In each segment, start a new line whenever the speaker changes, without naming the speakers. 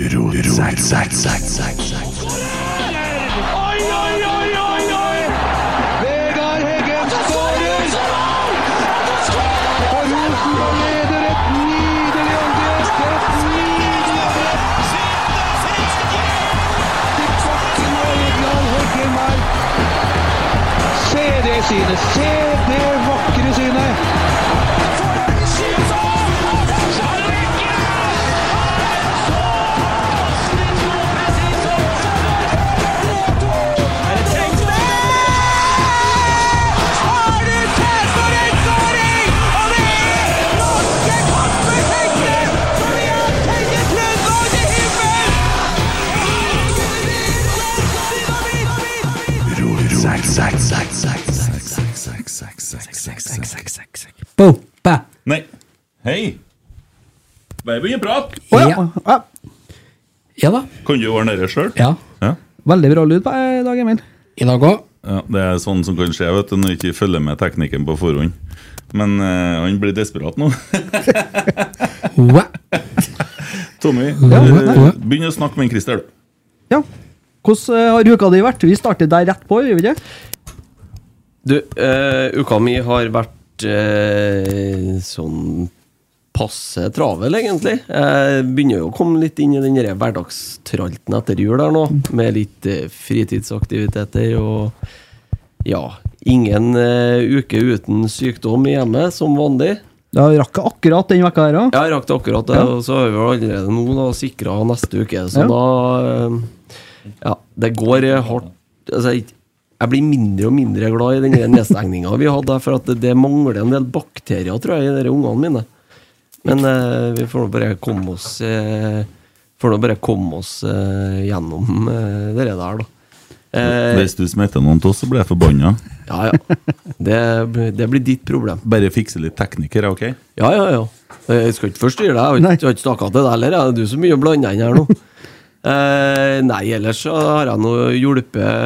Rotsekk, sekk, sekk, sekk, sekk.
Oi, oi, oi, oi, oi! Vegard Heggen skårer! Og Rosenborg leder et nydelig angrep! Et nydelig angrep! Til bakken og Egeland Heggen her. Se det synet! Se det vakre synet!
Rotsekk, sekk, sekk, sekk, sekk, sekk, sekk, sekk, sekk, sekk, sekk, sekk.
Nei. Hei! Bare begynn å prate!
Ja. ja da.
Kan du ordne det sjøl?
Ja.
Ja.
Veldig bra lyd på eh, dag, Emil.
I dag òg.
Ja, det er sånn som kan skje vet du, når du ikke følger med teknikken på forhånd. Men eh, han blir desperat nå. Tommy, eh, begynn å snakke med en Christer. du.
Ja. Hvordan eh, har uka di vært? Vi starter der rett på, gjør vi ikke?
Du, eh, uka mi har vært eh, sånn passe travel, egentlig. Jeg begynner jo å komme litt inn i den der hverdagstralten etter jul her nå, med litt eh, fritidsaktiviteter og ja. Ingen eh, uke uten sykdom i hjemmet, som vanlig.
Da rakk jeg akkurat den vekka her òg.
Jeg rakk det akkurat, det, og så har vi jo allerede nå da sikra neste uke. Så
Ja.
da eh, Ja, det går eh, hardt altså, jeg, jeg blir mindre og mindre glad i den nedstengninga vi hadde, for at det, det mangler en del bakterier, tror jeg, i de ungene mine. Men eh, vi får nå bare komme oss eh, Får nå bare komme oss eh, gjennom eh, det der, da. Eh,
Hvis du smitter noen av oss, så blir jeg forbanna.
ja, ja. Det, det blir ditt problem.
Bare fikse litt teknikere, OK?
Ja, ja, ja. Jeg skal ikke forstyrre deg. Jeg har ikke-
Nei.
Jeg har ikke snakka til deg heller. jeg. Det er du som mye blander inn her nå. Eh, nei, ellers så har jeg nå hjulpet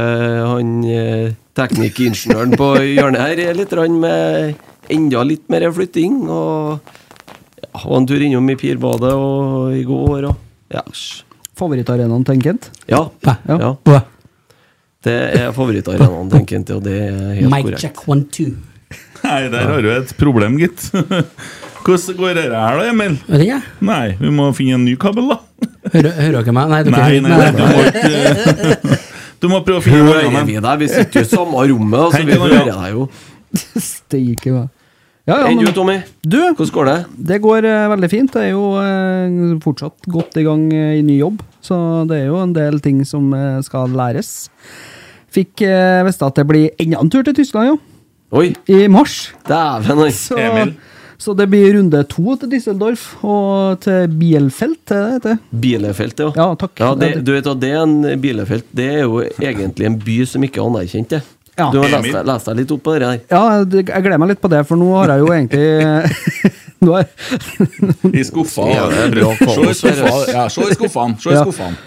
han eh, teknikkingeniøren på hjørnet her litt grann med enda litt mer flytting. Og ja, var en tur innom i Pirbadet og i går og ja. sj.
Favorittarenaen til Kent.
Ja,
Ja.
ja. Det er favorittarenaen, tenker jeg, og det er helt
Mic
korrekt.
check one, two.
Nei, der har du et problem, gitt. Hvordan går dette her, da, Emil?
Vet ikke jeg.
Nei, vi må finne en ny kabel, da.
Hører, hører dere meg? Nei, dere
Nei, nei, nei,
nei.
du må ikke Du må prøve å finne noe
Hører
annet.
vi deg? Vi sitter jo i samme rommet, altså. Vi
Hent den, ja.
hører deg jo.
Steike meg. Ja, ja,
Enn du,
men
Tommy?
du,
Hvordan går det?
det går eh, veldig fint. Det er jo eh, fortsatt godt i gang eh, i ny jobb, så det er jo en del ting som eh, skal læres. Fikk eh, visst at det blir enda en tur til Tyskland, jo.
Oi,
I mars.
dæven, altså.
Så,
Emil.
så det blir runde to til Düsseldorf og til Bielfeldt, er det det heter.
Bielefeltet, ja.
Ja, takk.
Ja, det, du vet at det er en bilefelt. Det er jo egentlig en by som ikke er anerkjent, det.
Ja.
Du har lest
Emil.
deg, lest deg litt opp på det der.
Ja, det- jeg gleder meg litt på det, for nå har jeg jo egentlig nå har,
I skuffa.
Ja, det er bra
Se i
kaos her,
skuffa.
ass.
Ja, se i skuffene. Se i
Ja.
skuffene.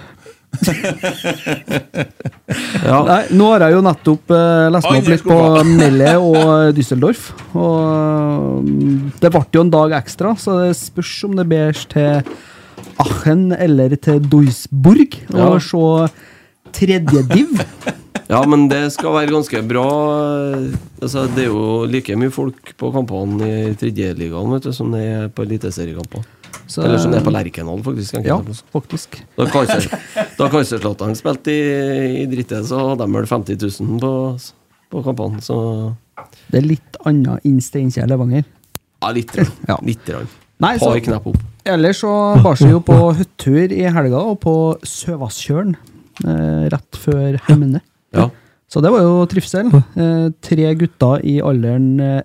Ja.
Nei, nå har jeg jo nettopp eh, lest meg
Oi,
opp litt på Melle og Düsseldorf. Og mm, det ble jo en dag ekstra, så det spørs om det bæres til Aachen eller til Duisburg
Ja.
og se tredje div.
ja, men det skal være ganske bra. Altså, det er jo like mye folk på kampene i tredjeligaen vet du, som det er på eliteseriekamper.
Så-
Eller som det er på Lerkendal, faktisk. enkelte
Ja,
plasser.
faktisk.
Da Kaiser- Da Kaiserslatteren spilte i, i drittet, så hadde de vel 50 000 på, på kampene. Så
Det er litt annet enn Steinkjer Levanger.
ja, litt. grann.
Ja.
Litt. grann.
Nei,
Par
så-
knepp opp.
Ellers så bar seg jo på hyttetur i helga, og på Søvasskjølen eh, rett før Hemne.
Ja.
Så det var jo trivsel. Eh, tre gutter i alderen eh,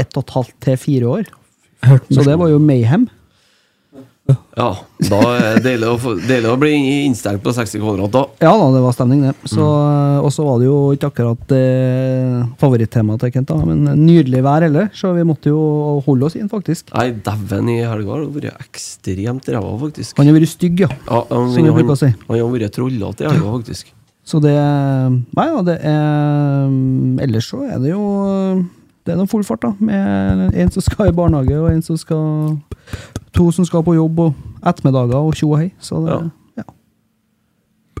ett og et halvt til fire år. Så det var jo mayhem.
Ja, da er det deilig å, få, deilig å bli innstengt på 60 kvadrat, da.
Ja da, det var stemning, det. Så, Og så var det jo ikke akkurat eh, favorittemaet til Kent, da, men nydelig vær heller, så vi måtte jo holde oss inn, faktisk.
Nei, dæven i helga har det vært ekstremt ræva, faktisk.
Han har vært stygg, ja.
Ja, han,
Som vi
han-
bruker å si.
Han har vært trollete i helga, faktisk.
Så det Nei da, det er mm, Ellers så er det jo eh, Det er noe full fart, da. Med en som skal i barnehage, og en som skal To som skal på jobb, og ettermiddager og tjo og hei. Så det,
Ja.
ja.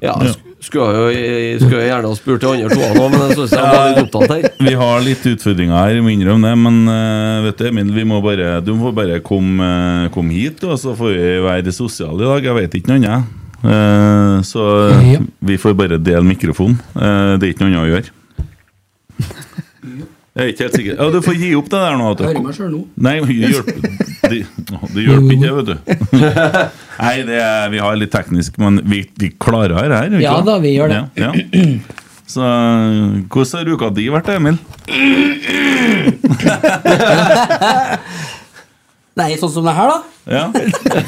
Ja, sk- skulle jo, jeg skulle jo gjerne ha spurt de andre to nå, men jeg synes jeg var litt opptatt her.
Vi har litt utfordringer her, jeg må innrømme det, men eh, vet du, Emil, vi må bare, du må bare komme eh, komme hit, du, og så får vi være sosiale i dag. Jeg vet ikke noe annet. Eh, så eh,
Ja.
vi får bare dele mikrofonen. Eh, det er ikke noe annet å gjøre. Jeg er ikke helt sikker. Ja, du får gi opp det der nå. vet du.
Hører meg sjøl nå.
Nei, det hjelper, det, det hjelper ikke, vet du. Nei, det er, vi har litt teknisk, men vi, vi klarer her, her. ikke
Ja
sant?
da, vi gjør det.
Ja, ja. Så hvordan har uka di vært, Emil?
Nei, sånn som det her, da?
Ja,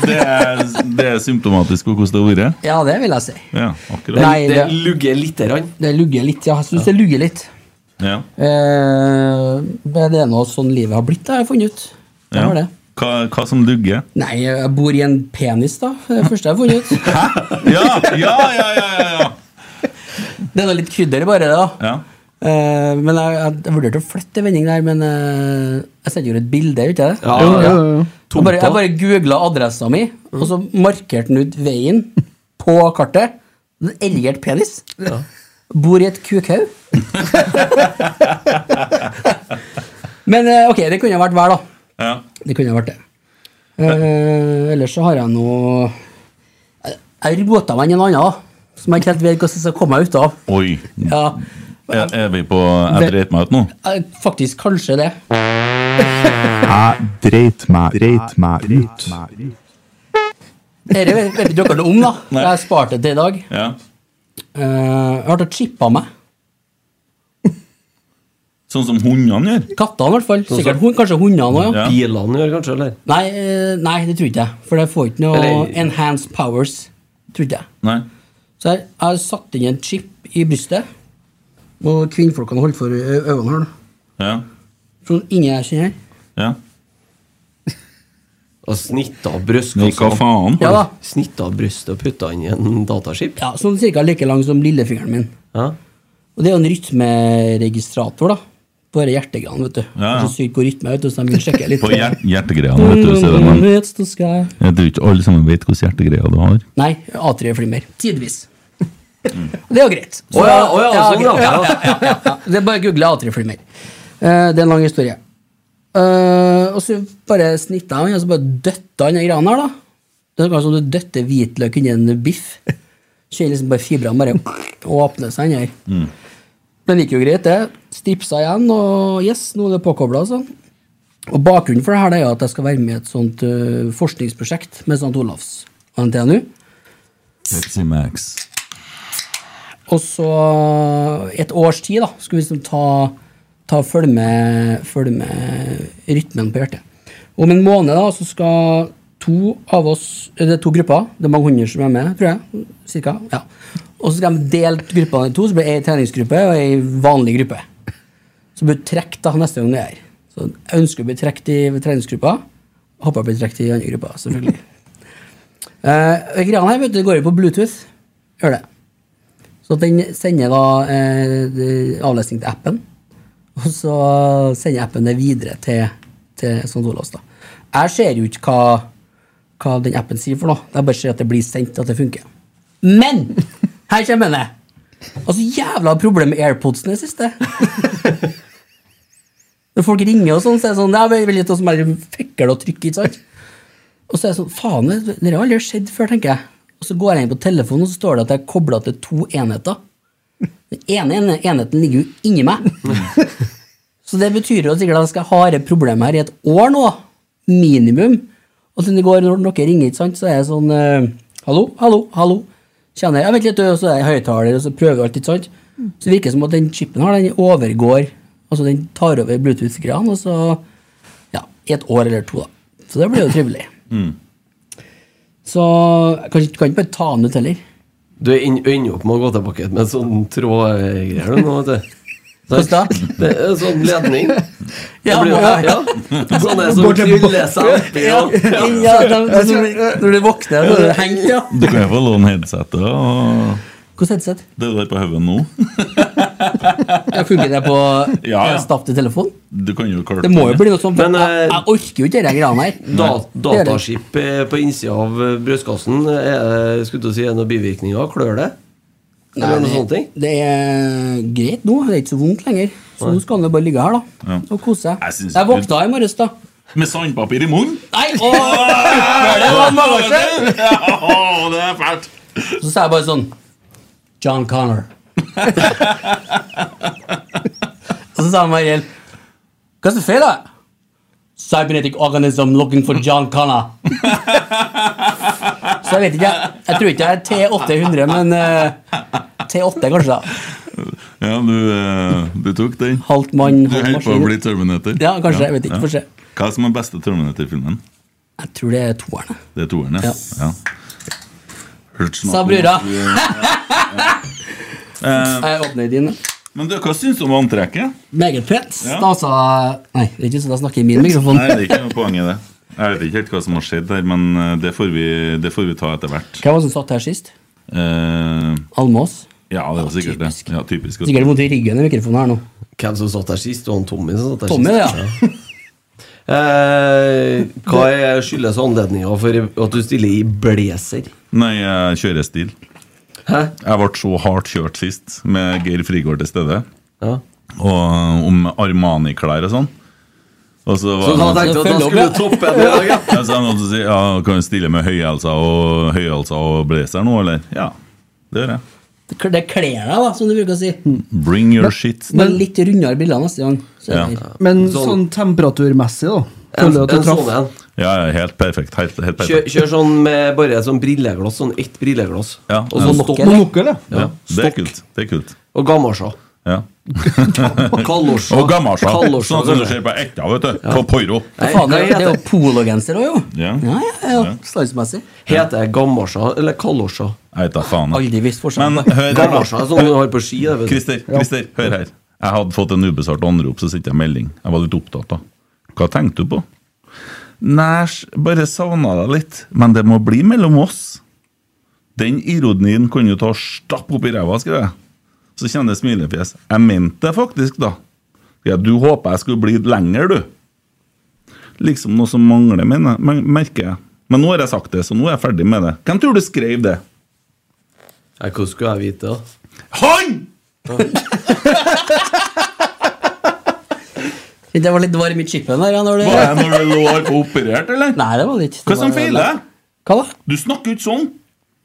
Det er, det er symptomatisk på hvordan det har vært.
Ja, det vil jeg si.
Ja, akkurat.
Nei,
Det
det,
lugger lite grann.
det lugger litt. Ja, jeg syns det lugger litt.
Ja.
Eh, men det er nå sånn livet har blitt, det har jeg funnet ut. Det
Ja.
har det.
Hva, hva som lugger?
Nei, jeg bor i en penis, da. Det er det første jeg har funnet ut.
Ja, ja, ja! ja, ja, ja.
Det er da litt krydder i bare det, da.
ja.
Eh, men jeg, jeg, jeg vurderte å flytte en vending der, men eh, jeg sendte jo et bilde, gjorde jeg ikke det?
Ja,
Jo, jo, jo.
Jeg bare, jeg bare googla adressa mi, og så markerte den ut veien på kartet. En erigert penis. Bor i et kukhaug. Men eh, ok, det kunne ha vært hver, da.
ja.
Det kunne ha vært det. Eh, ellers så har jeg noe Jeg- Jeg rota meg inn i noe annet, da, som jeg ikke helt vet hvordan jeg skal komme meg ut av.
Oi.
Ja,
Er, er vi på Jeg dreit meg ut nå?
eh, faktisk kanskje det.
Jeg dreit meg, dreit meg ut.
Dette vet vet ikke dere noe om, da.
Nei.
Jeg har spart det til i dag.
Ja.
Eh, jeg har tatt chippa meg.
Sånn som hundene gjør?
Kattene, i hvert fall. Sikkert hund, kanskje hundene òg, ja.
Ja.
Bilene gjør kanskje, eller?
Nei, eh, nei, det tror ikke jeg. For det får ikke noe
Eller-
enhanced powers. Tror ikke jeg.
Nei.
Så jeg, jeg har satt inn en chip i brystet, og kvinnfolkene holdt for ø- øynene her. da.
Ja.
Sånn inni jeg kjenner her.
ja.
Og snitta av bryst,
Nei, hva
altså.
faen?
Ja da.
Snitta av brystet og putta inn i en dataskip?
Ja, sånn cirka like lang som lillefingeren min.
Ja.
Og det er jo en rytmeregistrator, da. På dette hjertegreiene, vet du.
Ja, ja.
Det er Så sykt hvor rytme er, vet du, så de vil sjekke litt.
På hjer hjertegreiene, vet du. Så er det, men
It's the sky.
jeg tror ikke alle sammen vet hvordan hjertegreia du har.
Nei, A3-flimmer. Tidvis. Det er jo greit. Så-
Å ja, å ja, sånn, ja.
greit. ja, ja, ja. Det er bare å google A3-flimmer. Eh, det er en lang historie. Eh, og så bare snitta han, og så bare døtta han de greiene her, da. Det er akkurat som du døtter hvitløk inni en biff. Kjenner liksom bare fibrene bare åpner seg inni her.
Mm.
Men det gikk jo greit, det. Stripsa igjen, og yes, nå er det påkobla, altså. Og bakgrunnen for det her det er jo at jeg skal være med i et sånt eh, forskningsprosjekt med St. Olavs og NTNU.
Pepsi Max.
Og så et års tid da, skulle vi liksom ta, ta følge, med, følge med rytmen på hjertet. Om en måned da, så skal to av oss, det er to grupper, det er mange hundre som er med, tror jeg, cirka, ja. Og så skal de dele gruppene i to, så blir det en treningsgruppe og en vanlig gruppe. Så blir du trekt da neste gang det er. Så jeg ønsker å bli trekt i treningsgruppa, håper jeg blir trekt i andre gruppa, selvfølgelig. Eh, greia her, vet du, det går jo på Bluetooth, gjør det. Så den sender da eh, det- avlesning til appen, og så sender appen det videre til, til St. Olavs. da. Jeg ser jo ikke hva, hva den appen sier for noe, jeg bare ser at det blir sendt, at det funker. Men her kommer det! Altså, jævla problem med airpodsene i det siste. Når folk ringer og sånn, så er det sånn Ja, vi vil ikke oss bare fikle og trykke, ikke sant? Og så er jeg sånn, faen, det det har aldri skjedd før, tenker jeg. Og så går jeg inn på telefonen, og så står det at jeg er kobla til to enheter. Den ene ene enheten ligger jo inni meg. Så det betyr jo sikkert at jeg skal ha det problemet her i et år nå, minimum. Og siden det går når noen ringer, ikke sant, så er jeg sånn eh, Hallo, hallo, hallo. Kjenner jeg, jeg vet litt, og så er jeg høyttaler, og så prøver jeg alt, ikke sant. Så det virker som at den chipen her, den overgår Altså, den tar over Bluetooth-greiene, og så Ja, i et år eller to, da. Så det blir jo trivelig. Så jeg kan, ikke- kan ikke bare ta den ut heller.
Du er inn- ender opp med å gå tilbake med en sånn trådgreier nå, vet du.
Hvordan da?
Det er en sånn ledning. Det
Ja,
blir jo-
ja.
ja. Sånn er det som
Går til-
tryller seg oppi.
Ja,
Ja.
da- da- når når du våkner, så er det hengt, ja.
Du kan jo få låne headsetet og
Hvordan headset?
det du har på hodet nå.
Jeg funker det på
Ja, ja.
stapp til telefon?
Du kan jo klart
Det må jo bli noe sånt. for
Men, eh,
jeg, jeg orker jo ikke disse greiene her.
Da,
er det.
eh, dataskip eh, på innsida av eh, brystkassen, er, det- skulle til å si, er det noen bivirkninger? Klør det? Eller noe sånt?
det,
ting?
det er greit nå. Det er ikke så vondt lenger. Så nå skal han jo bare ligge her da
Ja.
og kose seg.
Jeg synes-
Jeg våkna i morges, da.
Med sandpapir i munnen?
Nei! Åh, det var mange år siden!
Ja, det er fælt.
Så sa jeg bare sånn John Connor. Og så sa han bare helt Hva er det som feiler deg? Cybernetic organism looking for John Connor. så jeg vet ikke. Jeg, jeg tror ikke jeg er T800, men eh, T8 kanskje. da
Ja, du, eh, du tok den.
Halvt mann,
Du
halvt
holder på å
maskin.
bli Terminator.
Ja, kanskje, jeg vet ikke, får se.
Hva som er beste Terminator-filmen?
Jeg tror det er toeren. jeg.
Det er toeren, ja. ja. Hørt snakk
Sa
om-
brura. Jeg åpner din.
Men du, hva syns du om antrekket?
Meget pent.
Ja.
Stasa Nei, det er ikke sånn jeg snakker i min mikrofon.
Nei, det er ikke noe poeng i det. Jeg vet ikke helt hva som har skjedd der, men eh, det får vi, det får vi ta etter hvert.
Hvem var det som satt her sist?
Eh,
Almås?
ja, det var sikkert det.
Typisk.
Ja, typisk. også.
Sikkert vondt i ryggen i mikrofonen her nå.
Hvem som satt der sist? Det var han Tommy som satt der
Tommy,
sist. Ja. Eh, hva er skyldes anledninga for at du stiller i blazer?
Nei, jeg kjører stil.
Hæ?
Jeg ble så hardt kjørt sist, med Geir Frigård til stede.
Ja.
Og eh, om Armani-klær og sånn. Og så
Så
var
da
det noen-
tenkte jeg at da
Følg opp,
skulle
ja.
du toppe det i dag, ja.
Ja, så er det noen som sier ja, kan du stille med høyhalsa og, høyhalsa og blazer nå, eller? Ja, det gjør jeg.
Det kl- det kler deg, da, som du bruker å si.
Mm.
Bring your shit.
Bare litt rundere bilder neste gang. Så er det
Ja.
greit.
Men
Sånn.
sånn temperaturmessig, da?
En,
Føler du at
en
du traff
sånn en.
Ja, ja, helt perfekt. Helt, helt
Kjør,
perfekt.
kjør sånn med bare sånn brilleglass, sånn ett brilleglass.
Ja,
og så
ja.
stopp.
Monokkel.
monokkel, ja?
Ja, det er
Stokk.
kult. Det er kult.
Og gammasja.
Ja.
Kalosja.
Og gammasja.
Kalosja.
Sånn som du ser på Ekta, vet du. På Poiro.
Nei,
Faen, det,
hva
er- det
heter
er jo
det?
pologenser òg, jo.
Ja.
Ja, ja, ja, Slagsmessig.
Heter det gammasja eller kalosja?
Jeg vet da faen.
Aldri visst forskjell.
Men hør her, da.
Gammasja er sånn du har på ski. det vet du.
Christer, Christer, hør her. Jeg hadde fått en ubesvart anrop, så sendte jeg melding. Jeg var litt opptatt, da. Hva tenkte du på? Nei, s- bare savna deg litt. Men det må bli mellom oss. Den ironien kan du ta og stappe opp i ræva, skrev jeg. Så kjenner jeg smilefjes. Jeg mente det faktisk, da. Ja, du håpa jeg skulle bli lenger, du. Liksom noe som mangler, mener jeg. men- merker jeg. Men nå har jeg sagt det, så nå er jeg ferdig med det. Hvem tror du skrev det?
Nei, Hvordan skulle jeg vite det? da?
Han!
Det var litt varm i chipen der. Ja, når det...
Var det når du lå på operert, eller?
Nei, det var det ikke. Det
Hva som
var-
feiler?
Hva da?
Du snakker ikke sånn!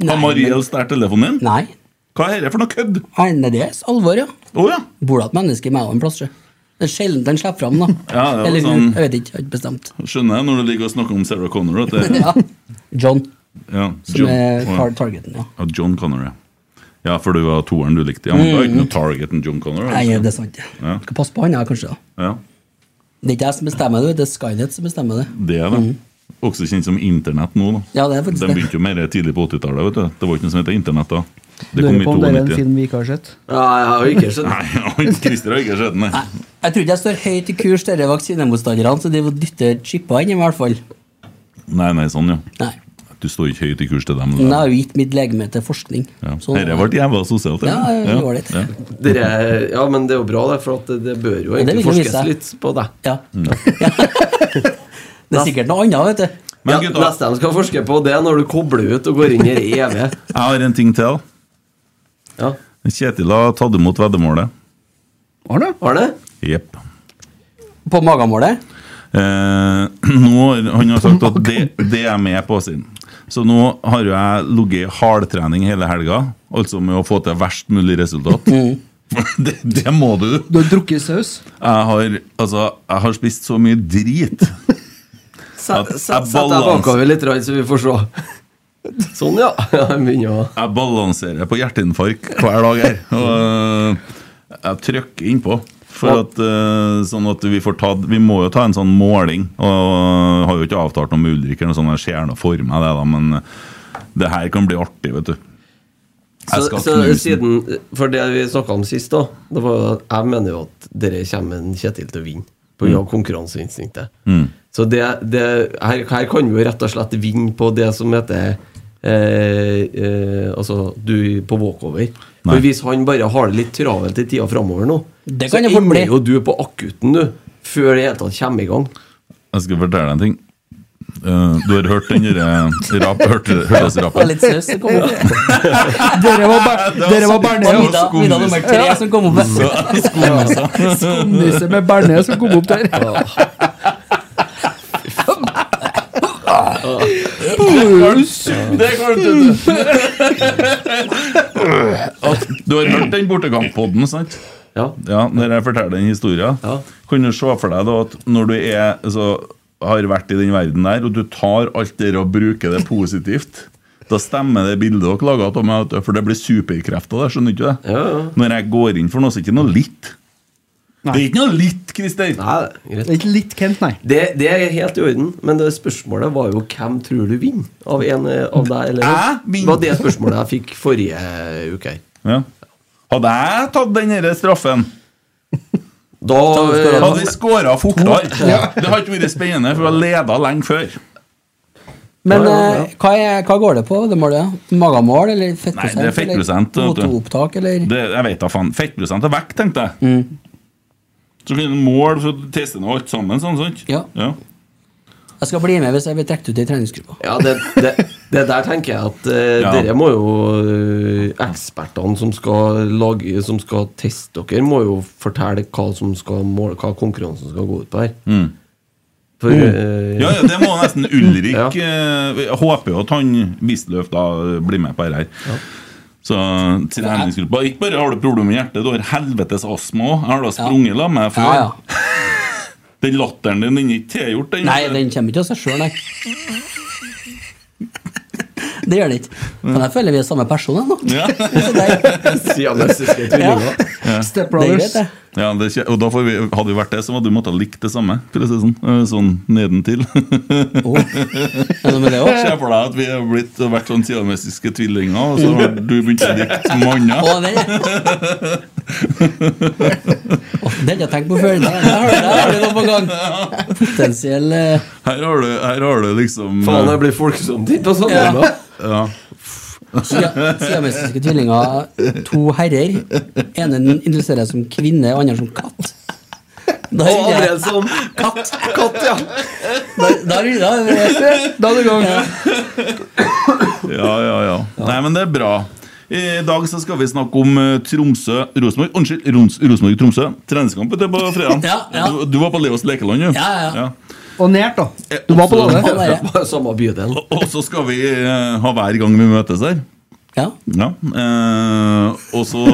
Har
Nei,
Marie
men-
men... stjålet telefonen din?
Nei.
Hva er dette for noe kødd?
Nei, nei, det er alvor, ja.
Å ja.
Bor det et menneske i meg og en plass, sjø? Det er sjelden den slipper fram, da.
Ja, det var
Eller
sånn-
hun. Jeg vet ikke, jeg har ikke bestemt.
Skjønner jeg når du ligger og snakker om Sarah Connor. At det,
Ja. John,
ja,
som er
Å, ja.
tar- targeten, ja.
ja, John Connor, ja. Ja, for du var toeren du likte. Ja, men det er ikke noe target enn John Connor.
Mm. Nei,
Altså.
det er sant. Ja. Skal passe på han, ja, kanskje. da.
Ja,
Det er ikke jeg som bestemmer det, det er Skynet som bestemmer det.
det er det. Også kjent som Internett nå, da.
Mm. Ja, det er faktisk
De
det.
begynte jo mer tidlig på 80-tallet. vet du. Det var ikke noe som het Internett da. Det
Lurer
kom i
på om det er en
92.
film vi ikke har sett.
Ja, jeg har jo ikke sett
Nei, Christer har ikke sett den, nei.
Jeg tror ikke jeg står høyt i kurs dere vaksinemotstanderne, så de vil dytte chippa inn i hvert fall.
Nei, nei, sånn, ja.
Nei.
Du står ikke høyt i kurs til dem.
Men jeg har jo gitt mitt legeme til forskning.
Ja.
Sånn-
Dette ble jævla sosialt.
Ja,
eller?
det var litt.
Dere, ja, men det er jo bra, det, for at det, det bør jo
det vil
egentlig
jo vise
forskes
seg.
litt på deg.
Ja.
Mm.
Ja. Det er sikkert noe annet, vet du.
Men
ja,
gutta-
neste de skal forske på, det er når du kobler ut og går inn i det evige.
Jeg har en ting til.
Ja.
Kjetil har tatt imot veddemålet.
Har du?
Arne?
Jepp.
På magemålet.
Eh, nå, har- han har sagt at det, det er jeg med på sin. Så nå har jo jeg ligget i hardtrening hele helga, altså med å få til verst mulig resultat.
Mm.
det, det må du.
Du har drukket saus?
Jeg har, altså, jeg har spist så mye drit.
Sett
At- at
sett- sett deg
balans-
bakover litt, rann, så vi får se. Sånn, ja. ja jeg begynner å
Jeg balanserer på hjerteinfarkt hver dag her. Og eh, jeg trykker innpå. For at, eh, sånn at vi, får ta, vi må jo ta en sånn måling. Og har jo ikke avtalt noe med Ulrik, eller noe sånt, jeg ser noe for meg det, da, men eh, det her kan bli artig, vet du. Jeg
Så,
skal
så
knuse den.
siden, for det vi snakka om sist, da det var jo at Jeg mener jo at dere kommer en Kjetil til å vinne pga.
Mm.
av konkurranseinstinktet. Så det, det, her, her kan vi jo rett og slett vinne på det som heter eh, eh, Altså du på walkover.
Nei.
For hvis han bare har det litt travelt i tida framover nå,
Det
så
kan det fort bli.
jo du på akutten, du. Før det hele tatt kommer i gang.
Jeg skal fortelle deg en ting. eh, du har hørt den derre rap, hørt,
Det var
hørtes-rappen?
litt saus som kom opp.
Dere var, ber- dere var
Det var
Bernet,
middag, middag nummer tre som kom opp.
Skumnisse med Bernet som kom opp der.
Det går ut!
At Du har hørt den bortekampodden, sant?
Ja.
Ja, når jeg forteller den historien.
Ja.
Kan du se for deg da at når du er, altså, har vært i den verden der, og du tar alt det og bruker det positivt, da stemmer det bildet dere laget av meg, vet du, for det blir superkrefter der, skjønner du ikke det?
Ja, ja.
Når jeg går inn for noe, så er det ikke noe litt. Det er ikke noe litt, Christer!
Nei, det er greit.
Ikke litt Kent, nei.
Det, det er helt i orden, men det spørsmålet var jo hvem tror du vinner av en eh, av deg eller
Jeg vinner.
Det var det spørsmålet jeg fikk forrige uke. her.
Ja. Hadde jeg tatt den her straffen,
Da eh,
hadde vi skåra fortere. Det hadde ikke vært spennende, for vi har leda lenge før.
Men
Ja, ja, ja.
eh, hva, er, hva går det på, det målet? Magamål eller fettprosent?
Nei, det er fettprosent,
Eller
vet du.
motoopptak, eller?
Det, jeg vet da faen. Fettprosent er vekk, tenkte jeg.
Mm.
Så kan du måle, så tester du alt sammen, sånn, sant?
Ja. Jeg skal bli med hvis jeg blir trukket ut i treningsgruppa.
Ja, det, det, det der tenker jeg at eh,
Ja.
dere må jo eh, Ekspertene som skal lage Som skal teste dere, må jo fortelle hva som skal måle, hva konkurransen skal gå ut på her. For eh,
Mm. Ja, ja, det må nesten Ulrik
Ja.
eh, Jeg håper jo at han Wisløff da blir med på dette her. Så treningsgruppa Ikke bare har du problemer med hjertet, du har helvetes astma òg. Jeg har da sprunget la meg før.
Ja, ja.
Den latteren din den er ikke tilgjort, den.
Nei, den kommer ikke av seg sjøl, nei. Det gjør den ikke. Men jeg føler vi er samme person ennå.
Ja.
Så det er-
siamesiske
Ja.
tvillinger.
Step
det er
Brothers.
greit, det.
Ja, det, skje- og da får vi, Hadde vi vært det, så hadde vi måttet ha likt det samme. for å si det Sånn, Eh, sånn nedentil.
Oh. Er det med det
Se
også?
for deg at vi har blitt, har vært sånn siamesiske tvillinger, og så har du begynt å dikte med andre.
Å, den Å, Den har jeg tenkt på før. Der har du- der har du noe på gang. Potensiell eh,
Her har du, her har du liksom
Faen, det blir folksomt hit og sånn.
Ja.
da.
ja.
sia- siamesiske tvillinger. To herrer. Ene interesserer seg som kvinne, og andre som katt. Da
Og
ruller
andre
jeg.
som katt. katt ja.
Da- Da ruller jeg.
Da er du i gang.
eh, ja, ja, ja. Nei, men det er bra. I dag så skal vi snakke om eh, Tromsø-Rosenborg. Unnskyld, Rons- Rosenborg-Tromsø. Treningskamp ute på fredag.
Ja, ja.
Du, du var på Leos lekeland, du.
Ja, ja.
Og nært, da. Du var på
Å,
lånet.
der, ja.
Bare Samme bydel.
Og- Og så skal vi eh, ha hver gang vi møtes her.
Ja.
Ja. Eh, og så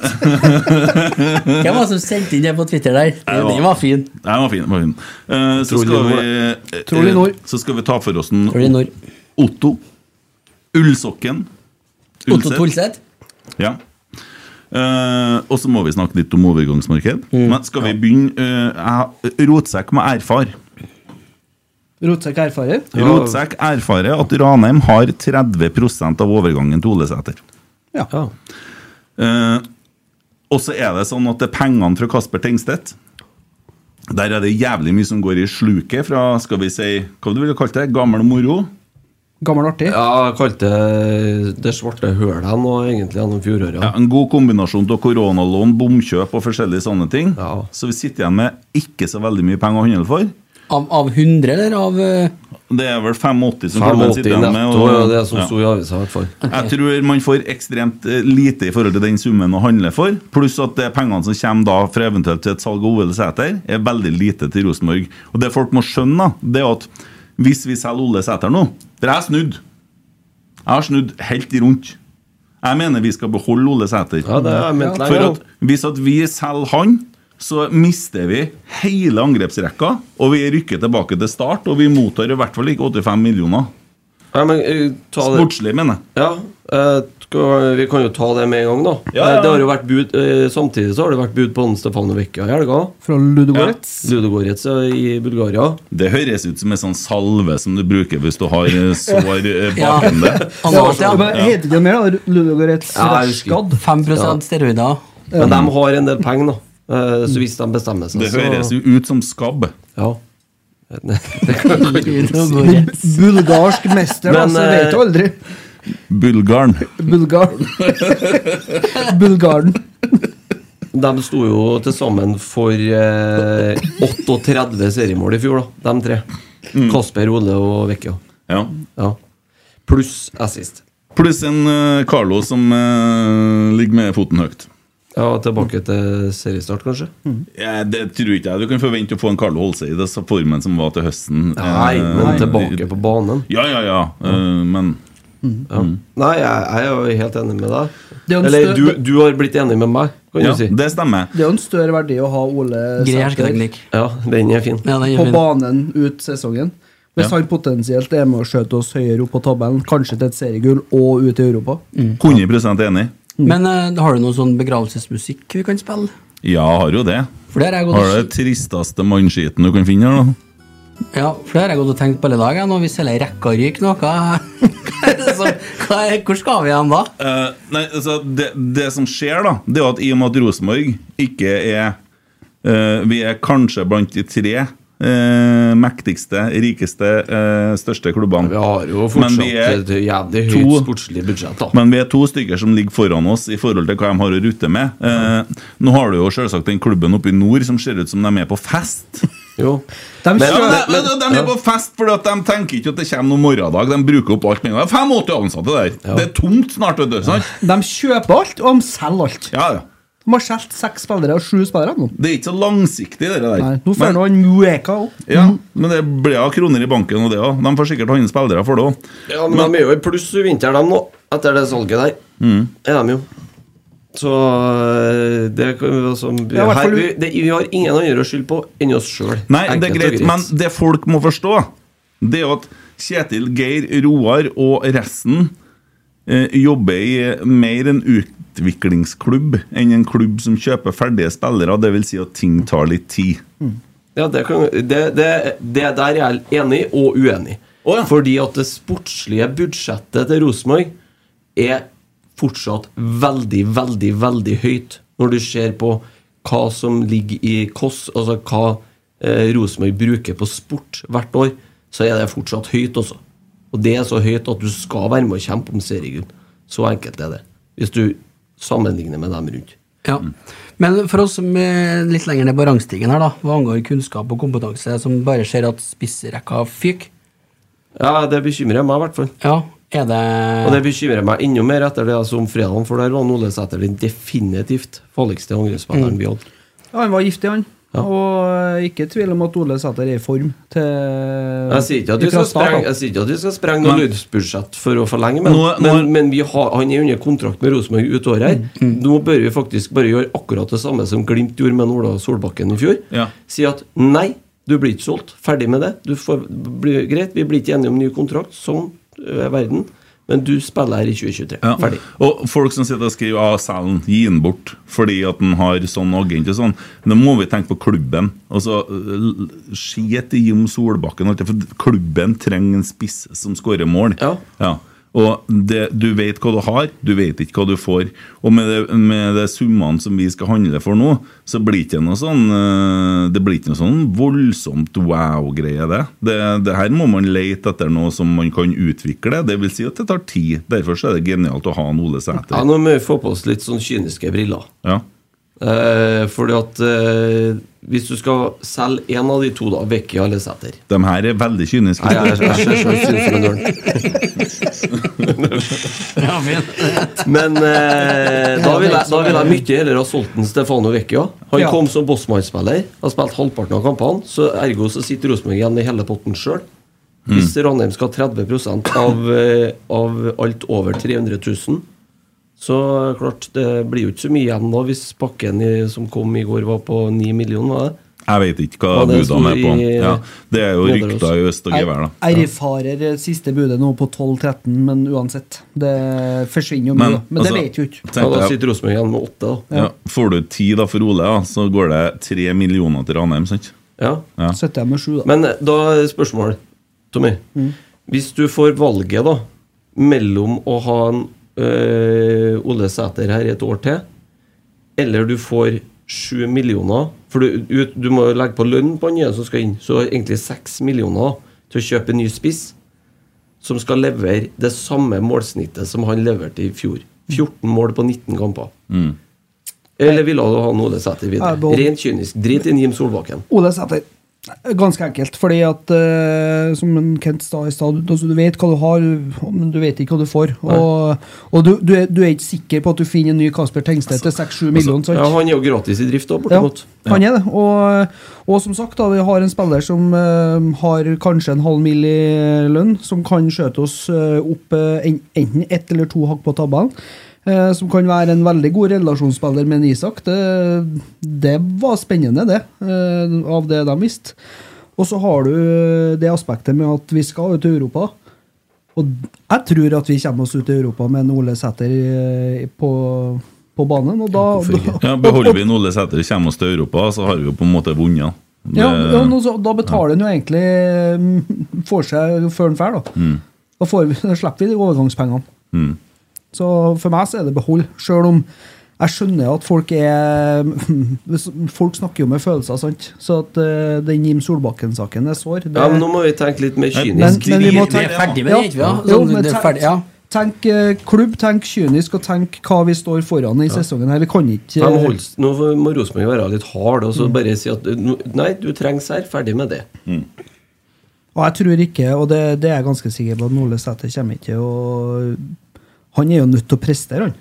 Hvem var det som sendte inn det på Twitter der?
det var-
Den var fin.
Nei, den var fin. Den var fin. Eh, så,
Trolig
skal
nord.
vi, eh,
Trolig nord.
så skal vi ta for oss en
Tror du når
Otto. Ullsokken.
Otto Tolseth?
Ja. Eh, og så må vi snakke litt om overgangsmarked. Men skal vi begynne eh, jeg- Rotsekk må erfare.
Rotsekk erfarer.
Rotsekk erfarer at Ranheim har 30 av overgangen til Olesæter.
Ja.
Ja.
Eh, og så er det sånn at det er pengene fra Kasper Tengstedt. Der er det jævlig mye som går i sluket fra skal vi si, hva du ville kalt det, gammel moro.
Gammel artig.
ja, jeg kalte det det svarte hølet nå, egentlig, gjennom fjoråret.
Ja, en god kombinasjon av koronalån, bomkjøp og forskjellige sånne ting.
Ja.
Så vi sitter igjen med ikke så veldig mye penger å handle for.
Av, av 100, eller av eh,
Det er vel 85 som klubben
85
sitter igjen med.
netto, ja, det som
ja.
sto i avisa, i hvert fall.
Jeg tror man får ekstremt eh, lite i forhold til den summen å handle for. Pluss at det pengene som kommer da fra eventuelt til et salg av Ole Sæter, er veldig lite til Rosenborg. Og det folk må skjønne, da, det er at hvis vi selger Ole Sæter nå For jeg har snudd. Jeg har snudd helt rundt. Jeg mener vi skal beholde Ole Sæter.
Ja, det har jeg ment
For
lenge.
at hvis at vi selger han, så mister vi hele angrepsrekka, og vi rykker tilbake til start, og vi mottar i hvert fall ikke 85 millioner.
Ja, men, eh, ta det.
Sportslig, mener jeg.
Ja, eh, skal- vi kan jo ta det med en gang, da.
Ja, ja.
Eh, Det har jo vært bud, eh, samtidig så har det vært bud på han Stefano Vecchia i helga.
Fra Ludogorets.
Ludogorets eh, i Bulgaria.
Det høres ut som en sånn salve som du bruker hvis du har eh, sår eh,
ja,
bakom deg.
Anat,
Ja.
ja.
men Heter ikke altså, det mer, da? Ludogorets
Ja, jeg husker.
Rashgad?
5 steroider.
Men de har en del penger, da. Eh, Så hvis de bestemmer seg,
Det
så
høres jo ut som skabb.
Ja.
Ludogorets.
Bulgarsk mester,
Men,
da, så
eh,
vet du aldri.
Bulgaren.
Bulgar. Bulgaren.
De sto jo til sammen for eh, 38 seriemål i fjor, da, de tre.
Mm.
Kasper, Ole og Vekkja.
Ja.
Ja. Pluss assist.
Pluss en eh, Carlo som eh, ligger med foten høyt.
Ja,
Mm.
tilbake til seriestart, kanskje?
Ja, det tror ikke jeg du kan forvente å få en Carlo Holse i det så formen som var til høsten.
Nei,
Eh,
men tilbake på banen.
Ja, ja, ja. eh, men
Ja.
Mm.
Nei, jeg, jeg er jo helt enig med deg.
Det er jo en
Eller
stø-
du, du har blitt enig med meg, kan
ja,
du si.
det stemmer.
Det er jo en større verdi å ha Ole
Grei
Sæter
hersketeknikk.
Ja, den er fin.
Ja, den
på
er fin.
banen ut sesongen. Hvis
Ja.
han potensielt er med å skjøte oss høyere opp på tabellen, kanskje til et seriegull og ut i Europa.
100 enig.
Men eh, har du noe sånn begravelsesmusikk vi kan spille?
Ja, har jo det.
For det har jeg gått
Har du
og-
det tristeste mannskiten du kan finne her, da?
Ja, for det har jeg gått og tenkt på hele dagen. Nå, hvis hele rekka ryker nå, hva, hva er det som hva er, Hvor skal vi hen da?
Eh, nei, altså, det, det som skjer, da, det er jo at i og med at Rosenborg ikke er eh, Vi er kanskje blant de tre eh, mektigste, rikeste, eh, største klubbene.
Vi har jo
Men vi er
fortsatt et jævlig høyt
to-
sportslig budsjett, da.
Men vi er to stykker som ligger foran oss i forhold til hva de har å rutte med. Eh, nå har du jo selvsagt den klubben oppe i nord som ser ut som de er på fest.
Jo.
De
Men-
Ja,
skjø-
de, de, de er på fest fordi at de tenker ikke at det kommer noen morgendag. De bruker opp alt med en gang. 85 ansatte der. Det er tomt snart. vet du, sant?
de kjøper alt, og de selger alt.
Ja, ja.
De har solgt seks spillere og sju spillere nå.
Det er ikke så langsiktig, det der.
Nei, nå får
Men-
nå han Mueka opp.
Ja, men det blir av kroner i banken og det òg. De får sikkert handle spillere for det òg.
Ja, men, de er jo i pluss i vinter, de nå, etter det salget der.
Mm.
Er de jo. Så øh, det kan vi altså vi,
Ja, i hvert
her,
fall-
vi, det, vi har ingen andre å skylde på enn oss sjøl.
Nei, det er greit, men det folk må forstå, det er jo at Kjetil, Geir, Roar og resten eh, jobber i mer en utviklingsklubb enn en klubb som kjøper ferdige spillere. Det vil si at ting tar litt tid.
Ja, det, kan, det, det, det der er jeg enig og uenig.
Å, ja.
Fordi at det sportslige budsjettet til Rosenborg er fortsatt veldig, veldig, veldig høyt. Når du ser på hva som ligger i KOS, altså hva eh, Rosenborg bruker på sport hvert år, så er det fortsatt høyt, også. Og det er så høyt at du skal være med og kjempe om seriegull. Så enkelt er det. Hvis du sammenligner med dem rundt.
Ja. Men for oss som er litt lenger ned på rangstigen her, da, hva angår kunnskap og kompetanse, som bare ser at spissrekka fyker,
Ja, det bekymrer meg i hvert fall.
ja, er det
Og det bekymrer meg enda mer etter det som fredagen, for der var Ole Sæter den definitivt farligste
Mm.
angrepsspilleren vi hadde.
Ja, han var giftig, han.
Ja.
Og eh, ikke tvil om at Ole Sæter er i form til
Jeg sier ikke at vi
fra
skal
start,
sprenge,
da.
jeg sier ikke at vi skal sprenge noe
Nei.
lønnsbudsjett for å forlenge, men,
Nå- Mm. nå-
men, men vi har, han er under kontrakt med Rosenborg ut året her. Nå bør vi faktisk bare gjøre akkurat det samme som Glimt gjorde med Ola Solbakken i fjor.
Ja.
Si at nei, du blir ikke solgt. Ferdig med det. Du får, blir, greit, vi blir ikke enige om ny kontrakt. Sånn er verden. Men du spiller her i 2023.
Ja.
Ferdig.
Og folk som sitter og skriver av selen, gi den bort fordi at den har sånn agent og sånn. Men da må vi tenke på klubben. Altså, øh, Skit i Jim Solbakken. og alt det, For klubben trenger en spiss som skårer mål.
Ja.
Og det, du vet hva du har, du vet ikke hva du får. Og med det, med det summene som vi skal handle for nå, så blir det ikke noe sånn øh, Det blir ikke noe sånn voldsomt wow-greie, det. det. Det her må man lete etter noe som man kan utvikle. Det vil si at det tar tid. Derfor så er det genialt å ha en Ole
Ja,
Sæter.
nå må vi få på oss litt sånn kyniske briller.
Ja.
Eh, fordi at eh, hvis du skal selge en av de to, da, Vecchia eller Sæter
De her er veldig kyniske.
Nei, jeg, jeg, jeg, jeg, synes det er dårlig.
ja, fint.
Men eh, da vil jeg, da vil jeg mye heller ha solgt den Stefano Vecchia. Han
Ja.
kom som bossmannsspiller, har spilt halvparten av kampene, så ergo så sitter Rosenborg igjen i hele potten sjøl. Hvis
Mm.
Ranheim skal ha 30 av, eh, av alt over 300 000, så eh, klart det blir jo ikke så mye igjen da hvis pakken i, som kom i går, var på 9 millioner, var det?
Jeg vet ikke hva
Ja, det sto
budene er på.
i-
Ja, det er jo
Nidaros.
rykter i øst og gevær, da.
Jeg erfarer siste budet nå på 12-13, men uansett. Det forsvinner jo mye,
Men,
da. men det
altså,
vet vi jo ikke.
Ja, da
tenkte jeg-
sitter Rosenborg igjen med åtte, da.
ja, får du ti da for Ole, ja, så går det tre millioner til Ranheim, sant?
Ja.
Ja.
Sitter jeg med sju, da.
Men eh, da er spørsmålet, Tommy. Hvis du får valget da mellom å ha en øh, Ole Sæter her i et år til, eller du får sju millioner For du, ut- du må jo legge på lønn på den nye som skal inn, så egentlig seks millioner til å kjøpe en ny spiss som skal levere det samme målsnittet som han leverte i fjor. 14 mål på 19 kamper. Eller ville du ha en Ole Sæter videre?
Jeg behold-
Rent kynisk. Drit i Jim Solbakken.
Ole Sæter. Ganske enkelt, fordi at eh, som en Kent sa i stad, altså, du vet hva du har, men du vet ikke hva du får. Og, og du, du, er, du er ikke sikker på at du finner en ny Kasper Tengstedt til 6-7 millioner. sant?
Altså, Ja, han er jo gratis i drift òg,
Ja,
bortimot.
han er det. Og, og som sagt, da, vi har en spiller som eh, har kanskje en halv mil i lønn, som kan skjøte oss eh, opp eh, en- enten ett eller to hakk på tabellen. eh, som kan være en veldig god relasjonsspiller med en Isak. Det, det var spennende, det, eh, av det de visste. Og så har du eh, det aspektet med at vi skal ut til Europa. Og jeg tror at vi kommer oss ut til Europa med en Ole Sæter eh, på, på banen. Og da,
Ja, Beholder vi en Ole Sæter, kommer oss til Europa, så har vi jo på en måte vunnet. Det-
Ja, ja nå så, da betaler han jo egentlig mm, for seg før han drar, da. Da, får vi, da slipper vi de overgangspengene.
Mm.
Så for meg så er det behold, sjøl om jeg skjønner at folk er Folk snakker jo med følelser, sant? Så at eh, den Jim Solbakken-saken er sår. Det,
Ja, men Nå må vi tenke litt mer
Men-
kynisk.
men vi må
Vi er
tenke-
ferdig
med det, ikke vi, ja?
Jo,
Sånn,
men
det er
tenk,
ferdig, ja.
tenk eh, klubb, tenk kynisk, og tenk hva vi står foran i sesongen her. Vi kan ikke
Nei, men hold, nå må Rosenborg være litt hard og så
Mm.
bare si at eh, nå- Nei, du trengs her. Ferdig med det.
Og jeg tror ikke, og det, det er jeg ganske sikker på, at Ole Sæter kommer ikke og Han er jo nødt til å prestere, han.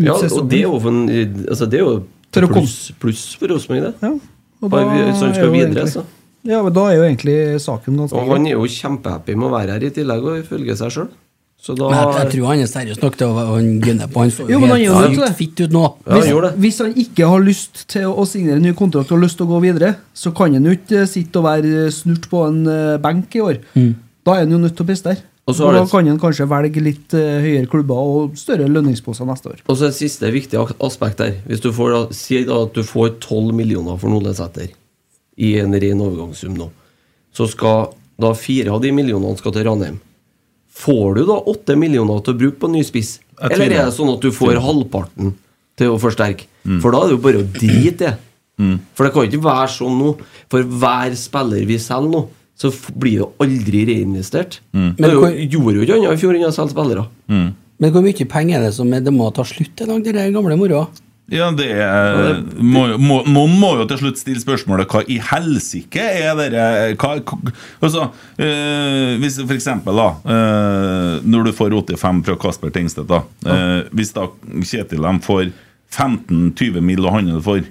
Ut
Ja, og
sesongen.
det er jo, for en, altså, det er jo
For å komme-
pluss, pluss for Rosenborg, det.
Ja, og
Bare vi- så han skal
er jo
videre,
egentlig-
så.
Ja, men da er jo egentlig saken ganske
Og han er jo kjempehappy med å være her i tillegg og ifølge seg sjøl. Så da
Men jeg, jeg tror han er seriøs nok til å å gunne på. Han så
Jo,
jo
men han gjør
helt
jo det.
sykt fitt ut nå.
Ja, han gjorde
Hvis,
det.
hvis han ikke har lyst til å signere en ny kontrakt og har lyst til å gå videre, så kan han jo ikke eh, sitte og være eh, snurt på en eh, benk i år. Da er han jo nødt til å prestere.
Og
Og
så har
da
det-
kan han kanskje velge litt eh, høyere klubber og større lønningsposer neste år.
Og så et siste viktig ak- aspekt her. Hvis du får, da- Si da at du får 12 millioner for Ole Sæter i en ren overgangssum nå. Så skal da fire av de millionene skal til Ranheim. Får du da 8 millioner til å bruke på en ny spiss?
Jeg
Eller
tviler. Mm.
er det sånn at du får halvparten til å forsterke? For da er det jo bare å drite i det. For det kan jo ikke være sånn nå. For hver spiller vi selger nå, så f- blir det jo aldri reinvestert.
Mm.
Det er jo,
Men hvor-
gjorde jo ikke annet i fjor enn å selge spillere.
Men hvor mye penger er det som er, det må ta slutt en gang, det der gamle moroa?
Ja, det er, må, må, Noen må jo til slutt stille spørsmålet Hva i helsike er dere hva, hva- altså, eh, Hvis for eksempel da eh, Når du får 85 fra Kasper Tengstedt da, eh, Hvis da Kjetil dem får 15-20 mil å handle for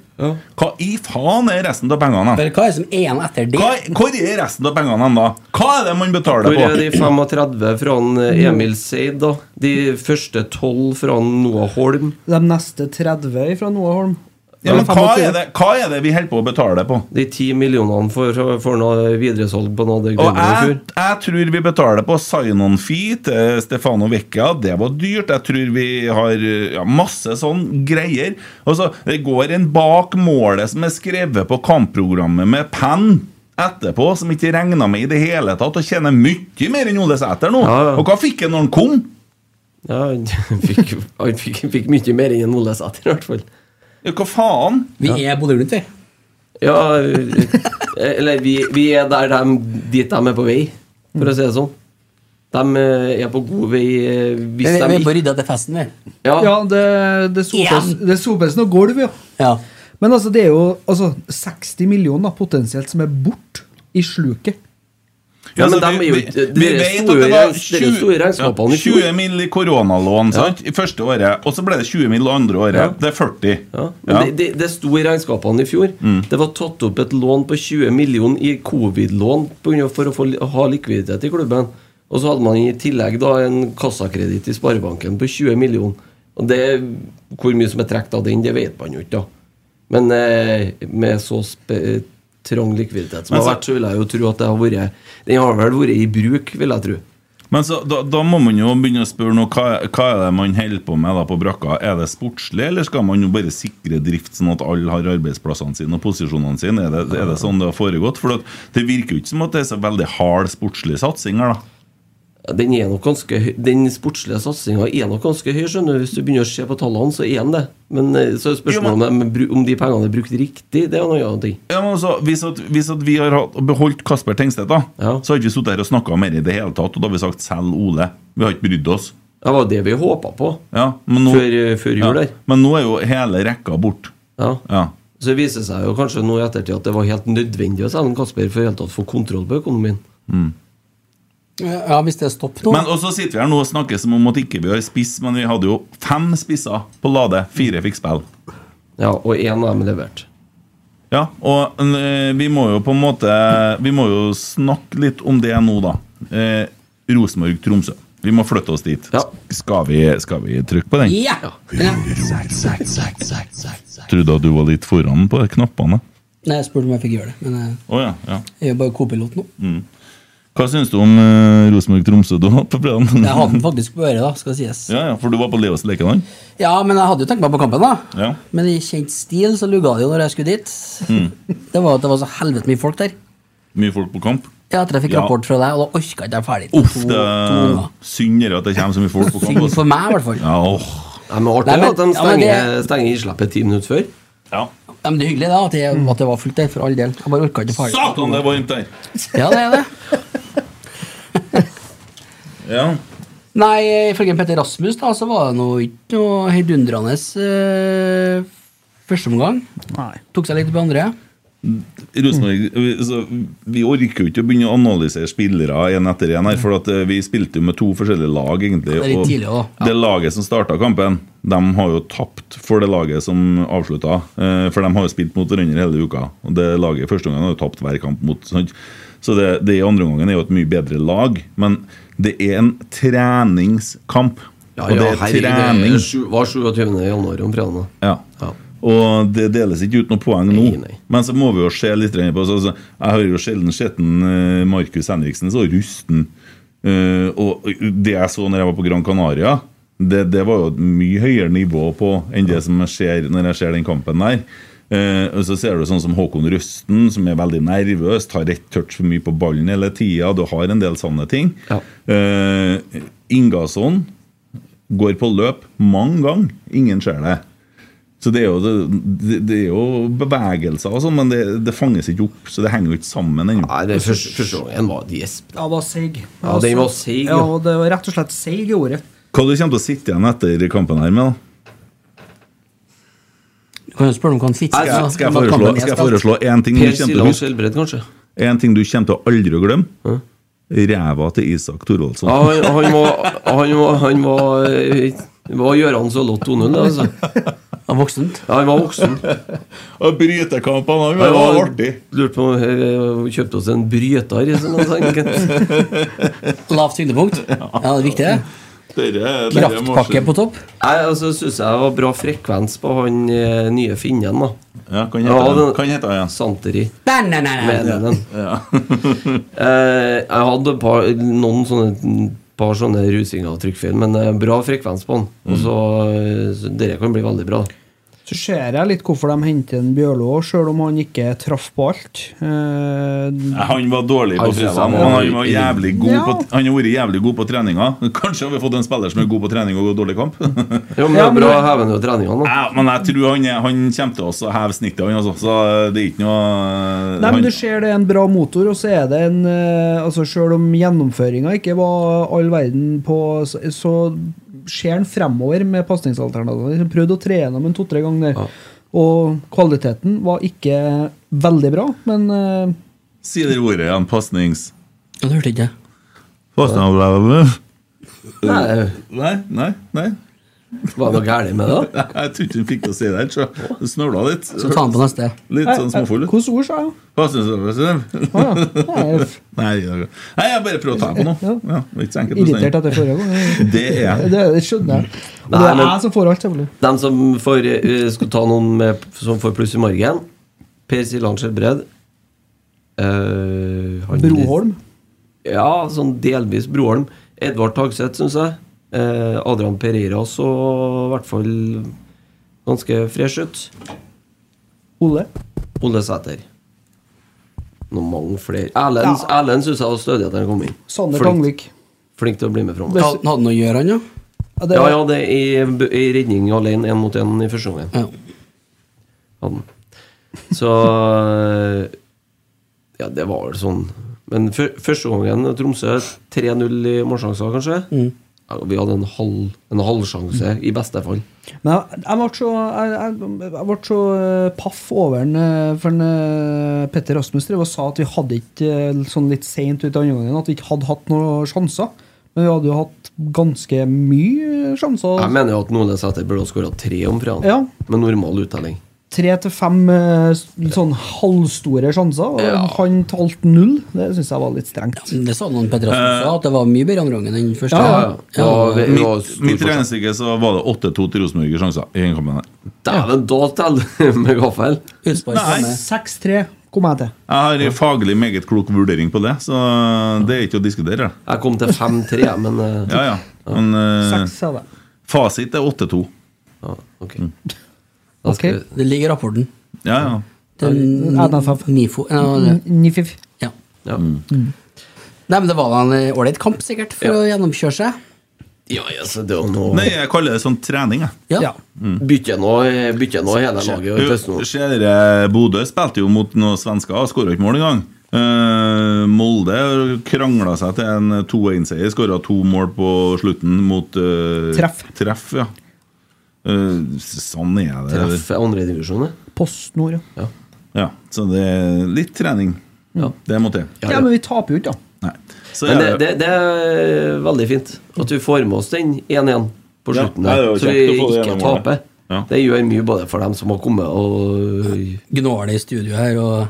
Hva i faen er resten av pengene? da?
Bare hva er det som er igjen etter det?
Hva, hvor er resten av pengene da? Hva er det man betaler
Hvor er de
på?
35 fra han, eh, Emil Seid, da? De første 12 fra han Noah Holm?
De neste 30 fra Noah Holm
Ja, men
Eller
hva,
25.
er det, hva er det vi holder på å betale på?
De 10 millionene for, for noe videresalg på noe av det
Og
grønne i
jeg,
fjor?
jeg tror vi betaler på sign-on-fee til Stefano Vecchia. Det var dyrt. Jeg tror vi har ja, masse sånn greier. Altså, det går en bak målet som er skrevet på kampprogrammet med penn etterpå, som ikke regna med i det hele tatt, og tjener mye mer enn Ole Sæter nå.
Ja, ja.
Og hva fikk han når han kom?
Ja, han fikk, han fikk, fikk mye mer enn Ole Sæter, i hvert fall.
Ja, Hva faen?
Vi er Bodø-Glimt, vi.
Ja, eh, eller vi, vi er der dem, dit de er på vei, for å si det sånn. De eh, er på god vei eh,
Vi
hvis
vi
de
er på
ikke
rydda til festen, vi.
Ja,
Ja,
det, det, sopes,
Igjen.
det sopes noe gulv, ja.
Ja.
Men altså, det er jo altså, 60 millioner potensielt som er borte i sluket.
Ja, men
altså,
dem er
vi-
jo
vi-
ikke- det
vi
er
vet at
store
det var
regns- det er
20
store regnskapene i fjor.
20 mill. i koronalån sant? i første året, og så ble det 20 mill. andre året. Det er 40.
Ja, men Det, det, det sto i regnskapene i fjor.
Mm.
Det var tatt opp et lån på 20 millioner i covid-lån på grunn av- for å få, li- ha likviditet i klubben. Og så hadde man i tillegg da en kassakreditt i Sparebanken på 20 millioner. Og det, Hvor mye som er trukket av den, det vet man jo ikke. da. Men eh, med så spe eh, trang likviditet som
Men så-
har vært, så vil jeg jo tro at det har vært Den har vel vært i bruk, vil jeg tro.
Men så, da, da må man jo begynne å spørre nå, hva, hva er det man holder på med da på brakka. Er det sportslig, eller skal man jo bare sikre drift sånn at alle har arbeidsplassene sine og posisjonene sine? Er det, er det sånn det har foregått? For at det virker jo ikke som at det er så veldig hard sportslig satsing her, da.
Ja, Den, er nok ganske, høy- den sportslige satsinga er nok ganske høy, skjønner du. Hvis du begynner å se på tallene, så er den det. Men eh, så er spørsmålet om, de bru- om de pengene er brukt riktig, det er en annen ting.
Ja, men altså, hvis, at, hvis at vi har hatt, beholdt Kasper Tengstedt, da,
Ja.
så har ikke vi sittet her og snakka mer i det hele tatt. Og da har vi sagt 'selg Ole'. Vi har ikke brydd oss.
Det var det vi håpa på
Ja, men nå,
før, eh, før jul
ja,
der.
men nå er jo hele rekka borte.
Ja.
Ja.
Så det viser seg jo kanskje nå i ettertid at det var helt nødvendig å selge Kasper for i hele tatt å få kontroll på økonomien.
Ja, hvis det stopper nå.
Men også sitter vi her nå og snakker som om at ikke vi har spiss, men vi hadde jo fem spisser på Lade. Fire fikk spille.
Ja, og én av dem leverte.
Ja, og eh, vi må jo på en måte Vi må jo snakke litt om det nå, da. Eh, Rosenborg-Tromsø. Vi må flytte oss dit.
Ja.
Skal, vi, skal vi trykke på den?
ja. Ja.
Trodde at du var litt foran på knappene.
Nei, jeg spurte om jeg fikk gjøre det, men eh, jeg
Å ja, ja.
er jo bare co-pilot nå.
Hva syns du om eh, Rosenborg-Tromsø du hadde på planen?
Jeg hadde den faktisk på øret, da, skal sies.
Ja, ja, for du var på Leos lekeland?
Ja, men jeg hadde jo tenkt meg på kampen, da.
Ja.
Men i kjent stil så lugga det jo når jeg skulle dit.
Mm.
Det var at det var så helvete mye folk der.
Mye folk på kamp?
Ja, etter jeg fikk
Ja.
rapport fra deg, og da orka ikke jeg ferdig.
Uff,
To-
det
to
er
unger.
synd dere at det kommer så mye folk på kamp.
Synd
altså.
for meg, i hvert fall. Ja.
Ja, åh.
Nei, men artig
Nei, men-
at de
ja, men
stenger,
det-
stenger innslippet ti minutter før.
Ja.
men det er hyggelig, da, at det, at det var fullt der, for all del. Jeg bare orka ikke ferdig.
Satan, det er varmt der!
Ja, det er det.
Ja.
Nei, ifølge Petter Rasmus, da, så var det nå ikke noe heidundrende eh, første omgang.
Nei.
Tok seg litt på andre.
Rosenborg vi- altså, Vi orker jo ikke å begynne å analysere spillere én etter én her, for at eh, vi spilte jo med to forskjellige lag, egentlig.
Ja, det er litt
og
tidlig også, ja.
det laget som starta kampen, de har jo tapt for det laget som avslutta. eh, For de har jo spilt mot hverandre hele uka. Og det laget i første omgang har jo tapt hver kamp mot. Sant? Så det, det i andre omgangen er jo et mye bedre lag, men det er en treningskamp. og det er
herregud,
trening.
det er sju- var 27. januar om fredagen. da.
Ja.
Ja.
Og det deles ikke ut noen poeng nå.
Nei, nei.
Men så må vi jo se litt på altså, altså, Jeg har jo sjelden sett en, eh, Markus Henriksen så rusten. Eh, og det jeg så når jeg var på Gran Canaria, det, det var jo et mye høyere nivå på enn det som jeg ser når jeg ser den kampen der. Eh, og så ser du sånn som Håkon Røsten, som er veldig nervøs, tar rett touch for mye på ballen hele tida. Du har en del sånne ting.
Ja.
Eh, Ingasson går på løp mange ganger. Ingen ser det. Så det er jo, det, det er jo bevegelser og sånn, men det, det fanges ikke opp. Så det henger jo ikke sammen ennå.
Nei, det første, første gangen var et gjesp.
Ja, det var seig.
Ja, den var seig,
Ja,
ja.
og det var rett og slett seig i ordet.
Hva du kommer til å sitte igjen etter kampen her med, da?
Du kan jo spørre om hva han sitter
Nei,
da.
Skal jeg
Hva
foreslå,
kampen er
skal jeg
spilt.
foreslå én ting, du kommer
Per
til å
Siljan
huske-
Skjelbred, kanskje.
en ting du kommer til å aldri å glemme? Ræva til Isak Thorvaldsson.
Ja, han, han var, han var, han var, eh, var Gjøran Sølot 2-0, det, altså.
Ja, voksent.
Ja, han var voksen.
Og Brytekampene
Han var lurt på om vi kjøpte oss en bryter. Liksom, altså, enkelt.
Lavt tyngdepunkt. Ja, det er viktig, det. Kraftpakke på topp.
Nei, altså, syns jeg det var bra frekvens på han eh, nye finnen, da.
Ja, kan
Ja,
hete den.
den-
Kan hete den. ja.
Santeri.
Nei, nei, nei, nei.
Mener den. eh, jeg hadde et par, noen sånne par sånne rusinger og trykkfeil, men eh, bra frekvens på den.
Mm.
Og så, eh, så Dere kan bli veldig bra.
Så ser jeg litt hvorfor de henter en Bjørlo, sjøl om han ikke traff på alt. Eh,
Nei, Han var dårlig på
Han synes
fredag,
han
men
var-
han var jævlig god
Ja.
på, han har vært jævlig god på treninga. Kanskje har vi fått en spiller som er god på trening og dårlig kamp?
Jo, men det er bra hevende og treningene. da.
Ja, men jeg tror han, er- han kommer til oss å heve snittet, han altså. Så det er ikke noe eh,
Nei,
han,
men Du ser det er en bra motor, og så er det en eh, altså Sjøl om gjennomføringa ikke var all verden på Så, så ser han fremover med pasningsalternativene. Han Prøvde å tre gjennom en to-tre ganger.
Ja.
Og kvaliteten var ikke veldig bra, men eh,
Si det ordet igjen. Pasnings...
Ja, det hørte ikke jeg.
Nei,
Nei,
nei. nei
Var det noe galt med det? da?
Jeg tror ikke hun fikk til å si det. så Du snøvla litt.
Så ta den på neste.
Litt sånn småfull. ut.
Hvilke ord sa jeg?
Pasningsalternativ.
Ah, ja. Jeg er
Nei, jeg nei, jeg bare prøver å ta på noe. Ja, det er ikke så enkelt å
irritert
si.
etter forrige gang.
Det er jeg.
Det, det skjønner jeg. Og det
Nei,
er
men-
jeg som får alt, selvfølgelig.
De som får, eh, skal ta noen med, som får pluss i margen. Per Siljan Skjelbred. Eh, han-
Broholm.
Ja, sånn delvis Broholm. Edvard Tagseth, syns jeg. Eh, Adrian Pereira så i hvert fall ganske fresh ut.
Ole.
Ole Sæter. Noen mange flere. Erlend, Erlend syns jeg var stødig at han kom inn.
Sander
flink,
Tangvik.
flink til å bli med framover.
Ja,
Hadde han noe å gjøre, han, ja?
Ja, det
Ja,
var-
ja, det er i, i redning alene, én mot én i første omgang.
ja?
hadde han. Sånn. Så Ja, det
Mm.
var vel sånn. Men fø- første gangen Tromsø 3-0 i målsjanser, kanskje. Vi hadde en halv En halvsjanse, i beste fall.
Men jeg, jeg ble så, jeg, jeg, jeg ble så eh, paff over den, eh, for den, eh, Petter Rasmus drev og sa at vi hadde ikke eh, sånn litt sent ut i andre gangen, at vi ikke hadde hatt noen sjanser. Men vi hadde jo hatt ganske mye sjanser.
Jeg mener jo at Nordnes Sæter burde ha skåra tre om fredagen,
Ja.
med normal uttelling.
Tre til fem eh, s- sånn halvstore sjanser, og han talte null. Det syns jeg var litt strengt.
Det sa noen Petter Rasmus også, at det var mye bedre andre gangen enn første.
Ja,
Ja, ja. Og vi- vi var
Mitt,
stor
mitt
forskjell.
regnestykke så var det 8-2 til Rosenborg i sjanser. i den kampen her.
Dæven, da teller med gaffel!
Utspark samme.
6-3 kom jeg til.
Jeg har en faglig meget klok vurdering på det, så det er ikke å diskutere.
Jeg kom til 5-3, jeg, men eh,
Ja, ja. Men eh,
Seks er det.
fasit er 8-2.
ja, ok.
Mm.
Da skal
Ok.
vi-
Det ligger i rapporten.
Ja, ja.
Til
NFF.
NIFO. Ja,
Mm.
det-
Nifif.
Ja.
Ja.
Mm.
Nei, men det var da en eh, ålreit kamp, sikkert, for
Ja.
å gjennomkjøre seg.
ja, ja, så det er jo noe
Sånn. Nei, jeg kaller det sånn trening, jeg.
Ja.
Ja.
Bytte nå bytte nå hele laget og
Du,
teste noe.
Ser dere, Bodø spilte jo mot noen svensker og skåra ikke mål engang. Eh, Molde krangla seg til en 2-1-seier, skåra to mål på slutten mot eh,
Treff.
treff ja. Eh, sånn er det.
Treffe andredivisjon, det.
PostNord, ja.
Ja.
Ja, så det er litt trening.
Ja.
Det må til.
Ja,
Ja,
ja.
men vi taper jo ikke, da.
Nei. Så
Men det,
er
det, det er veldig fint at vi får med oss den 1-1 på
Ja,
slutten,
det er
der,
jo
så
kjekt å få
vi
det
ikke
ene målet.
taper.
Ja.
Det gjør mye både for dem som har kommet og
Gnår det i studio her og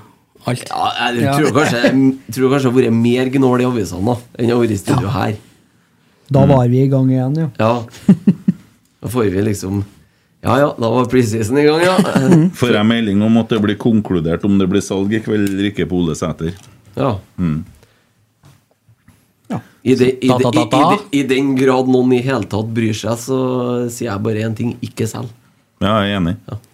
alt.
ja, Jeg tror kanskje tror kanskje det har vært mer gnål i avisene da enn det har vært i studio her.
Da var vi i gang igjen, ja.
Ja. Da får vi liksom Ja ja, da var preseason i gang, ja.
Får jeg melding om at det blir konkludert om det blir salg i kveld eller ikke på Ole Sæter?
Ja.
ja. Mm. I, de, i,
Da,
de,
da,
i,
da,
i,
da.
de, I den grad noen i hele tatt bryr seg, så sier jeg bare én ting ikke selg.
Ja, jeg er enig.
Ja.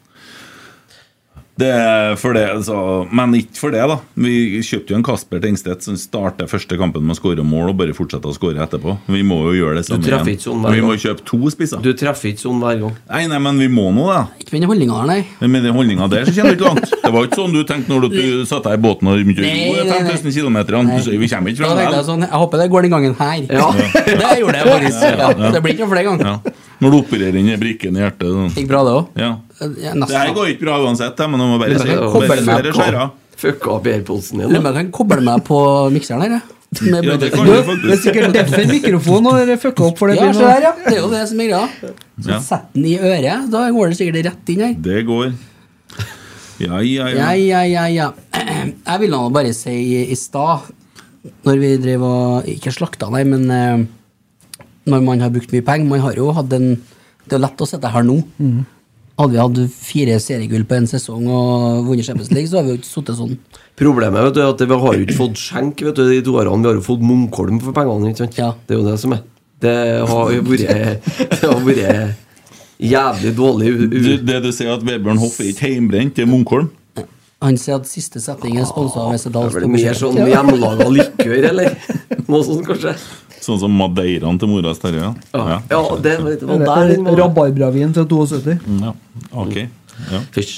Det er for det, altså, men ikke for det, da. Vi kjøpte jo en Kasper Tengstedt som starter første kampen med å skåre mål og bare fortsetter å skåre etterpå. Vi må jo gjøre det samme
treffer ikke sånn hver
Vi må
gang.
kjøpe to spisser.
Du treffer ikke sånn hver gang.
Nei, nei, men vi må nå det. da.
Ikke med den holdninga der, nei.
Med den holdninga der så kommer vi ikke langt. Det var ikke sånn du tenkte når du, du satte deg i båten og kjørte
Nei, nei, nei.
5000 km. Du sier vi kommer ikke
Da tenkte jeg
fram.
sånn, jeg håper det går den gangen her.
Ja.
Det gjorde jeg faktisk.
Ja, ja, ja.
Det blir ikke noe flere ganger.
Ja. Når du opererer inn i brikken i hjertet. Sånn.
Gikk bra, det òg.
Ja. Det her
Nesten.
går ikke bra uansett, jeg, men jeg må bare si
Bare
bare-
koble
bare
meg på.
skjære av.
Fucka opp airpodsen
Lurer
din.
på om jeg kan koble meg på mikseren her, jeg. Med
Ja, det
Bluetooth.
kan
Du,
du
det er
faktisk.
sikkert derfor mikrofonen har fucka opp. for det
Ja,
blir
se
noe-
der, ja. Det er jo det som er greia. Så
Ja.
Sett den i øret, da går det sikkert rett inn her.
Det går. Ja, ja, ja.
Ja, ja, ja, ja. Jeg ville nå bare si i, i stad, når vi drev og Ikke slakta, nei, men eh, når man har brukt mye penger Man har jo hatt en Det er lett å sitte her nå. Hadde vi hatt fire seriegull på en sesong og vunnet Champions League, så hadde vi jo ikke sittet sånn.
Problemet vet du, er at vi har jo ikke fått skjenk vet du, de to årene. Vi har jo fått Munkholm for pengene. ikke sant?
Ja.
Det er jo det som er. Det har jo vært Det har vært jævlig dårlig. u- u-
Du, det du sier at Vebjørn Hoff er ikke heimbrent, det er Munkholm?
Han sier at siste setning er sponsa av Wessel
Det
Dahls.
er vel mer sånn hjemmelaga likør, eller noe sånt, kanskje.
Sånn som Madeiraen til mora Terje? Ja.
Ja, det, var- det var der den
Eller
var.
Rabarbravin fra 72.
Mm, ja. Ok. Ja.
Fysj.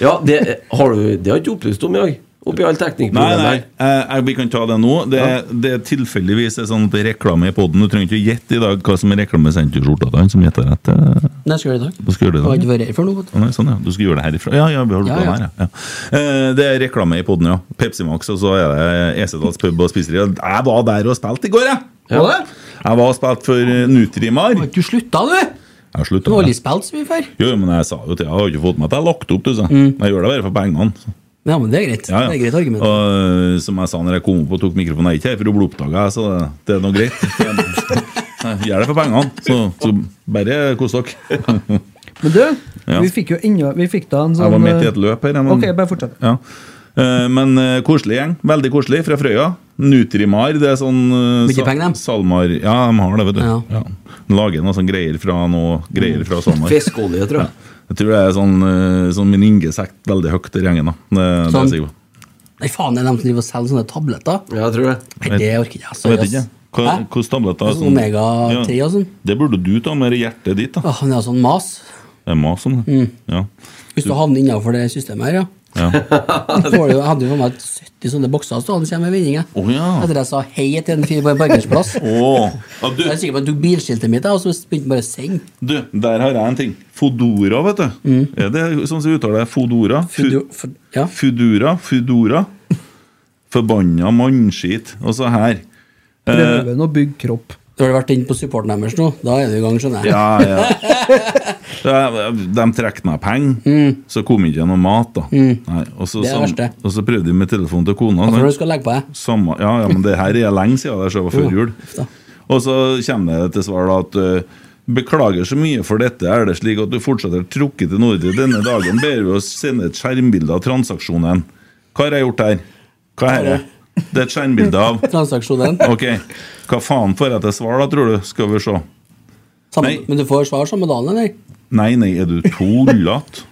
Ja, det har du Det har ikke opplyst om i dag. Oppi all
Nei, nei,
teknikkproblemet.
eh, eh, vi kan ta det nå. Det, det er tilfeldigvis er sånn at det er reklame i poden. Du trenger ikke å gjette i dag hva som er reklame sendt ut skjorta til han som gjetter rett. eh,
Nei, skal jeg gjøre det i dag.
Da skal du
Jeg har
gjøre det.
ikke vært her før nå. vet du.
Å, Nei, sånn, ja. Du skal gjøre det herifra? Ja, ja, vi har
Ja, ja.
lukka den her, ja. ja. Eh, Det er reklame i poden, ja. Pepsi Max, og så er det Esedals pub og spiseri. Jeg var der og spilte i går, jeg!
Ja.
Jeg var og spilte for eh, Nutrimar.
Har ikke du slutta, du?
Jeg har
Du
slutta.
har aldri
med det.
spilt så mye før.
Jo, men jeg sa jo til Jeg har ikke fått med at jeg har lagt opp, du sa. Jeg gjør det bare for pengene. så.
Ja, men det er greit.
Ja, ja.
Mm. Det er et greit argument.
Og øh, som jeg sa når jeg kom opp og tok mikrofonen, jeg er ikke her for å bli oppdaga, så det, det er nå greit. Jeg gjør det for pengene, så, så bare kos dere.
Men du,
Ja.
vi fikk jo ennå Vi fikk da en sånn
Jeg var midt i
eh,
et løp her. jeg, Men,
Ok, bare fortsett.
ja. Eh, men eh, koselig gjeng. Veldig koselig fra Frøya. Nutrimar, det er sånn eh,
Mye
sa-
penger, dem.
Salmar Ja, de har det, vet du.
Ja.
Ja. Lager noe sånn greier fra noe greier fra Salmar.
Fiskeolje, tror jeg.
Jeg tror det er sånn, eh, sånn min Inge sagt veldig høyt i gjengen, da. Det, det er
Sånn.
jeg sikker på.
Nei, faen, det er de som driver og selger sånne tabletter.
Ja, jeg tror det.
Nei, det orker ikke jeg.
Jeg vet
Sorry,
ikke.
ass.
Hva,
Sånn- Hæ?
hvordan tabletter
Altså, omega-3 og sånn.
Sånn- Det burde du ta med hjertet ditt. da
Åh, men det er sånn mas.
Det er mas om det. Ja.
Hvis du havner innenfor det systemet her, ja.
Ja.
Får du- Jeg hadde jo med meg 70 sånne bokser stående hjemme i vendinga.
Å ja.
Etter jeg sa hei til en fyr på en parkeringsplass.
Å, ja, du,
Jeg er sikker på at du tok bilskiltet mitt, jeg, og så begynte han bare å sende.
du, der har jeg en ting. Fodora, vet du. Er det sånn som vi uttaler det? Fodora? Fu-
Mm. Fudo- fu- Ja.
Fudora? Fudora? Forbanna mannskit. Og så her. Eh,
Prøven å bygge kropp.
Når du har vært inne på supporten deres nå, da er du i gang, skjønner jeg.
Ja, ja. De, de trekk meg penger, så kom ikke noe mat, da. Nei, og, så,
Mm. Det er
sam-
verste.
og så prøvde jeg med telefonen til kona.
Når du
sant?
skal legge på deg.
Samme, ja, ja, men det her er lenge siden det skjedde før
Ja,
jul.
da.
Og så kommer det til svar da at eh, Beklager så mye for dette. Er det slik at du fortsetter trukket til Nordre denne dagen? Ber vi oss sende et skjermbilde av transaksjonen. Hva har jeg gjort her? Hva er det? Det er et skjermbilde av
Transaksjonen.
Ok, hva faen får jeg til svar da, tror du? Skal vi se.
Samme,
Nei.
men du får svar samme dagen, eller?
Nei, nei, er du tullete?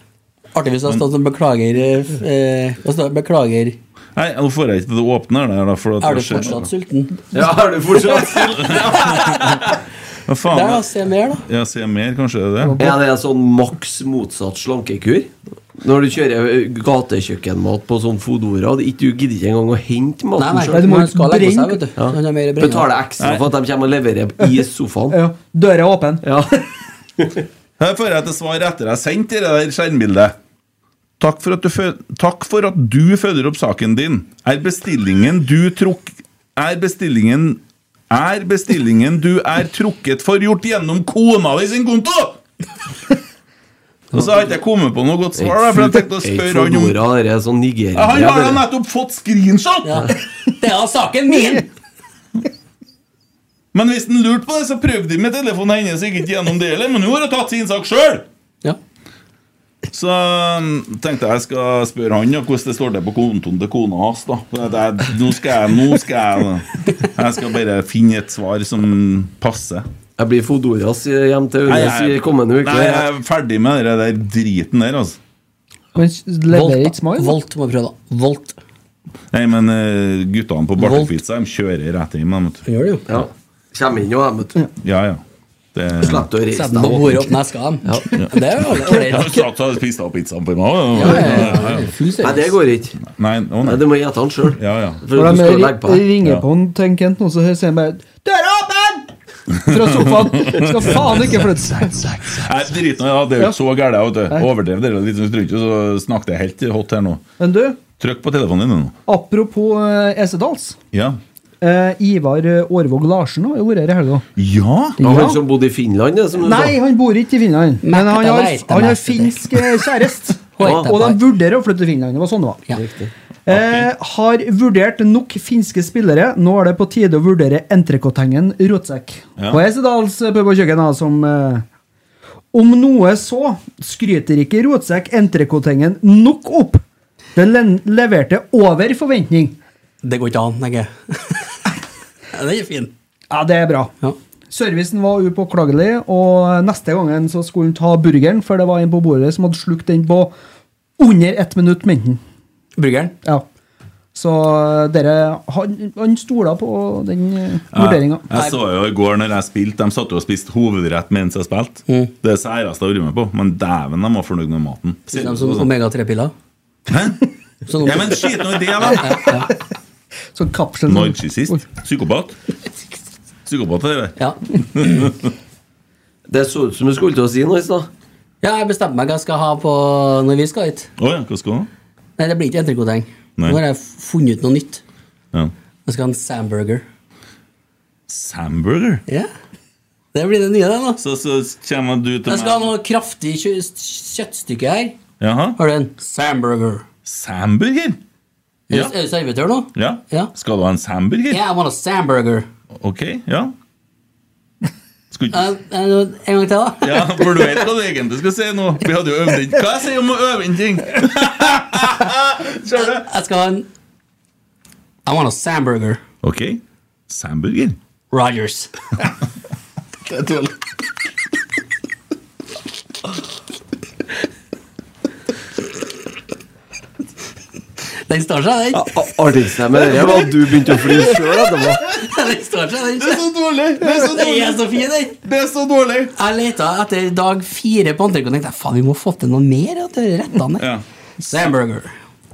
Artig hvis det står sånn 'beklager' eh, det står 'beklager,
Nei, nå får jeg ikke til å åpne her, da, for at
er du
det skjer-
fortsatt sulten?'
Ja, har du fortsatt
Hva faen?
Der, da. Se altså, mer, da.
Jeg ser mer, kanskje er det det?
Er det en sånn maks motsatt slankekur? Når du kjører gatekjøkkenmat på sånn Fodora, og ikke- du gidder ikke engang å hente
Nei,
maten
nei,
du
sjøl?
må
man skal legge
brenne-
seg, vet du.
Ja.
Så han har mer å brenne.
Betaler ekstra for at de kommer og leverer i sofaen.
Ja, Døra er åpen.
Ja.
Her får jeg til svar etter jeg har sendt det der skjermbildet. Takk for, at du fø- Takk for at du følger opp saken din. Er bestillingen du trukk... Er bestillingen Er bestillingen du er trukket for, gjort gjennom kona di sin konto?! Og så har ikke jeg kommet på noe godt svar, da, for jeg tenkte å spørre han om
Fodora, det er sånn Nigeria.
Han har da nettopp fått screenshot!
Ja. Det er saken min!
Men hvis han lurte på det, så prøvde de med telefonen hennes ikke gjennom det heller. Men hun har jo tatt sin sak sjøl!
Ja.
Så um, tenkte jeg jeg skal spørre han ja, hvordan det står til på kontoen til kona hans. da For at jeg, Nå skal jeg nå skal jeg, jeg skal bare finne et svar som passer.
Jeg blir Fodoras eh, hjem til Ørnes i kommende uke.
nei, jeg er ferdig med den der driten der, altså.
Men s- leverer ikke
da.
smile. da.
Volt må vi prøve, da. Volt.
Nei, men eh, guttene på Bartelpizza de kjører rett hjem. de, vet du.
Han gjør det jo.
Ja. Kommer inn og jeg, vet du.
Ja, ja. Det,
Slipper du å reise
Sett dem på
deg.
bordet opp neska dem. Det er jo
jeg
ålreit.
satt og spiste opp pizzaen for meg.
Ja, ja, ja. Full
Nei, det
service.
går ikke.
Nei, å
Nei,
nei.
Du må gjette han sjøl.
Ja, ja.
For
Når
du
de
skal legge på
ri-
deg.
ringer på han, tenker Kent, og så sier han bare 'Døra er åpen!' Fra sofaen. Skal faen ikke flytte seg.
Nei, drit nå, ja, det er jo ikke så gærent. vet du. Overdrev dere litt, så jeg tror ikke så snakket jeg helt hot her nå.
Men du,
Trykk på telefonen din nå.
apropos eh, Esedals.
Ja.
Eh, Ivar eh, Aarvåg Larsen har jo vært her i helga.
Ja!
Og han
Ja.
som bodde i Finland, det, som du
Nei,
sa.
han bor ikke i Finland. Men han har,
Merket deg,
han har
merket deg.
finsk eh, kjæreste.
Merket
Og de
deg.
vurderer å flytte til Finland. Det var sånn det var.
Ja.
Eh, har vurdert nok finske spillere. Nå er det på tide å vurdere entrecôtengen Rotsekk.
Ja.
På Esedals pub og kjøkken, da, som eh, Om noe så skryter ikke Rotsekk entrecôtengen nok opp. Den len- leverte over forventning.
Det går ikke an, tenker jeg. Ja, Den er fin.
Ja, det er bra.
Ja.
Servicen var upåklagelig, og neste gangen så skulle han ta burgeren, for det var en på bordet som hadde slukt den på under ett minutt, mente han.
Burgeren.
Ja. Så eh, dere Han, han stola på den eh,
Jeg,
vurderinga.
jeg så jo i går når jeg spilte, de satt jo og spiste hovedrett mens jeg spilte. Det er særeste jeg har vært med på, men dæven, de var fornøyd med maten.
De som omega-3-piller.
Hæ?
Sånn
sånn? Ja, men skit nå i det, da!
Så kapselen Oi.
Narkissist. Psykopat. Psykopat er det.
Ja.
Det så ut som du skulle til å si noe i stad.
ja, jeg bestemte meg hva jeg skal ha på når vi skal hit.
Å ja, hva skal du ha?
Nei, det blir ikke entrecôteng.
Nei.
Nå har jeg funnet ut noe nytt.
Ja.
Jeg skal ha en samburger.
Samburger.
Ja. Det blir det nye, det nå.
Så, så kommer du til
Jeg skal ha
meg
noe kraftig kjø kjøttstykke her.
Jaha.
Har du en samburger?
Samburger?
Er
Ja.
du- Er du servitør nå?
ja.
Ja.
Skal du ha en samburger?
Yeah, I want a samburger.
Ok, ja. Skal ikke
Eh, eh, en gang til, da.
Ja, for du vet hva du egentlig skal si nå. Vi hadde jo øvd inn Hva jeg sier om å øve inn ting? Skjønner du?
Jeg skal ha en I want a samburger.
Ok. Samburger.
Rogers. Den står seg, den.
Artigste med det var at du begynte å flire sjøl etterpå.
Den står seg, den.
så dårlig! Det er så
Den er så fin, den.
Det er så dårlig!
Jeg leta etter dag fire på Antrekk og tenkte faen, vi må få til noe mer. At det er rettene.
Ja.
Samburger.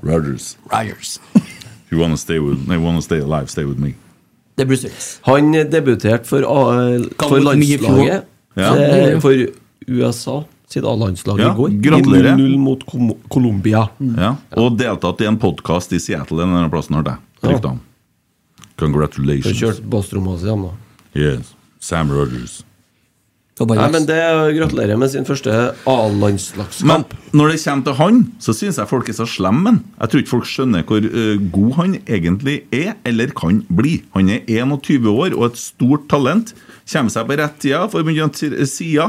Rogers.
Ryers.
If you wanna stay, with, they wanna stay alive, stay with me.
Det er Bruce Willis.
Han debuterte for, A-
Kan
for
gå til mye i fjor.
landslaget.
Ja.
Eh, For USA sitt A-landslag
Ja,
i går.
gratulerer.
I 0-0 mot Kom- Colombia.
Ja. Og deltatt i en podkast i Seattle en eller annen plass, hørte jeg. Rykte om.
For
Congratulations.
kjørte bassrommet hans igjen, da.
Yes. Sam Rogers.
Og bare
Nei,
Ryers.
men det Gratulerer med sin første A-landslagskamp.
Men når det kommer til han, så syns jeg folk er så slemme. men Jeg tror ikke folk skjønner hvor eh, god han egentlig er, eller kan bli. Han er 21 år og et stort talent. Kommer seg på rett tida, får begynt å sida.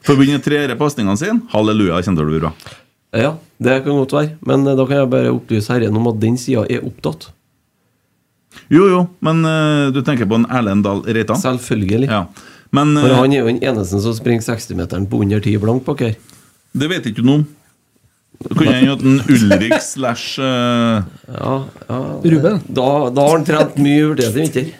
Får begynne å trere pasningene sine. Halleluja, det kommer til å bli bra.
Ja, det kan godt være. Men eh, da kan jeg bare opplyse herren om at den sida er opptatt.
Jo, jo, men eh, du tenker på en Erlend Dahl Reitan?
Selvfølgelig.
Ja. Men eh,
For han er jo den eneste som springer 60-meteren på under 10 blank bak her.
eh, det vet ikke du noe om. Det kunne hende at en Ulrik slash eh,
Ja, ja.
Ruben?
Da, da har han trent mye vurdert i vinter.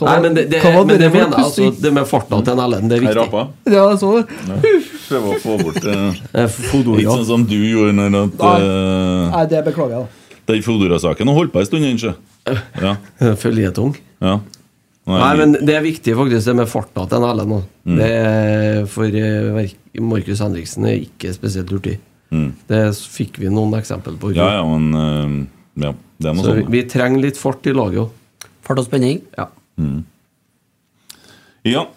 Hva
Nei,
var-
men det, det,
hva var
men det
dere for
mener jeg, altså,
pusing?
det med farta til en Ellen, det er
Jeg
viktig.
rapa.
Ja, jeg så det.
Prøver å få bort eh,
Eh, Fodoria.
Litt sånn som du gjorde når at, eh,
Nei, det beklager jeg, da.
den Fodora-saken har holdt på en stund, ikke Ja.
Eh, Føljetong.
ja. Mm.
Nei, men det er viktig faktisk, det med farta til en Ellen. da. Det er, for eh, verk- Markus Henriksen er ikke spesielt hurtig. Det s- fikk vi noen eksempel på.
Mm. Ja, ja, men eh, Ja, det er noe
Så vi,
sånt.
vi trenger litt fart i laget òg.
Fart og spenning.
Ja.
Ja.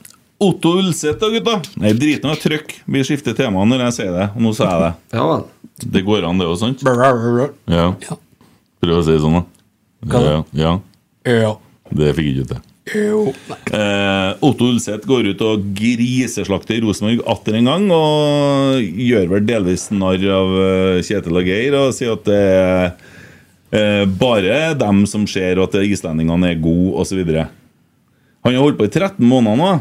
Otto Ulseth, da, gutta. Nei, drit nå i trykk. Vi skifter tema når jeg sier det. Og nå sa jeg det.
ja vel.
Det går an, det òg, sant?
Ja.
Ja. Prøv å si det sånn, da.
Hva da?
Ja, ja. Det fikk jeg ikke til.
Jo. Nei.
Eh, Otto Ulseth går ut og griseslakter Rosenborg atter en gang. Og gjør vel delvis narr av eh, Kjetil og Geir og sier at det er eh, bare dem som ser at islendingene er gode, osv. Han har holdt på i 13 måneder nå.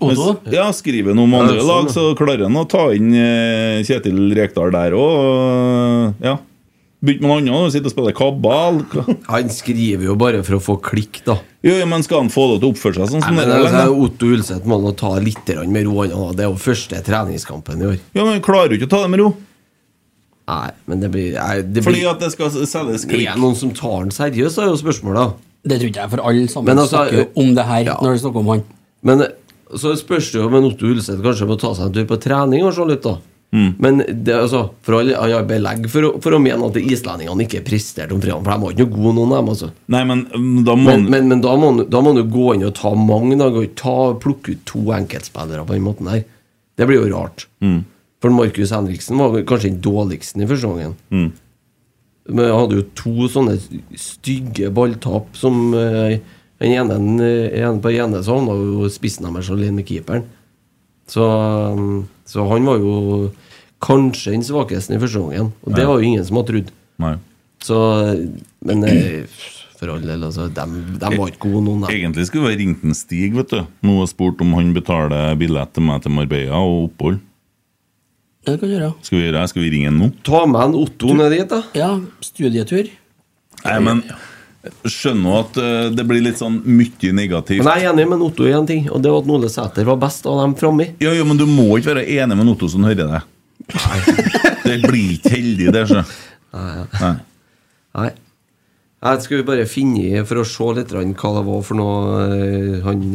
Otto?
Mens- Ja, skriver han om andre
Ja, sånn,
lag,
ja.
så klarer han å ta inn eh, Kjetil Rekdal der òg. Ja. Begynte med noe annet, nå, sitter og spiller kabal.
Han skriver jo bare for å få klikk, da.
Jo, jo, men skal han få lov til å oppføre seg sånn som det
Nei, men
der?
altså,
eller?
Otto Ulseth må nå ta litt grann med ro. han også. Det er jo første treningskampen i år.
Ja, men klarer jo ikke å ta det med ro.
Nei, men det blir, nei, det blir
Fordi at det skal selges
Det er
klikk.
noen som tar den seriøst, er jo spørsmålet.
Det tror ikke jeg, for alle sammen
Men altså,
snakker jo om det her
ja.
når de snakker om han.
Men så spørs det jo om en Otto Ulseth kanskje må ta seg en tur på trening og se litt, da.
Mm.
Men det, er altså, for alle jeg har belegg for, å- for å mene at islendingene ikke presterte om fredagen, for de var ikke noe gode, noen av dem. altså.
Nei, men mm, da må
Men,
han
men, men da må han- da må han jo gå inn og ta mange. Da, Gå- ta, plukke ut to enkeltspillere på den måten her. Det blir jo rart.
Mm.
For Markus Henriksen var vel kanskje den dårligste i første gangen.
Mm.
Men jeg hadde jo to sånne stygge balltap som eh, den ene, eh, en På den ene så havna jo spissen deres alene med keeperen. Så, mm, så han var jo kanskje den svakeste i første gangen. Og det var jo ingen som hadde trodd.
Nei.
Så, men eh, for all del, altså, dem, dem var ikke gode, noen. Dem.
Egentlig skulle vi ha ringt en Stig, vet du. Nå og spurt om han betaler billett til meg til Marbella og opphold.
Det kan du gjøre.
Skal vi gjøre det? Skal vi ringe han nå?
Ta med en Otto ned dit, da.
Ja, studietur.
Nei, men skjønner at eh, det blir litt sånn mye negativt.
Men jeg er enig med Otto i én ting, og det var at Ole Sæter var best av dem framme.
Ja, ja, men du må ikke være enig med Otto som hører deg. Det blir ikke heldig, det. Så. Nei.
Nei. Nei, skal vi bare finne i for å se litt grann hva det var for noe eh, han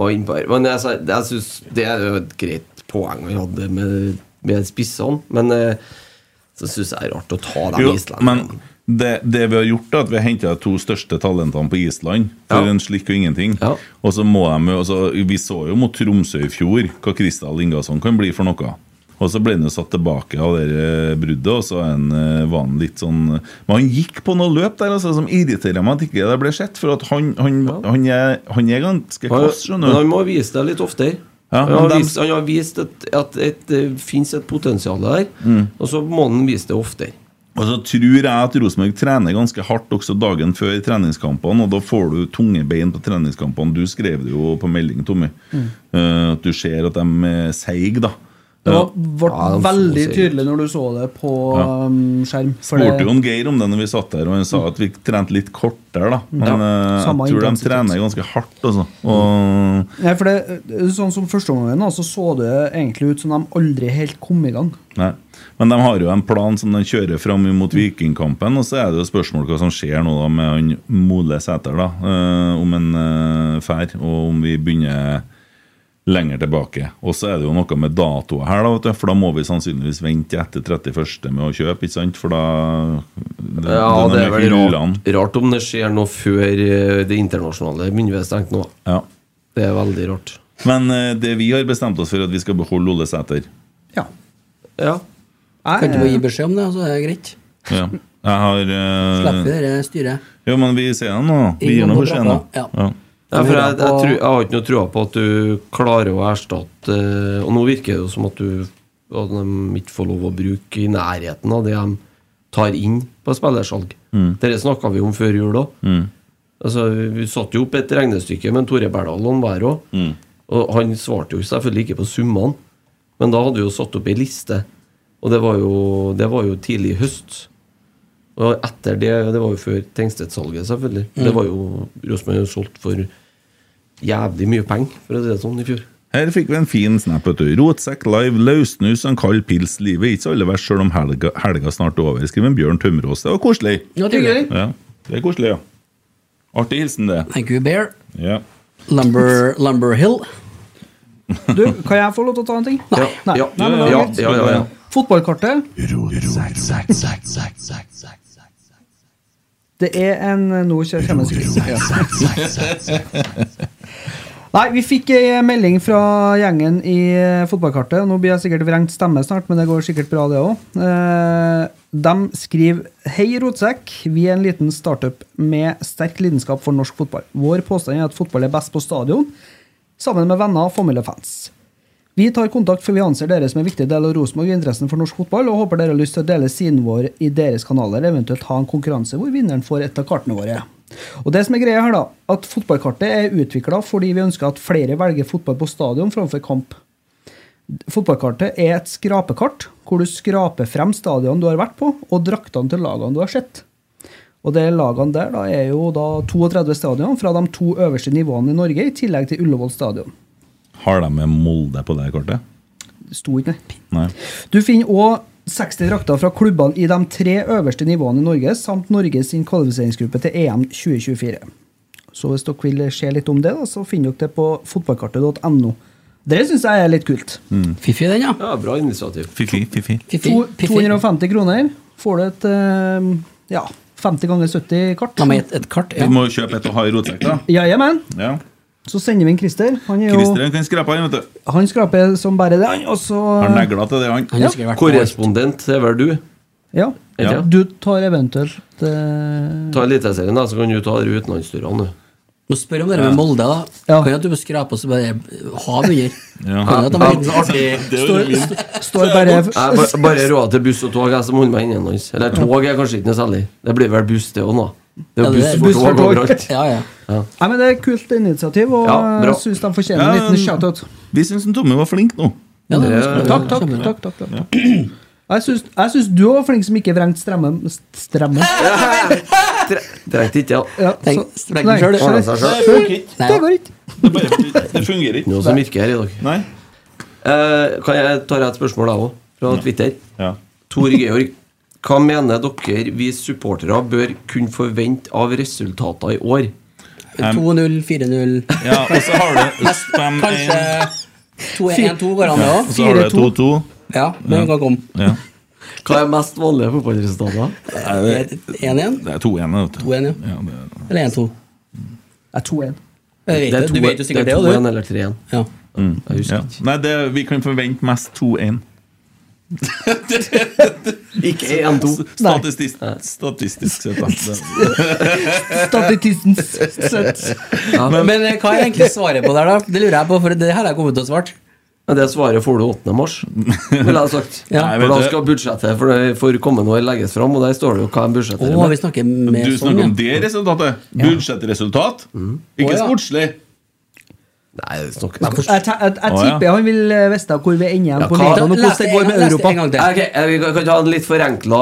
var inne på her. Men jeg, sy- jeg syns det er jo et greit poeng han hadde med, med spissene, men eh, så syns jeg det er rart å ta dem
Jo, men
islendingene.
det, det vi har gjort, er at vi har henta to største talentene på Island. For
Ja.
en slikk og ingenting.
Ja.
Og så må de, jo- altså, Vi så jo mot Tromsø i fjor hva Kristal Ingasson kan bli for noe. Og så ble han jo satt tilbake av det eh, bruddet, og så er han, eh, var han litt sånn Men han gikk på noe løp der altså, som irriterer meg at ikke det ble sett. For at han, han, han, er, han er ganske
Han,
kvass,
men
skjønner du.
han må vise det litt oftere.
Ja,
han, har
men dem-
vist, han har vist at, at et, det fins et potensial der,
Mm.
og så må han vise det oftere.
Og så tror jeg at Rosenborg trener ganske hardt også dagen før treningskampene, og da får du tunge bein på
Mm.
treningskampene. Du skrev det jo på melding, Tommy. Eh, At du ser at de er seige, da.
Det var, ble
Ja, de så
veldig
seg ut.
tydelig når du så det på
Ja.
um, skjerm. for det- Mm.
Spurte jo en Geir om det når vi satt der, og han sa at vi trente litt kortere, da. Men eh,
Samme
jeg tror de
intensitet.
trener ganske hardt, altså. Og
Nei, for det, sånn som første gangen, da, så så det egentlig ut som de aldri helt kom i gang.
Nei. Men de har jo en plan som de kjører fram mot Vikingkampen. Og så er det jo spørsmål hva som skjer nå da med han Mole Sæter, da. eh, om en uh, fær, og om vi begynner lenger tilbake. Og så er det jo noe med datoer her, da, vet du, for da må vi sannsynligvis vente etter 31. med å kjøpe, ikke sant? For da det,
Ja,
er
det
noe med
er vel
hyllene.
rart, rart om det skjer noe før eh, det internasjonale begynner å stenge nå.
Ja.
Det er veldig rart.
Men eh, det vi har bestemt oss for, er at vi skal beholde Ole Sæter.
Ja.
Ja.
Kan du bare gi beskjed om det, så er det greit?
Ja. Jeg har eh,
Slipper vi det styret.
Jo, men vi sier det nå. da. Vi gir
Ingen
nå
må
beskjed nå.
dra på, ja.
Ja.
Nei, for jeg, jeg, tror- jeg har ikke noe trua på at du klarer å erstatte eh, Og nå virker det jo som at du at de ikke får lov å bruke i nærheten av det de tar inn på spillersalg. Dette snakka vi om før jul òg. Altså, vi satte jo opp et regnestykke med Tore Berdal og hver òg. Og han svarte jo selvfølgelig ikke på summene, men da hadde vi jo satt opp ei liste. Og det var jo, det var jo tidlig i høst. Og etter det Det var jo før Tengstedt-salget, selvfølgelig. Det var jo Rosenborg har solgt for jævlig mye penger, for å si det sånn, i fjor.
Her fikk vi en fin snap. vet du. Rotsekk live, løssnus og en kald pils. Livet er ikke så aller verst sjøl om helga, helga snart er over. Skriver en Bjørn Tømmerås. Det var koselig.
Ja, tydelig.
Ja, det er koselig, ja. Artig hilsen, det.
Thank you, Bear.
Ja.
Lumber, Lumber Hill.
Du, kan jeg få lov til å ta en ting?
Ja,
Nei,
ja,
nei, men det var
ja,
greit.
ja, ja, ja.
Fotballkartet Det er en Nå kjører jeg fremmedskritt. Nei, vi fikk ei melding fra gjengen i eh, fotballkartet. Nå blir jeg sikkert vrengt stemme snart, men det går sikkert bra, det òg. De skriver Hei, Rotsekk. Vi er en liten startup med sterk lidenskap for norsk fotball. Vår påstand er at fotball er best på stadion, sammen med venner og familiefans. Vi tar kontakt for vi anser dere som en viktig del av Rosenborg og interessen for norsk fotball, og håper dere har lyst til å dele siden vår i deres kanaler, eventuelt ha en konkurranse hvor vinneren får et av kartene våre. Og det som er greia her, da, at fotballkartet er utvikla fordi vi ønsker at flere velger fotball på stadion framfor kamp. Fotballkartet er et skrapekart, hvor du skraper frem stadion du har vært på, og draktene til lagene du har sett. Og det lagene der da, er jo da 32 stadion fra de to øverste nivåene i Norge, i tillegg til Ullevål stadion.
Har de med Molde på det her kartet?
Det Sto ikke det.
Nei.
Du finner òg 60 drakter fra klubbene i de tre øverste nivåene i Norge, samt Norges sin kvalifiseringsgruppe til EM 2024. Så hvis dere vil se litt om det, da, så finner dere det på fotballkartet.no. Det syns jeg er litt kult.
Mm.
Fiffig, den, ja.
ja bra initiativ.
Fifi, fifi.
Fiffig.
To,
Fiffig.
250 kroner får du et eh, ja, 50 ganger 70 kart.
La meg et, et kart.
Vi
Ja.
må jo kjøpe et og ha i rotsekk, da.
Jajamän.
Ja.
Så sender vi en Christer. Han, er
Christer
jo,
han kan skrape han, vet du.
han skraper som bare det, han. Og så
Har negler til det, han.
Han husker jeg hvert år.
Korrespondent det er vel du.
ja.
Ja.
Du tar eventuelt eh,
Ta Eliteserien, da, så kan du ta de utenlandsturene, du.
Nå spør jeg om det med Molde. da.
Ja.
Kan jeg at du må skrape og så bare hav under?
Ja.
Kan jeg at de er litt artig?
Det er jo min.
Står bare
Jeg ba- bare råd til buss og tog, jeg som holder meg innenlands. Eller tog er kanskje ikke noe særlig. Det blir vel buss, det òg, nå. Det
Ja,
er
det er
buss
buss
for
for
tog
tog.
overalt.
Ja, ja.
Nei, men Det er et kult initiativ, og
Ja, bra.
jeg syns de fortjener en
Ja,
liten
men-
shout-out.
Vi syns Tommy var flink nå.
ja det,
Ja,
husker jeg.
Takk, takk.
Kjempebra.
takk, takk, takk. Jeg syns- Jeg syns du var flink som ikke vrengte stremme. stremme.
Tre- Trengte ikke, ja.
Ja,
Tenk-
så-
tenk
nei,
selv, det.
Ordnet seg selv.
Nei,
Det går ikke.
Det, bare, det fungerer ikke.
Noe som virker her i dag.
Nei?
Eh, kan jeg ta et spørsmål, jeg òg, fra Twitter?
Ja.
Tor Georg, hva mener dere vi supportere bør kunne forvente av resultater i år?
2-0, 4-0,
ja og så har du fem,
kanskje
en,
2-1-2 går an, det
og
òg.
så har du 2-2.
Ja, men kan komme.
Ja.
Hva er mest vanlige fotballresultater?
Eh, 1-1
Det er 2-1, vet du.
2-1, ja.
Ja, det er
eller 1-2.
Jeg er 2-1.
Jeg vet jo- Du vet jo sikkert det, og du.
2-1 eller 3-1.
Ja.
Jeg husker
Ja. Nei, det, vi kan forvente mest 2-1.
ikke. Ikke 1-2.
Statistisk, statistisk sett, da. Det-
Statististen sett.
Men eh, hva er egentlig svaret på der, da? Det lurer jeg på, for det her har jeg kommet til å svare.
Men det svaret får du 8. mars, ville jeg sagt.
Ja.
Nei, vet
for da
du-
skal budsjettet for, det- for kommende år legges fram, og der står det jo hva en budsjett
Å,
er med.
vi snakker med
Du
sånn, ja.
snakker
Mm.
om det resultatet. Budsjettresultat,
Å,
ikke
ja.
sportslig.
Nei, det er nok,
Jeg, jeg, jeg, jeg
Å, ja.
tipper han vil eh, vite hvor vi ender igjen
Ja,
på
hva-
Nato, og hvordan
Les
det
det
går
en-
med
les det
Europa.
en gang til.
Ok, eh, Vi kan kan ta en litt forenkla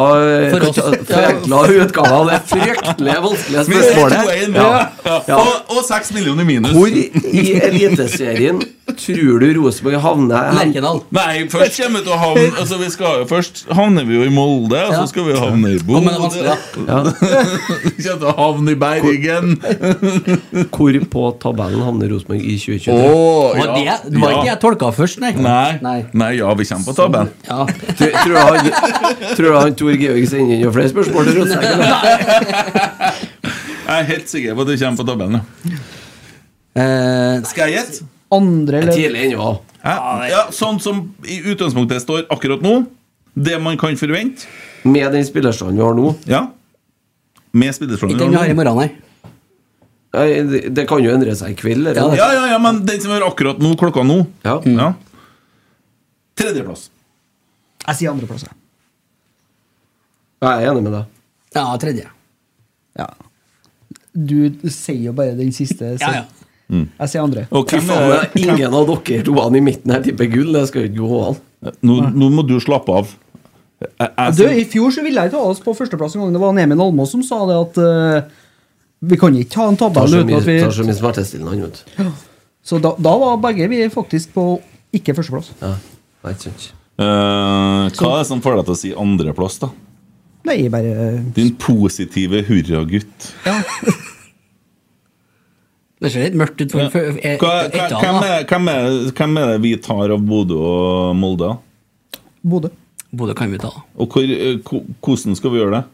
For
kan
oss.
ta- forenkla utgave av det fryktelig vanskelige spørsmålet. Ja. Ja.
Og, og 6 millioner i minus.
Hvor i Eliteserien tror du Rosenborg havner? hen?
Lerkendal.
Nei, først kommer vi til å havne altså vi skal, jo- Først havner vi jo i Molde,
Ja.
og så skal vi havne i
Ja,
Bodø.
men det er vanskelig, da.
Vi kommer til å havne i Bergen.
Hvor på tabellen havner Rosenborg i 2023?
Åh,
Var det, det var ikke jeg tolka først, nei. Sånn.
Nei. Nei, ja, vi kommer på tabben.
Ja.
Tror, tror du han, tror du han Tor Georg sender inn noen flere spørsmål til Rosenborg?
Jeg er helt sikker på at vi kommer på tabellen. ja.
Eh,
Skal jeg gjette?
Andre
Det er
eller
Tidlig ennå.
Hæ? Ja, sånn som i utgangspunktet står akkurat nå. Det man kan forvente.
Med den spillerstanden vi har nå
Ja.
ikke den vi har
Med
i
spillerstrålen.
morgen, nei.
Nei, det- Det kan jo endre seg i kveld. eller?
Ja, det-
Ja, ja, ja, men den som er akkurat nå, klokka nå.
Ja.
Mm.
Ja. Tredjeplass.
Jeg sier andreplass. jeg.
Jeg er enig med deg.
Ja, tredje.
Ja. Du sier jo bare den siste. så-
Ja, ja.
Jeg sier andre.
Og
Fy
hvem
faen,
er det?
det er ingen av dere toene i midten her tipper gull. Det skal jo ikke gå an.
Nå, nå må du slappe av. Jeg, jeg,
Du, I fjor så ville jeg ikke ha oss på førsteplass en gang. Det var Nemin Almås som sa det at eh, vi kan ikke ha en
Tar
tabell
så
uten
mye,
at vi
tar så mye smertestillende han, vet du.
Så da, da var begge vi faktisk på ikke førsteplass.
Ja, det er ikke sant.
Eh, hva er det som får deg til å si andreplass, da?
Nei, bare eh,
Din positive hurragutt.
Det ser litt mørkt ut. For, eh, for,
Hva- hva- Hvem
da.
er- hvem er hvem er det vi tar av Bodø og Molde? da?
Bodø.
Bodø kan vi ta. da.
Og hvor, eh, ko- hvordan skal vi gjøre det?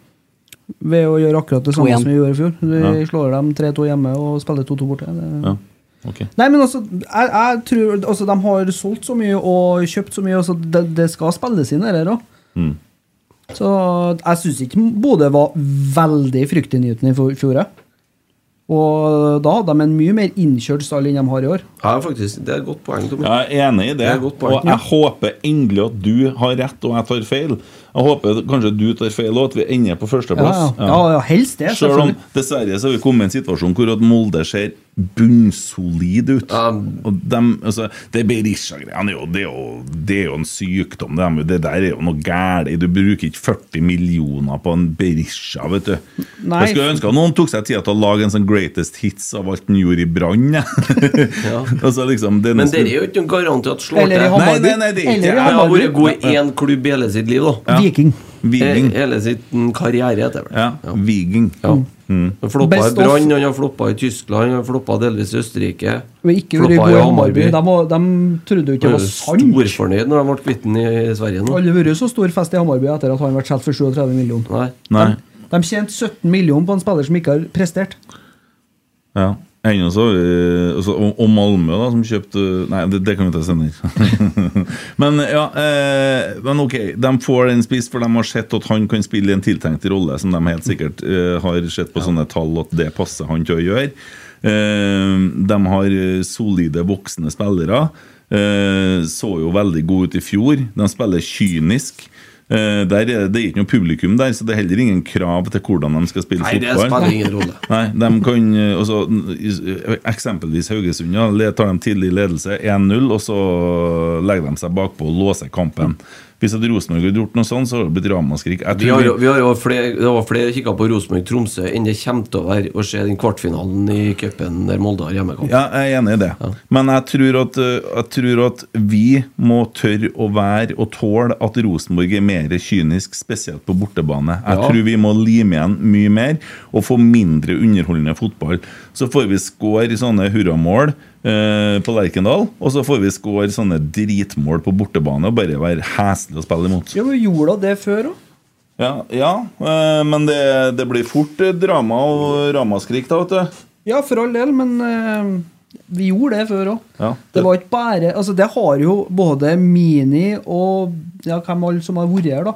Ved å gjøre akkurat det samme
2-1.
som vi gjorde i fjor. Vi slår dem 3-2 hjemme og spiller 2-2 borte. Det,
Ja, ok.
Nei, men altså, jeg, jeg tror altså, De har solgt så mye og kjøpt så mye. Altså, det, det skal spilles inn, det der òg.
Mm.
Så jeg syns ikke Bodø var veldig fryktinngytende i fjor- fjor. jeg. Og da hadde de en mye mer innkjørt stall enn de har i år.
Ja, faktisk, det er et godt poeng. Tommy.
Jeg er enig i det,
Det er et godt poeng,
og jeg håper endelig at du har rett og jeg tar feil. Jeg håper kanskje du tar feil og at vi ender på
Ja,
førsteplass.
ja. ja, ja helst det.
Selv om
selvfølgelig.
dessverre så har vi kommet i en situasjon hvor at Molde ser bunnsolid ut. og dem, altså, det Berisha-greiene er, jo- det er, jo- det er jo en sykdom. Det, er, det der er jo noe galt. Du bruker ikke 40 millioner på en Berisha, vet du.
Nei.
Jeg skulle ønske at noen tok seg tid til å lage en sånn greatest hits av alt han gjorde i Brann. jeg. altså, liksom, det er
Men
nesten-
dere er jo ikke noen garant til at slår
Eller i
til.
Hamar.
Nei, nei, nei, det er
Eller i
ikke
Jeg
Hamar.
jeg.
har vært god i én klubb i hele sitt liv, da.
Viking.
Viking.
He- Hele sin karriere, heter det vel.
Ja, Viking.
Eh, Ja. Mm. Han floppa i
Mm. Best of-
Brann, han har floppa i Tyskland, han har floppa delvis i Østerrike.
Men ikke
Floppa
vært
i
gode i
Hammarby.
Hammarby. De, var- de trodde jo ikke det
Han er
var
jo
sant.
Storfornøyd når de ble kvitt den i i Sverige nå.
Alle har vært så stor fest i Hammarby etter at han ble solgt for 37 millioner.
Nei.
Nei.
De tjente 17 millioner på en spiller som ikke har prestert.
Ja. Ennå så, eh, altså, og, og Malmö, da, som kjøpte Nei, det, det kan vi ta senere. men ja, eh, men ok, de får den spist, for de har sett at han kan spille i en tiltenkt rolle, som de helt sikkert eh, har sett på sånne tall at det passer han til å gjøre. Eh, de har eh, solide voksne spillere. Eh, så jo veldig gode ut i fjor. De spiller kynisk. Eh, der er, det er ikke noe publikum der, så det er heller ingen krav til hvordan de skal spille
Nei, det
fotball.
spiller ingen rolle.
Nei, de kan eh, altså, n- Eksempelvis Haugesund. Ja, le- tar de tidlig ledelse 1-0, og så legger de seg bakpå og låser kampen. Hvis at Rosenborg hadde gjort noe sånn, så hadde det blitt ramaskrik. Jeg
Vi har,
tror
jo- vi har jo flere, det var flere kikka på Rosenborg-Tromsø enn det kommer til å være å se den kvartfinalen i cupen der Molde har hjemmekamp.
Ja, jeg er enig i det. Men jeg tror, at, eh, jeg tror at vi må tørre å være og tåle at Rosenborg er mer kynisk, spesielt på bortebane. Jeg
Ja.
tror vi må lime igjen mye mer og få mindre underholdende fotball. Så får vi score sånne hurramål eh, på Lerkendal, og så får vi score sånne dritmål på bortebane og bare være heslige å spille imot.
Ja, men Gjorde hun det før òg?
Ja, ja eh, men det, det blir fort eh, drama og ramaskrik, da, vet du.
Ja, for all del, men eh, vi gjorde det før òg.
Ja.
Det var ikke bare Altså, det har jo både Mini og ja, hvem alle som har vært her, da,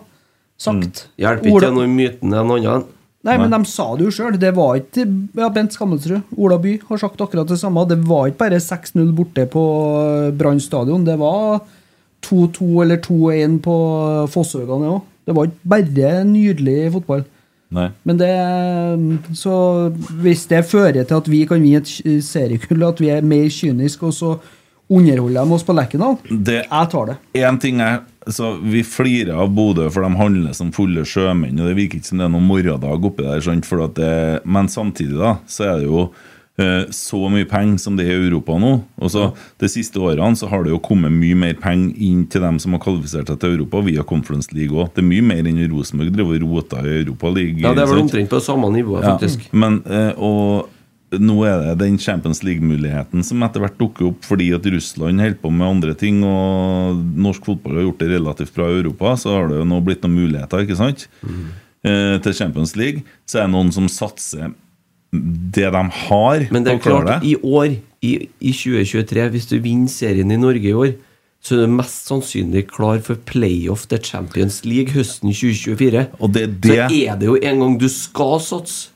sagt.
Mm. Hjelper
Ola-
ikke noe i myten en annen.
Nei, men de sa det jo sjøl. Det var ikke ja, Bent Skammelsrud, Ola By, har sagt akkurat det samme. Det var ikke bare 6-0 borte på eh, Brann stadion. Det var 2-2 eller 2-1 på Fosshøgane òg. Det var ikke bare nydelig fotball.
Nei.
Men det Så hvis det fører til at vi kan vinne et sk- seriegull, at vi er mer kyniske, og så underholder de oss på Lerkendal,
Det
jeg tar det.
En ting er så Vi flirer av Bodø, for de handler som fulle sjømenn. Og Det virker ikke som det er noen morgendag oppi der. Sant? For at det, men samtidig da, så er det jo eh, så mye penger som det er i Europa nå. Og så De siste årene så har det jo kommet mye mer penger inn til dem som har kvalifisert seg til Europa via Conference League òg. Det er mye mer enn Rosenborg driver og roter i Europa League.
Ja, det er vel
sant?
omtrent på samme nivå,
Ja,
faktisk.
Men, eh, og nå er det den Champions League-muligheten som etter hvert dukker opp fordi at Russland holder på med andre ting, og norsk fotball har gjort det relativt bra i Europa, så har det jo nå blitt noen muligheter ikke sant?
Mhm.
Eh, til Champions League. Så er det noen som satser det de har,
Men det er
og klarer
klart, i år, i, i 2023, hvis du vinner serien i Norge i år, så er du mest sannsynlig klar for playoff til Champions League høsten 2024.
Og det er
Så
det-
er det jo en gang du skal satse.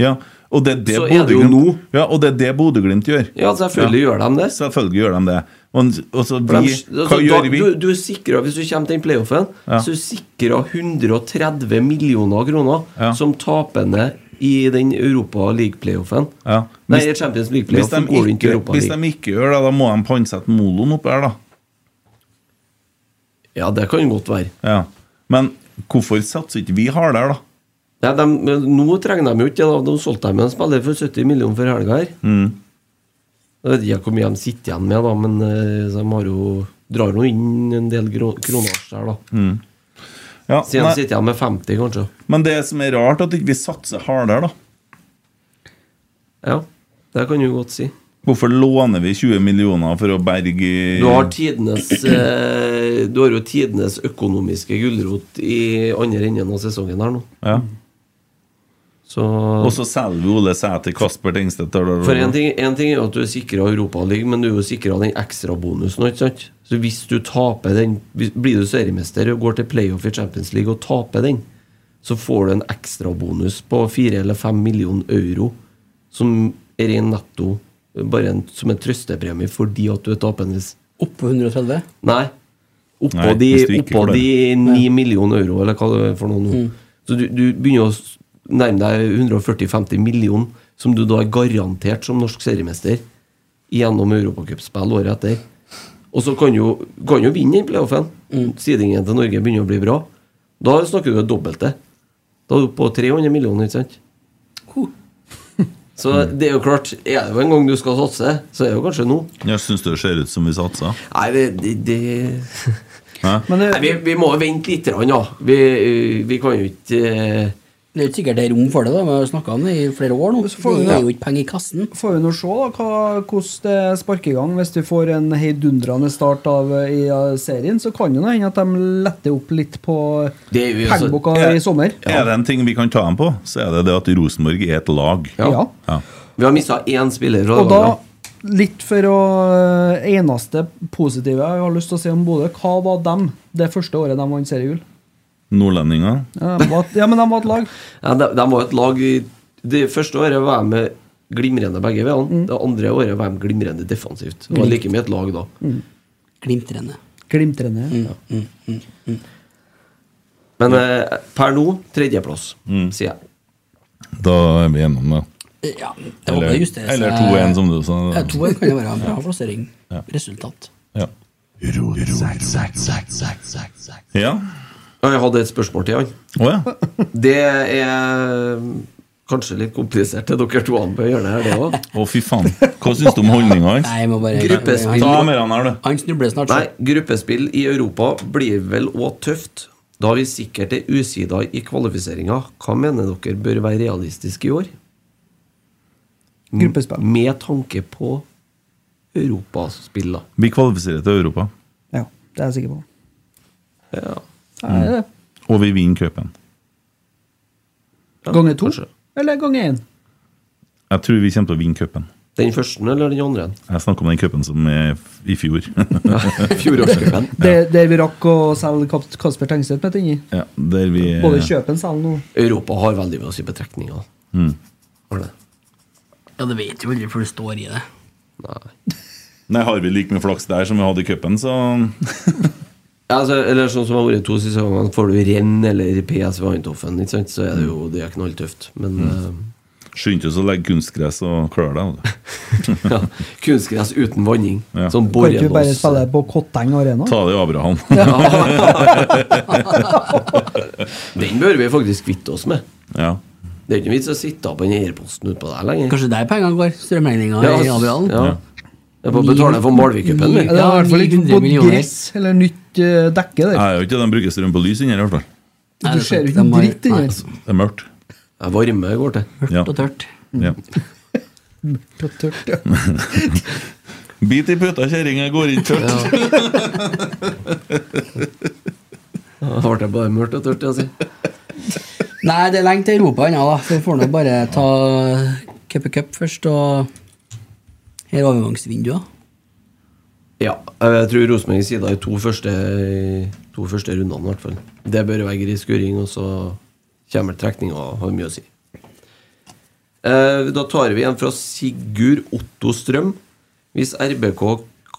Ja, og det er det
Så er det jo
Bodø-Glimt-
nå.
Ja, og det er det Bodø-Glimt gjør.
Ja, selvfølgelig gjør de det.
Selvfølgelig gjør de det. Og, og så
For
vi,
de, altså,
hva gjør
da,
vi?
Du, du er sikret, hvis du kommer til den playoffen, så er du sikra 130 millioner kroner
Ja.
som tapende i den Europa League-playoffen.
Ja.
Nei,
Hvis-
i Champions
Hvis de,
League-playoffen går du inn til
ikke,
Europa
hvis
League.
de ikke gjør det, da må de pantsette moloen oppi her, da.
Ja, det kan godt være.
Ja. Men hvorfor satser ikke vi hardere, da?
Nei, de, men nå trenger de jo ikke det. da. De solgte dem en spiller for 70 millioner for helga her.
Mm.
Jeg vet ikke hvor mye de sitter igjen med, da, men eh, de har jo, drar jo inn en del gro- kroner der, da.
Ja,
Siden de
Mm. nei,
sitter igjen med 50, kanskje.
men det som er rart, er at ikke vi ikke satser hardere, da.
Ja, det kan du godt si.
Hvorfor låner vi 20 millioner for å berge
Du har tidenes eh, Du har jo tidenes økonomiske gulrot i andre enden av sesongen her nå.
ja.
Så
Og så selger vi Ole Sæter, Kasper Tengstedt da, da, da.
For en ting, en ting er jo at du er sikra Europaligaen, men du er jo sikra den ekstra bonusen. Ikke sant? Så hvis du taper den hvis- Blir du seriemester og går til playoff i Champions League og taper den, så får du en ekstra bonus på fire eller fem millioner euro, som er ren netto, bare en, som en trøstepremie fordi at du er tapende.
Oppå 130.
Nei. Oppå
Nei,
de,
hvis du ikke
oppå
klarer.
de 9 millioner euro, eller hva det er for noe nå. Så du, du begynner å s- nærme deg 140-50 millioner, som du da er garantert som norsk seriemester gjennom europacupspill året etter. Og så kan jo, kan jo vinne den playoffen. Sidingen til Norge begynner å bli bra. Da snakker du det dobbelte. Da er du på 300 millioner, ikke sant? Så det er jo klart, er det jo en gang du skal satse, så er det jo kanskje nå.
Jeg syns det ser ut som vi satser.
Nei, det, det, det
Men det,
Nei, vi, vi må vente litt, grann, ja. Vi, vi kan jo ikke eh,
Det er jo ikke sikkert det er rom for det, da. Vi har snakka om det i flere år nå.
Så får vi-
Det er jo ikke penger i kassen.
får vi nå se da, hva, hvordan det sparker i gang. Hvis vi får en heidundrende start av, eh, i eh, serien, så kan det nå hende at de letter opp litt på
Det er jo altså-
pengeboka
Ja.
i sommer.
Er det en ting vi kan ta dem på, så er det det at Rosenborg er et lag.
Ja.
Ja.
Ja.
Vi har mista én spiller. fra
Og
det
da,
laget.
litt for å eh, Eneste positive jeg har lyst til å si om Bodø, hva var dem det første året de vant seriegull?
Nordlendinger.
Ja, de var- ja, men de var et lag.
ja, de, de var et lag i, Det første året var de glimrende begge
Mm.
veiene. Det andre året var de glimrende defensivt. Det var like mye et lag da.
Mm.
Glimtrende.
Glimtrende.
Mm.
Men eh, per nå tredjeplass, sier jeg.
Da er vi gjennom det.
Ja, det var
Eller,
bare å justere seg.
eller 2-1, som du sa.
Ja, 2-1 kan jo være en bra plassering. Resultat.
Ja.
Sexy.
ja.
Ja, Jeg hadde et spørsmål til han.
Å ja.
Det er eh, kanskje litt komplisert til dere to andre på hjørnet her, det òg.
Å, fy faen. Hva syns du om holdninga hans?
Nei, jeg må bare
Gruppespill.
Ta
Han,
med han her, du.
han snubler snart.
Nei,
så.
gruppespill i Europa blir vel òg tøft. Da vi sikkert er usida i kvalifiseringa, hva mener dere bør være realistisk i år? M-
Gruppespill.
Med tanke på europaspill, da.
Vi kvalifiserer til Europa,
Ja, det er jeg sikker på. Mm.
Ja.
Er det det?
og vi vinner cupen.
Ja,
Ganger to?
kanskje.
Eller ganger én?
Jeg tror vi kommer til å vinne cupen.
Den første eller den andre?
Jeg snakker om den cupen som er f- i fjor.
Fjorårscupen.
Der, der vi rakk å selge Kap- Kasper Tengstedt midt inni.
ja, der vi
Både kjøpe en selge nå.
Europa har veldig mye å si på trekninger. Har det?
Ja, det vet jo aldri før du står i det.
Nei.
Nei, Har vi like mye flaks der som vi hadde i cupen, så
Ja, altså, eller sånn som det har vært to siste sesongene, får du renn eller PS ved Antoffen, ikke sant, så er det jo det er knalltøft. Men
Skynd deg å legge kunstgress og klør deg. altså. da.
eh, ja, kunstgress uten vanning.
Ja.
Sånn
Kan ikke vi bare
borrelås.
spille på Kotteng Arena?
Ta det i Abraham.
Den bør vi faktisk kvitte oss med.
ja.
Det er ikke noe vits å sitte på den eierposten utpå der lenger.
Kanskje der pengene går? Strømregninga
Ja, altså-
i Abraham?
ja. Jeg får betale for Malvik-cupen.
Ni-
Ja, det er i hvert fall ikke
900
på
millioner.
gress eller nytt eh, dekke der.
Jeg er jo ikke den brukes rundt på lys inni her, i hvert fall.
Du
Nei, det er
ser
sant.
jo
De
ikke
har-
dritt
nei,
inni
altså,
Det er mørkt.
Jeg varme går til.
Hørt
Ja.
og tørt.
Ja.
der.
Bit i puta, kjerringa går ikke tørt.
Da ble jeg bare mørkt og tørt. Jeg, si.
Nei, det er lenge til Europa ennå, da. Så vi får nå bare ta cup i cup først, og her er overgangsvinduet.
ja, eh, jeg tror Rosenborg sida i to første, to første rundene, i hvert fall. Det bør være gris skuring, og så kommer trekninga og har mye å si. Eh, Da tar vi en fra Sigurd Otto Strøm. Hvis RBK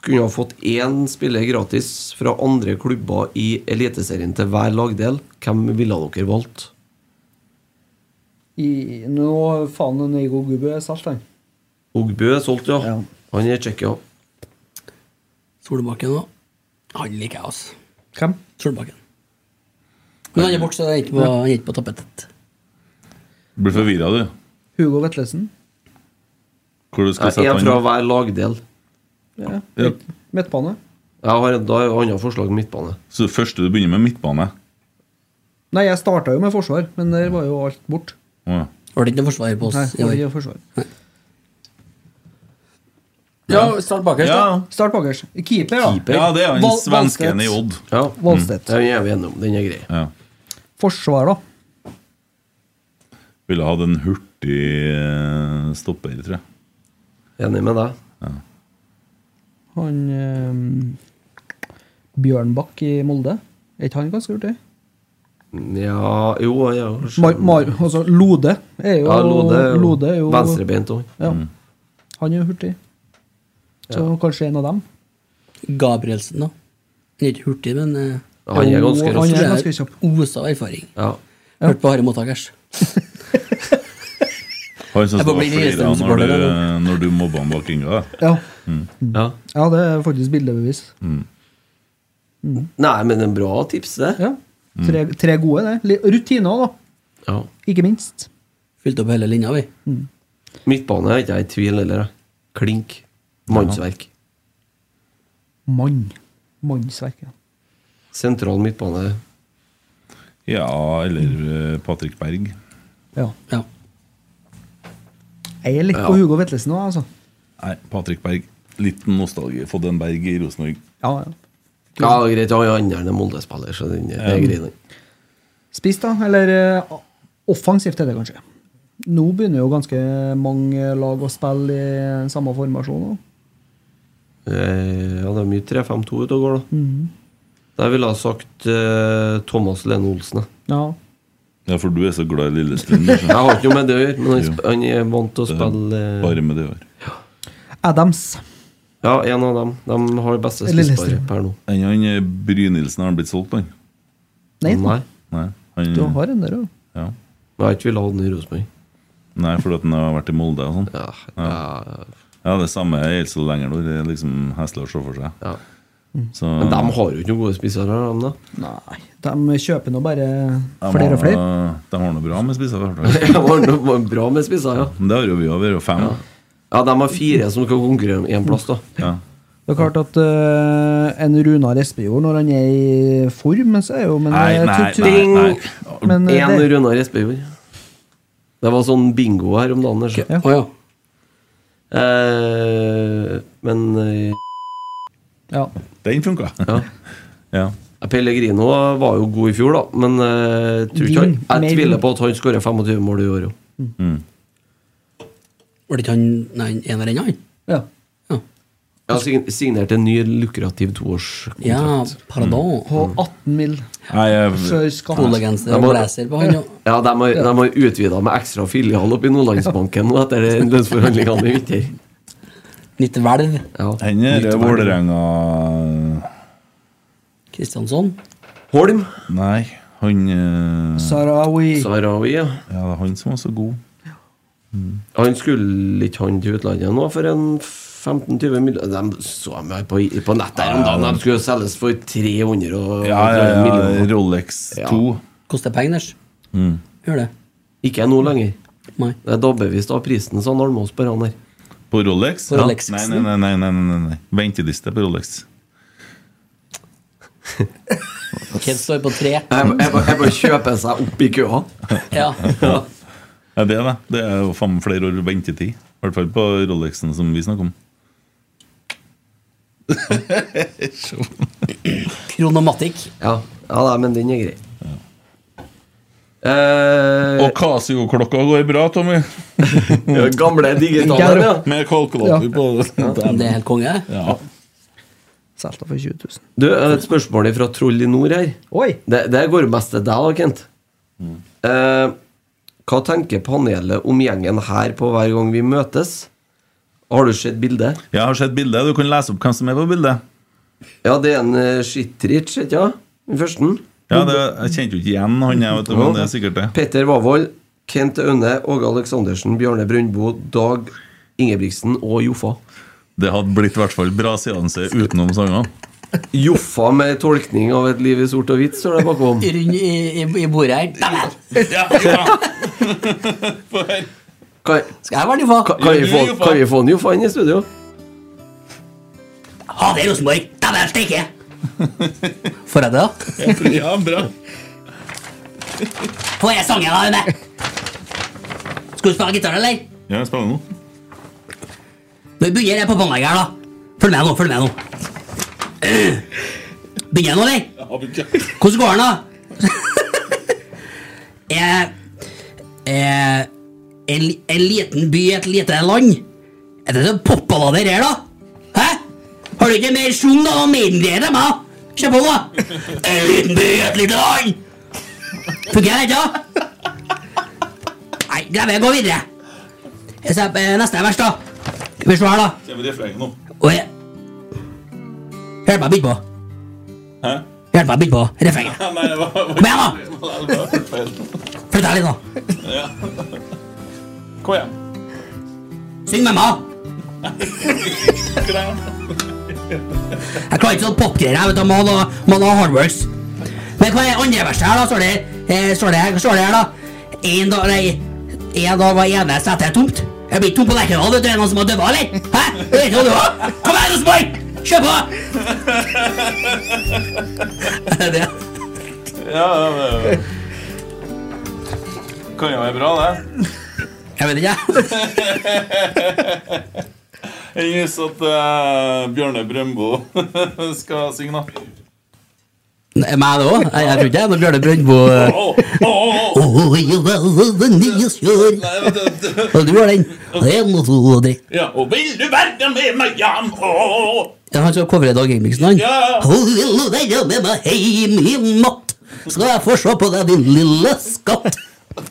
kunne ha fått én spiller gratis fra andre klubber i Eliteserien til hver lagdel, hvem ville dere valgt?
I- Nå faen en Eigo Gubbe er solgt, han.
Ogbø er solgt, ja.
Ja.
Han er kjekk, ja.
Solbakken òg. Han liker jeg, altså.
Hvem?
Solbakken. Men han er borte, så han er ikke på, han er ikke på tapetet.
Blir forvirra, du.
Hugo Vetlesen.
Hvor du skal
Nei,
sette
Eh, En fra
han.
hver lagdel.
Ja.
Ja.
Midtbane.
Jeg har, da har jeg annet forslag enn midtbane.
Så det første du begynner med midtbane.
Nei, jeg starta jo med forsvar, men der var jo alt bort.
Å, ja.
Var det ikke noe forsvar på
Nei,
oss? i
det var
år?
ikke forsvar.
Ja, start bakerst, da.
Ja.
Start bakerst. Keeper, da. Mm.
Keeper. Mm.
ja, det er han
Val-
svensken
Valstedt.
i Odd.
Ja,
Valstedt.
Den er vi enige om. Den er grei.
Ja.
Forsvar, da.
Ville hatt en hurtig eh, stopper, tror jeg.
Enig med deg.
Han eh, Bjørnbakk i Molde. Er ikke han ganske hurtig?
Ja Jo, ja, kanskje.
Mar, Mar, altså, Lode er jo,
ja Lode, er jo- Mm.
Lode er jo
Venstrebeint òg.
Ja. Han er jo hurtig. Så kanskje en av dem.
Gabrielsen, da. Han er ikke hurtig, men eh,
Han er
Og
ganske rask.
Han er
tror
ganske
jeg
kjapp.
Osa av erfaring.
Ja.
Hørt på Harry Mottakers.
Han som
Jeg bare
står og
blir
flirer av når,
Lillestrøm-supporter,
du,
eller?
når du mobba han bak Inga. da.
Ja. Mm.
ja.
ja, det er faktisk bildebevis.
Mm. Nei, men en bra tips, det.
Ja. Tre,
Mm.
tre gode, det. Litt Rutiner, da.
Ja.
Ikke minst.
Fylte opp hele linja, vi.
Midtbane er ikke jeg i tvil heller. jeg. Klink. Mannsverk.
Mann. Mannsverk. Ja.
Sentral midtbane.
Ja, eller eh, Patrick Berg.
ja.
Ja.
Jeg er litt på Hugo Vetlesen nå, altså.
Nei, Patrick Berg. Litt nostalgi. Fått en Berg i Rosenborg.
Ja, ja.
Ja, greit. Han er andre enn Molde-spiller, så den det er grei, den.
Spiss, da? Eller eh, offensivt er det kanskje. Nå begynner jo ganske mange lag å spille i samme formasjon. nå.
Eh, Ja, det er mye 3-5-2 ute og går, da.
Mm.
Der ville jeg sagt eh, Thomas Lene Olsen. jeg.
Ja.
Ja, for du er så glad i Lillestrøm. du,
Jeg
så.
har ikke noe med det å gjøre, men han, sp- han er vant til å spille eh,
Bare med det å gjøre.
Adams.
Ja, en av dem. De har det beste
Lillestrøm.
spissparet per nå.
Enn han eh, Brynildsen, har han blitt solgt, han?
Nei,
Nei.
Nei, han,
du har en der òg.
ja.
Jeg har ikke villet ha den i Rosenborg.
Nei fordi at han har vært i Molde og sånn.
Ja, ja,
Ja, det samme gjelder så lenger nå. Det er liksom heslig å se for seg.
ja.
Så,
Men de har jo ikke noen gode spissere, har de da.
Nei, de kjøper nå bare flere og flere.
De har noe bra med spisser. i hvert fall.
De har noe bra med spissere, ja.
Men Det har jo vi òg. Vi har jo fem.
Ja, de har fire som skal konkurrere om én plass, da.
Ja.
Det er klart at eh, en Runar Espejord, når han er i form, så er jo Men,
Nei,
jeg
nei,
tror-
nei, nei.
men eh,
Én
det,
Runar Espejord. Det var sånn bingo her om dagen. altså.
Å
Okay.
ja.
Eh, men eh,
ja.
Den funka.
ja.
Ja.
Pellegrino var jo god i fjor, da, men eh, tror ikke
Vin,
han,
mer
jeg tviler
vin.
på at han skårer 25 mål i år òg.
Var det ikke han Nei, en av den han?
ja.
Ja.
Jeg har sign- signert en ny lukrativ
ja,
toårskontrakt.
pardon.
På
Mm.
18 mil
Nei, jeg,
før skatt.
Polagenser
Jeg
og
må-
blazer på han, ja.
Ja, de har, de har utvida med ekstra filial oppe i Nordlandsbanken nå etter det- lønnsforhandlingene i vinter.
Nytt hvelv.
Ja.
han er
Nytt
Vålerenga
Kristiansson.
Holm.
Nei, han eh,
Sarawi.
Sarawi, ja.
Ja, det er han som var så god.
Han skulle ikke han til utlandet nå for en 15-20 millioner De så jeg meg på, på nett der om dagen. De skulle selges for 300 og,
Ja, ja, ja,
millioner.
Rolex
Ja.
2.
Koster penger, Ners. Gjør det.
Ikke nå lenger.
Nei.
Det er dobbeltvis av prisen, sa Almås på han her.
På Rolex?
På
Ja.
Rolex.
Nei, nei, nei, nei, nei, nei, nei. Venteliste på Rolex.
Kids står på tre.
Jeg, jeg, bare- jeg bare kjøper seg opp i køa.
Ja.
Ja, det er det. Det er jo faen meg flere år ventetid. I hvert fall på Rolexen som vi snakker om.
Kronomatikk.
Ja, ja nei, men den er grei. Eh,
Og Casio-klokka går bra, Tommy.
ja, Eh, gamle digitale, ja.
Med kalkulator på.
Det er helt konge.
Ja.
Solgte for 20 000.
Du, jeg har et spørsmål fra Troll i nord her.
Oi!
Det, det går mest til deg, da, Kent. Eh, hva tenker panelet om gjengen her på hver gang vi møtes? Har du sett bildet?
Jeg har sett bildet. Du kan lese opp hvem som er på bildet.
Ja, det er en eh, Shitrich, ikke sant? Den første.
Ja, det, Jeg kjente jo ikke igjen han, jeg, vet du, men det er sikkert det.
Petter Wavold, Kent Aune, Åge Aleksandersen, Bjarne Brøndbo, Dag Ingebrigtsen og Joffa.
Det hadde blitt i hvert fall bra seanse utenom sangene.
Joffa med tolkning av et liv i sort og hvitt, står det bakom.
Rund i, i, i bordet her. Dæven!
Ja, ja. Få høre.
Kan,
Skal jeg være nivå?
kan, kan, vi få, kan vi få en Joffa inn i studio?
Ha det, Rosenborg! Dæven steike! Får jeg det, da?
ja, bra.
Får jeg sangen, da, Aune? Skal du spille gitar, eller?
Ja, jeg spiller nå.
Nå begynner jeg på båndlegget her, da. Følg med nå, følg med nå. Begynner jeg nå, eller? Hvordan går den, da? jeg, jeg, en, li- en liten by, et lite land. Er det så popballader her, da? Hæ? Har du ikke mer sjung da, og Maiden-greier til meg? da? Kjør på, da. En liten by, et lite land. Funker det ikke, da? Nei, glem det. Gå videre. Jeg ser på eh, neste vers, da. Skal vi se her, da.
Kommer refrenget nå.
Og jeg... Hjelp meg å begynne på.
Hæ?
Hjelp meg å begynne på refrenget.
Nei, det var
Kom igjen, da! Flytt deg litt, nå.
Kom igjen.
Syng med meg. Jeg klarer ikke sånn popgreier. Jeg vet du, må ha noe- må ha noe hardworks. Men hva er andre verset her, da? Står det, eh, står det, står det her, da? En dag, nei, en dag var ene setet tomt. Jeg blir tom på Lerkendal, vet du. Er det noen som har dødd, eller? Hæ? Jeg vet ikke hva du har. Kom igjen, Rosenborg! Kjør på! Er det-
Ja, ja, ja. Kan jo være bra, det.
Jeg vet ikke, jeg.
Jeg husker at eh, Bjørne Brøndbo skal synge, da.
Nei, Meg det òg? Jeg jeg tror ikke jeg er noe Bjørne Brøndbo. eh.
Åh, åh, åh.
Åh, jeg var den nye sjøen.
Nei, vet du, det-
Og du har den. Og en og to og tre.
Ja, og vil du være med meg hjem? Åh.
Ja, han skal covre Dag Ingebrigtsen, han.
Ja.
Og vil du være med meg heim i natt? Skal jeg få se på deg, din lille skatt?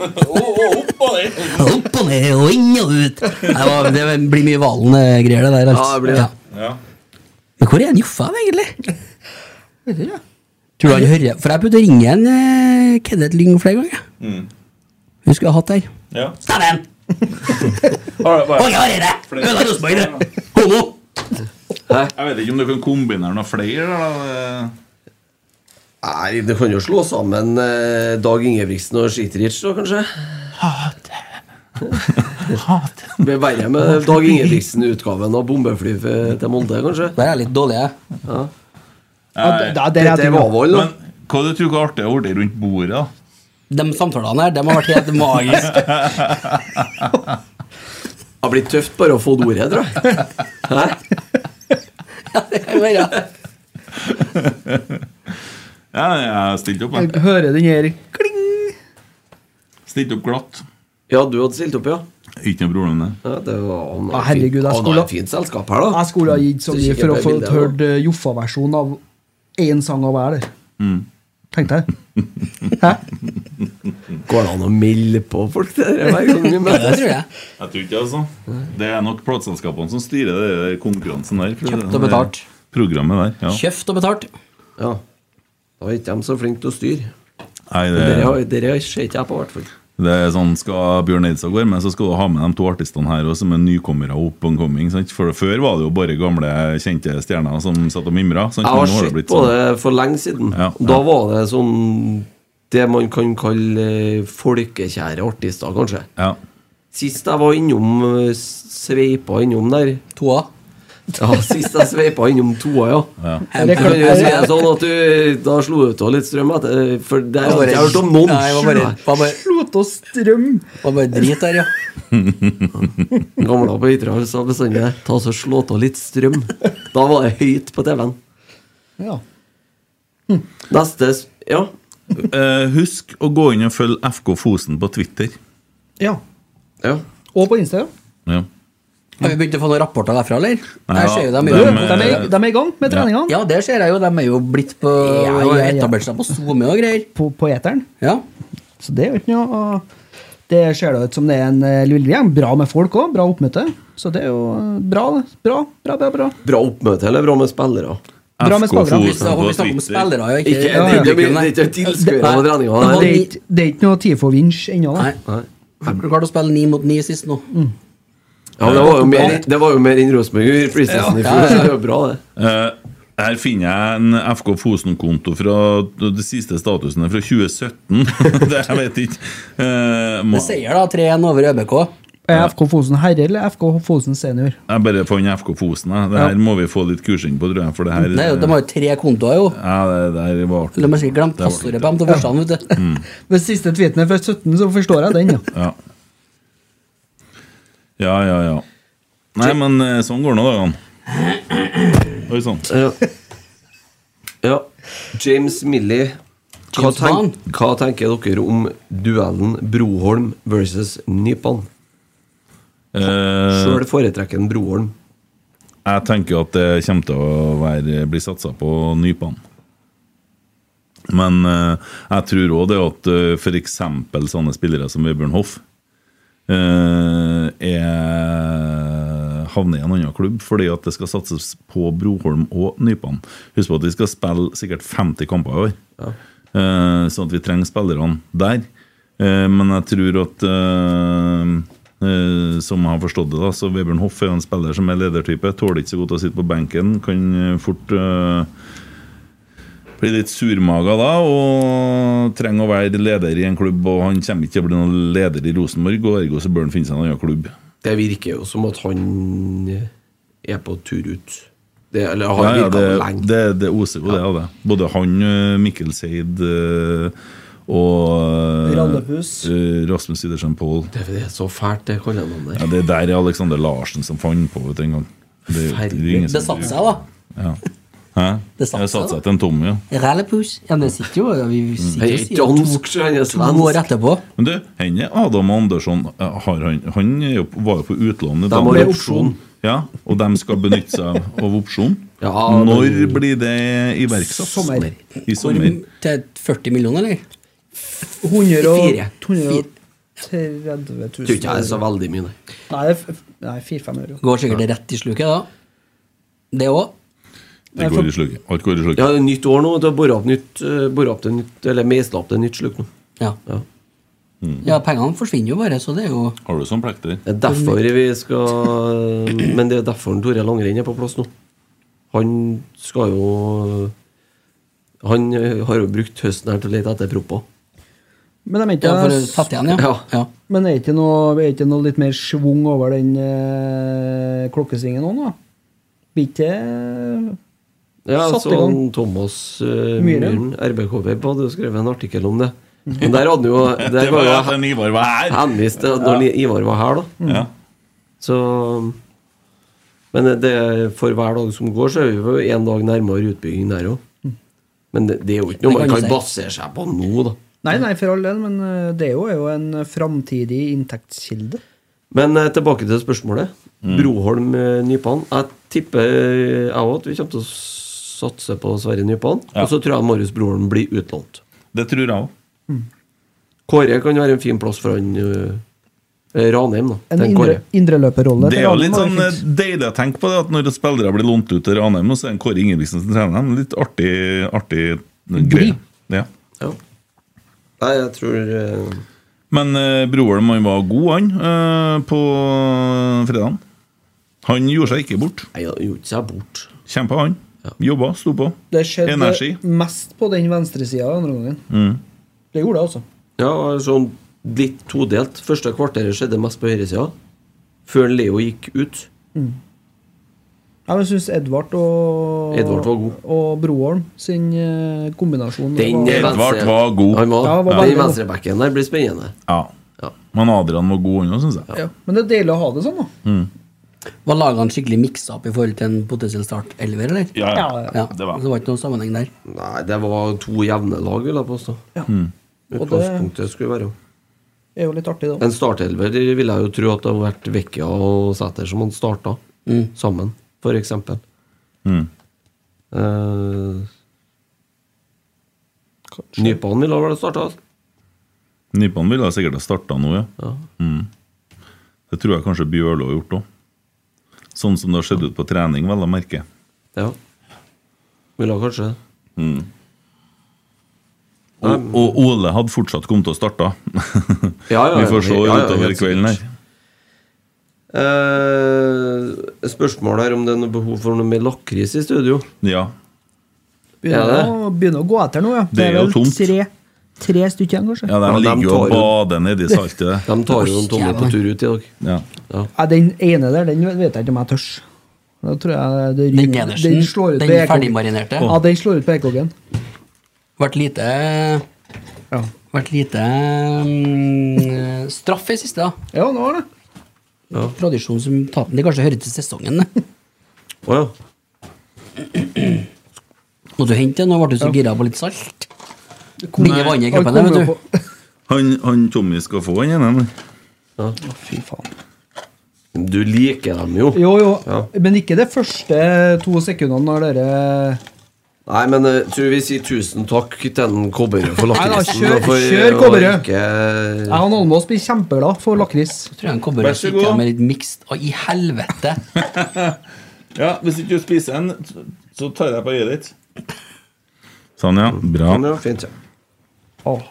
Åh, åh, opp og ned.
Opp og ned og inn og ut. Nei, hva- det blir mye Valen-greier, det der.
Ja, det blir det.
Ja.
Men hvor er han Joffa, han, egentlig? Tror du han hører For jeg prøvde å ringe en eh, Kenneth Lyng flere ganger. Hun skulle ha hatt her.
ja.
Stemmen!
Har du-
Åge
bare-
Hareide! Øla Rosenborg, det! Homo!
Jeg vet ikke om du kan kombinere noen flere, da. eh. det-
Nei, du kan jo slå sammen eh, Dag Ingebrigtsen og Shitrich, da, kanskje? Det blir verre med Dag Ingebrigtsen-utgaven av bombefly f- til Molde, kanskje?
Der er jeg litt dårlig, jeg.
Ja, det, det, det er
Dette
jeg
er
tror
Vavold, da.
Men hva du tror du er artig å ordne rundt bordet, da?
De samtalene her, de har vært helt magiske.
Det har blitt tøft bare å få ordet, tror jeg. Hæ?
Det kan være.
Ja, jeg stilte opp, jeg.
Jeg hører den her kling.
Stilte opp glatt.
Ja, du hadde stilt opp, ja?
Ikke noe problem med det.
ja det var han
Å, herregud, jeg
han har
skulle-
et fint selskap her, da.
Jeg skulle ha gitt så mye for å få
Sikkert
hørt eh, Joffa-versjonen av én sang av hver der.
Mm.
Tenkte jeg. Hæ?
Går det an å melde på folk det der hver gang vi
Det
møtes?
tror jeg.
Jeg tror ikke altså. Det er nok plateselskapene som styrer det der konkurransen der. for
Kjøpt og
det-
betalt.
Programmet der, ja.
Kjøpt og betalt.
Ja. Da er ikke de så flinke til å styre.
Nei,
Det
det,
ser ikke jeg på, i hvert fall.
det er sånn Skal Bjørn Eidsvåg være med, så skal du ha med de to artistene her også, som er nykommere og up and coming. Sant? For Før var det jo bare gamle, kjente stjerner som satt og mimra. sant?
Jeg
Men
har
nå
sett
blitt
på
sånn.
det for lenge siden.
Ja,
Da
ja.
var det sånn Det man kan kalle eh, folkekjære artister, kanskje.
Ja.
Sist jeg var innom eh, Sveipa innom der
Toa.
Ja, sist jeg sveipa innom toa, ja.
Jeg
Det kan jo si det
bare-
sånn at du, Da slo du av litt strøm, etter, for det har
bare-
jeg ikke hørt om noen.
Nei, det var bare,
Skyld meg.
var bare,
Slått av strøm!
var bare drit der, ja.
Gamla på Ytre sa bestandig det. Ta så slå av litt strøm. Da var det høyt på TV-en.
Ja.
Neste s- Ja.
Eh, husk å gå inn og følge FK Fosen på Twitter.
ja.
ja.
Og på Insta.
Ja.
Har vi begynt å få noen rapporter derfra, eller?
Nei,
Jeg ser jo
ja,
dem
De,
jo.
dem-
de, er, de er i gang med treningene.
Ja, det ser jeg jo. De er jo blitt på
Ja, ja, ja.
Etablert seg på SoMe og greier.
På, på eteren.
Ja.
Så det er jo ikke noe å- Det ser da ut som det er en eh, lille gjeng. Bra med folk òg. Bra oppmøte. Så det er jo eh, bra, det. Bra, bra, bra. bra.
Bra oppmøte, eller bra med spillere?
Bra med
FK
spillere.
Vi
Fosen
snakker
på
vi snakker om
Twitter.
spillere, jo.
Ikke, det,
Ikke
er ikke, det, er ikke tilskuere på treninga.
Det
nei.
er ikke, det er ikke noe tid for vinsj ennå, da.
Nei.
Nei.
Har klart å spille ni mot ni sist nå.
Ja, men det var jo mer, det var jo mer enn Rosenborg i preseason i fjor. så Det er jo bra, det.
Eh, her finner jeg en FK Fosen-konto fra de siste statusene fra 2017. det jeg vet ikke. Eh, ma-
Det sier da 3-1 over ØBK.
Er FK Fosen herre eller FK Fosen senior?
jeg bare fant FK Fosen. jeg. Det her må vi få litt kursing på, tror jeg. For det her
Det er jo, de har jo tre kontoer, jo.
ja, det, det her var artig.
De har sikkert glemt
Det var
passordet på dem til første, vet du.
Hvis siste tweeten er fra 17, så forstår jeg den, ja.
Ja. ja, ja, ja. Nei, men eh, sånn går nå dagene. Oi sånn. sann.
Ja. ja. James Milley. Hva,
James
tenk, hva tenker dere om duellen Broholm versus Nypan?
Eh,
Sjøl foretrekker en Broholm.
jeg tenker at det kommer til å være, bli satsa på nypene. Men eh, jeg tror òg det at eh, for f.eks. sånne spillere som Vebjørn Hoff eh, er havner i en annen klubb fordi at det skal satses på Broholm og Nypan. Husk på at vi skal spille sikkert 50 kamper i år, Eh, sånn at vi trenger spillerne der. Eh, men jeg tror at eh, eh, som jeg har forstått det, da, så Vebjørn Hoff er jo en spiller som er ledertype. Tåler ikke så godt å sitte på benken. Kan eh, fort eh, blir litt surmaga da og trenger å være leder i en klubb. Og han kommer ikke til å bli noen leder i Rosenborg, og ergo så bør han finne seg en annen klubb.
Det virker jo som at han er på tur ut. Det, eller har
Ja, ja,
virket
det,
lenge.
det, det oser jo det av det. Både han, eh, Mikkel Seid eh, og eh,
Randepus.
eh, Rasmus Idersen Pål.
Det, det er så fælt, det
Ja,
kallenavnet der.
det der er Alexander Larsen som fant på vet du, en gang. Det, det er jo ingen
Det
som-
satte seg, da.
Ja. Hæ?
Det
Det
satte seg,
satte
da.
seg til en tomme, ja.
Rallepus. Ja, men det sitter jo Vi sitter jo
Han er ikke
sier
dansk, så han er
to, to år
svensk.
etterpå.
Men du, henne Adam Andersson eh, har han, han er jo, på- var jo på utlånet.
De
da.
har jo opsjon.
Ja, og de skal benytte seg av opsjon.
Ja,
Når
men-
blir det iverksatt?
Sommer.
Hvor,
I sommer.
til 40 millioner, eller?
100 og-
Fire.
230 000
Tror ikke jeg altså. er så veldig mye, nei.
Nei, det er f- nei 400-500 euro.
Går sikkert rett i sluket, da. Det òg.
Det går i slugget. Alt går i slugget.
Ja, det er nytt år nå. Du har bora opp nytt eh, boret opp til nytt Eller meisla opp til nytt sluk nå.
Ja.
Ja.
ja, pengene forsvinner jo bare, så det er jo
Har du sånn plekter?
Det er derfor vi skal Men det er derfor Tore Langrenn er på plass nå. Han skal jo Han eh, har jo brukt høsten her til å lete etter propper.
Men de er ikke
Ja, for å sette igjen, ja.
Ja.
ja.
Men er ikke noe, er ikke noe litt mer schwung over den eh, klokkesvingen nå, da? Blir ikke det
Ja,
Satt
så
i gang.
han Thomas eh,
Myhren.
Myhren, RBK-web, hadde jo skrevet en artikkel om det. Men der hadde han jo
Det
Der
var
var
jo
jo
at en Ivar var her!
henvist til at når Ivar var her, da.
Ja.
Så Men det, for hver dag som går, så er vi jo en dag nærmere utbygging der òg. Men det, det er jo ikke noe
Mm. Det kan
man
du
kan
si.
basere seg på nå, da.
Nei, nei, for all del, men eh, det er jo, er jo en framtidig inntektskilde.
Men eh, tilbake til spørsmålet.
Mm.
Broholm eh, Nypan. Jeg tipper eh, jeg òg at vi kommer til å satse på Sverre Nypan.
Ja.
Og så tror jeg Marius Broholm blir utlånt.
Det tror jeg òg.
Kåre kan være en fin plass for han eh, eh, Ranheim, da.
En
Tenk
indre-
Kåre.
indreløperrolle.
Det er jo litt sånn eh,
fint.
deilig å tenke på det at når spillere blir lånt ut til Ranheim, og så er det en Kåre Ingebrigtsen som trener dem. Litt artig, artig Gry. Ja.
Ja. Nei, jeg tror eh,
Men eh, broren min var god, han, eh, på fredagen. Han gjorde seg ikke bort.
Nei, han gjorde ikke seg bort.
Kjempa, han.
Ja.
Jobba, sto på.
Det skjedde
Energi. Mm.
mest på den venstresida andre gangen. Det gjorde det, altså.
Ja, sånn litt todelt. Første kvarteret skjedde mest på høyresida. Før Leo gikk ut.
Ja, men Jeg syns Edvard og
Edvard var god.
Og Broholm sin eh, kombinasjon
Den
var,
Edvard var god.
Han var,
Ja, var veldig
den
god.
venstrebacken der blir spennende.
Ja.
Ja.
Men Adrian var god, han òg, syns jeg.
ja. Men det er deilig å ha det sånn, da.
Var lagene skikkelig miksa opp i forhold til en potensiell start 11, eller?
Ja,
Ja, ja.
Ja,
det var.
Så det var ikke noen sammenheng der.
Nei, det var to jevne lag, vil jeg påstå.
Ja.
Mm.
Og det
Utgangspunktet skulle være
er jo litt artig, det òg.
En startelver vil jeg jo tro at det har vært Vekka og Sæter som han starta sammen, for eksempel.
Mm.
Eh, Nypan ville ha vært starta.
Nypan ville sikkert ha starta nå, ja.
Ja.
Det tror jeg kanskje Bjørlo har gjort òg. Sånn som det har sett ut på trening, vel å merke.
ja. Ville ha kanskje
Og, og Ole hadde fortsatt kommet til å starte.
Ja, ja,
Vi får se
ja, ja, ja,
utover
helt
kvelden her.
Eh, spørsmålet er om det er noe behov for noe mer lakris i studio.
Ja.
Ja,
Begynner,
det.
å- begynner å gå etter nå, ja.
Det er jo
vel
tomt.
Tre, tre stykker igjen, kanskje.
ja, de
Ja, de
ligger jo
tar
og
jo-
bader nedi saltet.
De tar jo en Tommy på tur ut i dag.
Ja.
Ja.
Ja, den ene der, den vet jeg ikke om jeg tørs. Da tror jeg det ryker.
Den nedersten,
den slår ut
den
på EKG.
ferdigmarinerte.
Ja, den slår ut på EKG-en.
Vært lite
Ja.
Vært lite mm, straff i siste, da.
ja, nå har det.
Tradisjon som tapen. Det kanskje hører til sesongen. det.
Å ja.
Måtte du hente det? Nå ble du så gira på litt salt. Mye vann i
Han
kroppen, der,
kommer
vet du.
på-
Han, han Tommy skal få en igjen.
Å, Fy faen.
Du liker dem jo.
Jo, jo,
Ja.
men ikke de første to sekundene når dere
Nei, men jeg tror vi sier tusen takk til den Kobberød for
Nei da,
lakrisen.
kjør-
og for
kjør
å
Kobberød.
ikke-
Jeg og Almås blir kjempeglad for lakris.
Tror jeg en kobber
Vær så
sitter
god.
med litt mixed Å, i helvete!
Ja, Hvis ikke du spiser en, så tar jeg på øyet ditt. Sånn, ja. Bra.
Ja, fint, ja.
Åh.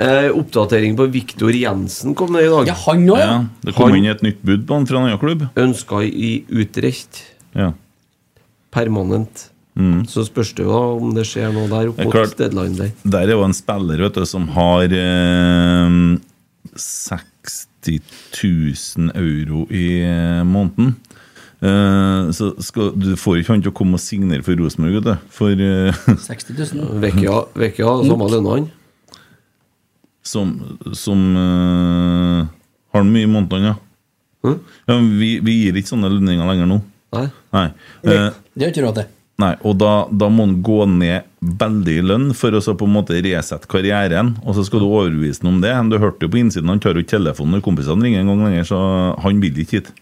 Eh, oppdatering på Viktor Jensen kom ned i dag.
Ja, han òg, ja.
Ja, det kom
Han-
inn et nytt bud på han fra en annen klubb.
Ønska i Utrecht
Ja.
permanent. Så spørs det jo da om det skjer noe der
Mm.
oppe
Det er
mot
klart.
deadline der.
Der er jo en spiller vet du, som har eh, 60 000 euro i eh, måneden. Eh, så skal, du får ikke han til å komme og signere for Rosenborg, vet du. For eh,
60 000.
Vekka Vekka har samme lønna han.
som, som eh, Har han mye i måneden, ja.
Mhm.
ja men vi, vi gir ikke sånne lønninger lenger nå.
Nei.
Nei. Eh,
Det har ikke du råd til.
Nei, og da, da må han gå ned veldig i lønn for å så på en måte resette karrieren. Og så skal du overbevise ham om det. Men Du hørte jo på innsiden, han tar jo ikke telefonen når kompisene ringer en gang lenger, så han vil ikke hit.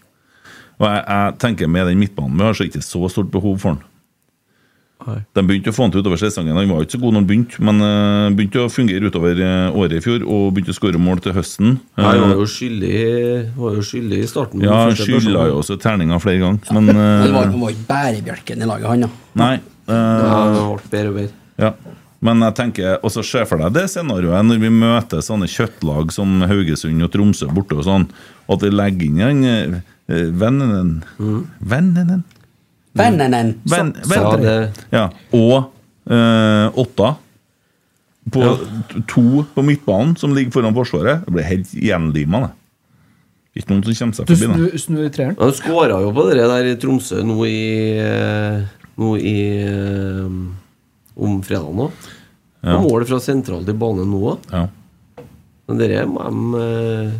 Og jeg, jeg tenker med den midtbanen vi har, så er det ikke så stort behov for han.
Nei.
De begynte å få han til utover sesongen. Han var jo ikke så god når han begynte, men eh, begynte å fungere utover eh, året i fjor og begynte å skåre mål til høsten.
Han var jo
Eh,
skyldig, var jo skyldig i starten. med
ja,
den
han
første personen.
skylda jo også terninga flere ganger, men
Men det var,
eh,
det var ikke bærebjelken i laget, han,
Mm.
da.
Nei. eh,
Ja, det ble bedre og bedre.
Ja. Men jeg tenker, og så ser jeg for deg det scenarioet når vi møter sånne kjøttlag som Haugesund og Tromsø borte og sånn, at vi legger inn den eh, eh, vennen din. Vennen din?
Vennenen!
Venn,
Mm. sa
venn,
det.
ja. Og eh, åtta på to på midtbanen som ligger foran Forsvaret. Det blir helt gjenlima, det. Ikke noen som kommer seg
Du
forbi, det.
snur, snur treeren.
Han skåra jo på det der i Tromsø nå i eh, Nå i eh, Om fredagen nå.
Ja.
Og Mål fra sentral til bane nå òg.
Ja.
Men dere må de eh,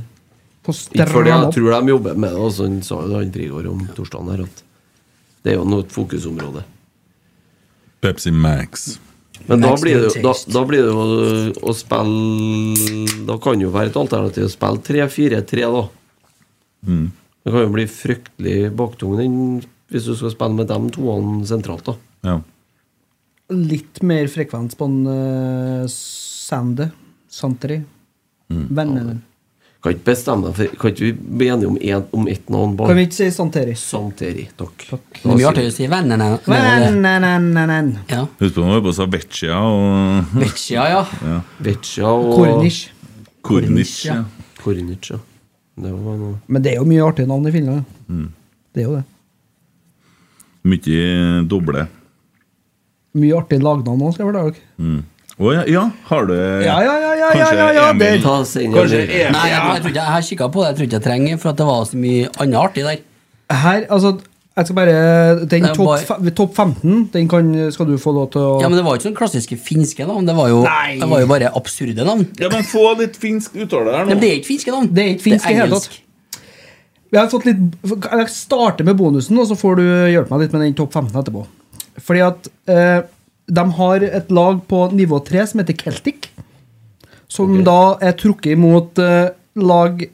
På
Ikke fordi
stranda.
jeg tror de jobber med det. Også, han sa jo det han Frigård om torsdagen her at det er jo noe et fokusområde.
Pepsi Max.
Men da
Next
blir, det, jo- da,
taste.
da blir det jo å spille Da kan jo være et alternativ å spille 3-4-3, da.
Mm.
Det kan jo bli fryktelig baktung den- hvis du skal spille med dem toene sentralt, da.
Ja.
Litt mer eh, frekvens på en uh, Sande. Santeri. Vennene.
Kan ikke bestemme deg for Kan ikke vi bli enige om, en, om ett navn
Kan vi
bare?
ikke si Santeri?
Santeri. Takk.
Det er mye artigere å si vennene. vennene. Ja.
Husk på, nå var det på Savecia og
Vecchia, ja.
Veccia og
Kornic.
Kornic. Ja.
Kornic, ja. Det var noe.
Men det er jo mye artige navn i Finland. ja. Det er jo det.
Mye doble.
Mye artige lagnavn òg, skal jeg fortelle dere.
Mm. Å ja, ja, har du
Ja, ja, ja, ja, ja,
Kanskje
ja, ja,
Emil.
det-
Ta oss inn i-
Kanskje Emil.
Nei, jeg, jeg, tror ikke- jeg har kikka på det, jeg tror ikke jeg trenger, for at det var så mye annet artig der.
Her, altså jeg skal bare, eh, Den
Det er
topp
bare-
fe- topp 15 den kan, skal du få lov til å
Ja, Men det var jo ikke sånn klassiske finske navn, det var jo,
Nei.
det var jo bare absurde navn.
Ja, men få litt finsk uttale her
Men det
nå.
er ikke finske navn.
Det er ikke finsk i hele
engelsk.
tatt. Vi har fått litt, jeg starter med bonusen, og så får du hjelpe meg litt med den topp 15 etterpå. Fordi at eh, de har et lag på nivå 3 som heter Celtic, som da er trukket imot eh, lag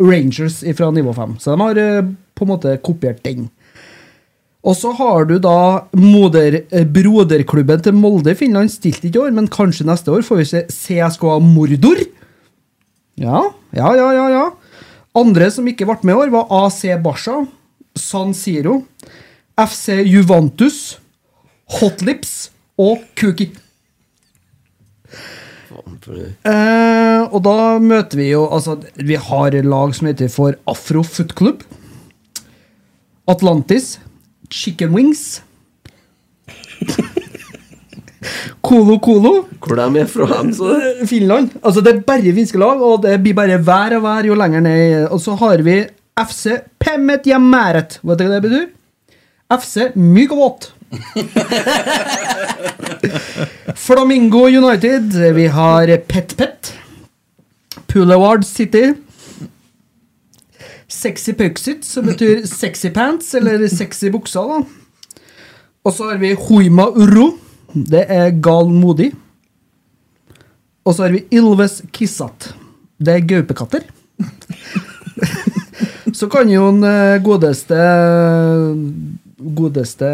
Rangers fra nivå 5. Så de har eh, på en måte kopiert den. Og så har du da moder, eh, broderklubben til Molde i Finland stilt ikke i år, men kanskje neste år får vi se CSKA Mordor. Ja, ja, ja, ja, ja. Andre som ikke ble med i år, var AC Barca, San Siro, FC Juventus, Hotlips og Kuki.
Faen, for det-
Eh, og da møter vi jo Altså, vi har lag som heter for Afro Foot Club, Atlantis, Chicken Wings Colo Colo.
Hvor de er fra, dem, så det
Finland. Altså Det er bare finske lag, og det blir bare vær og vær jo lenger ned. Og så har vi FC Pemmet Jemeret. Vet du hva det betyr? FC Myk og våt. Flamingo United. Vi har Pet Pet. Puleward City. Sexy Puxit, som betyr sexy pants, eller sexy bukser, da. Og så har vi Hoima Urro. Det er gal modig. Og så har vi Ylves Kissat. Det er gaupekatter. så kan jo den eh, godeste Godeste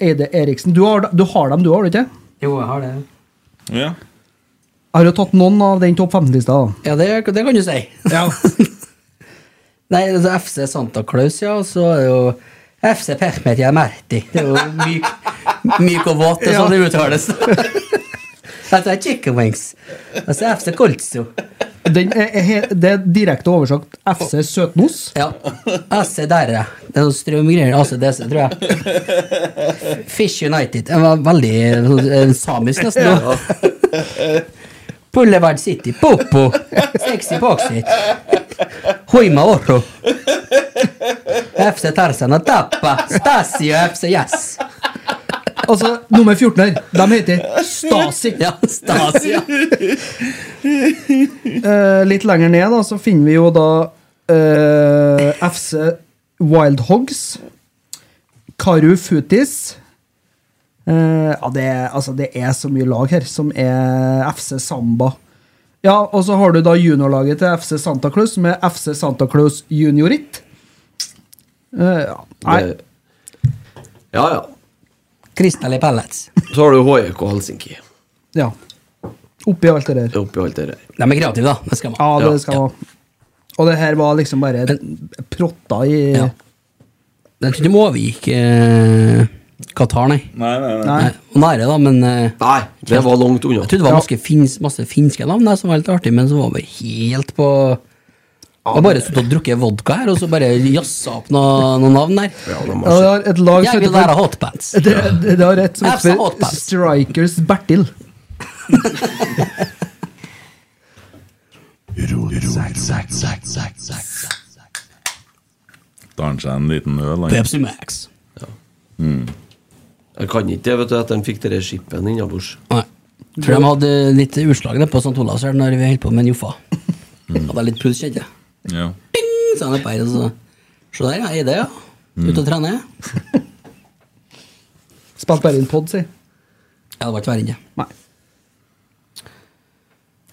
Eide Eriksen Du har, du har dem, du, har du ikke?
Jo, jeg har det.
Ja.
Jeg har jo tatt noen av den topp 15-lista. da.
Ja, det, det kan du si. Nei, det er FC Santa Claus, ja, og så er det jo FC Permet Merti. Det er jo myk, myk og våt, det er sånn det uttales. Dette er chicken wings. Altså, Og så FC Colzo.
Den er, er, he- det er direkte oversagt FC Søtnos.
Ja. FC Derre. Det er noe strømgreier. ACDC, tror jeg. Fish United. Den var veldig sånn, eh, samisk, nesten. nå. Boulevard City. Popo. Sexy Poxit. Hoima Orro. FC Tarzan og Tappa. Stasi og FC Yes.
Altså, nummer 14 her. De heter Stasi.
Ja, Stasi. ja.
Eh, litt lenger ned da, så finner vi jo da eh, FC Wild Hogs, Karu Futis Eh, ja, det, er- altså, det er så mye lag her som er FC Samba. Ja, og så har du da juniorlaget til FC Santa Claus, som er FC Santa Claus Juniorit. Eh, ja. Nei,
Ja, ja.
Crystal i Pellets.
Så har du HJK Helsinki
ja. Oppi alt det der.
oppi alt det der.
De er kreative, da. Det skal man.
Ja,
Ja,
det skal
ja.
man. Og det her var liksom bare protta i
Ja. Jeg tror ikke de overgikk eh, Qatar, nei.
Nei, nei, nei.
Nei.
nei. Nære, da, men eh,
Nei, det var langt unna.
Jeg trodde det var masse, fins, masse finske navn der som var litt artig, men så var vi helt på Jeg har bare sittet og drukket vodka her, og så bare jazza opp noen noen navn der.
Ja,
Ja,
de har
det
sett-
har et lag som
Jeg vil
heter
være hotpants.
Det, det, det har rett som
Jeg sa
heter
hotpants.
Strikers Bertil.
Tar han seg en liten øl, han.
Pepsi Max.
Jeg kan ikke det, vet du, etter han fikk det der skippet innabords.
Nei. Tror de hadde litt utslag der på St. Olavs her når vi holdt på med en Joffa.
Mm.
Hadde litt puls, kjente jeg.
Ja.
Så han er på her, og så Se der, ja. Eide, ja.
Mm.
Ute og trene. Ja,
Spilte bare inn pod, si.
det var ikke verre enn det.
Nei.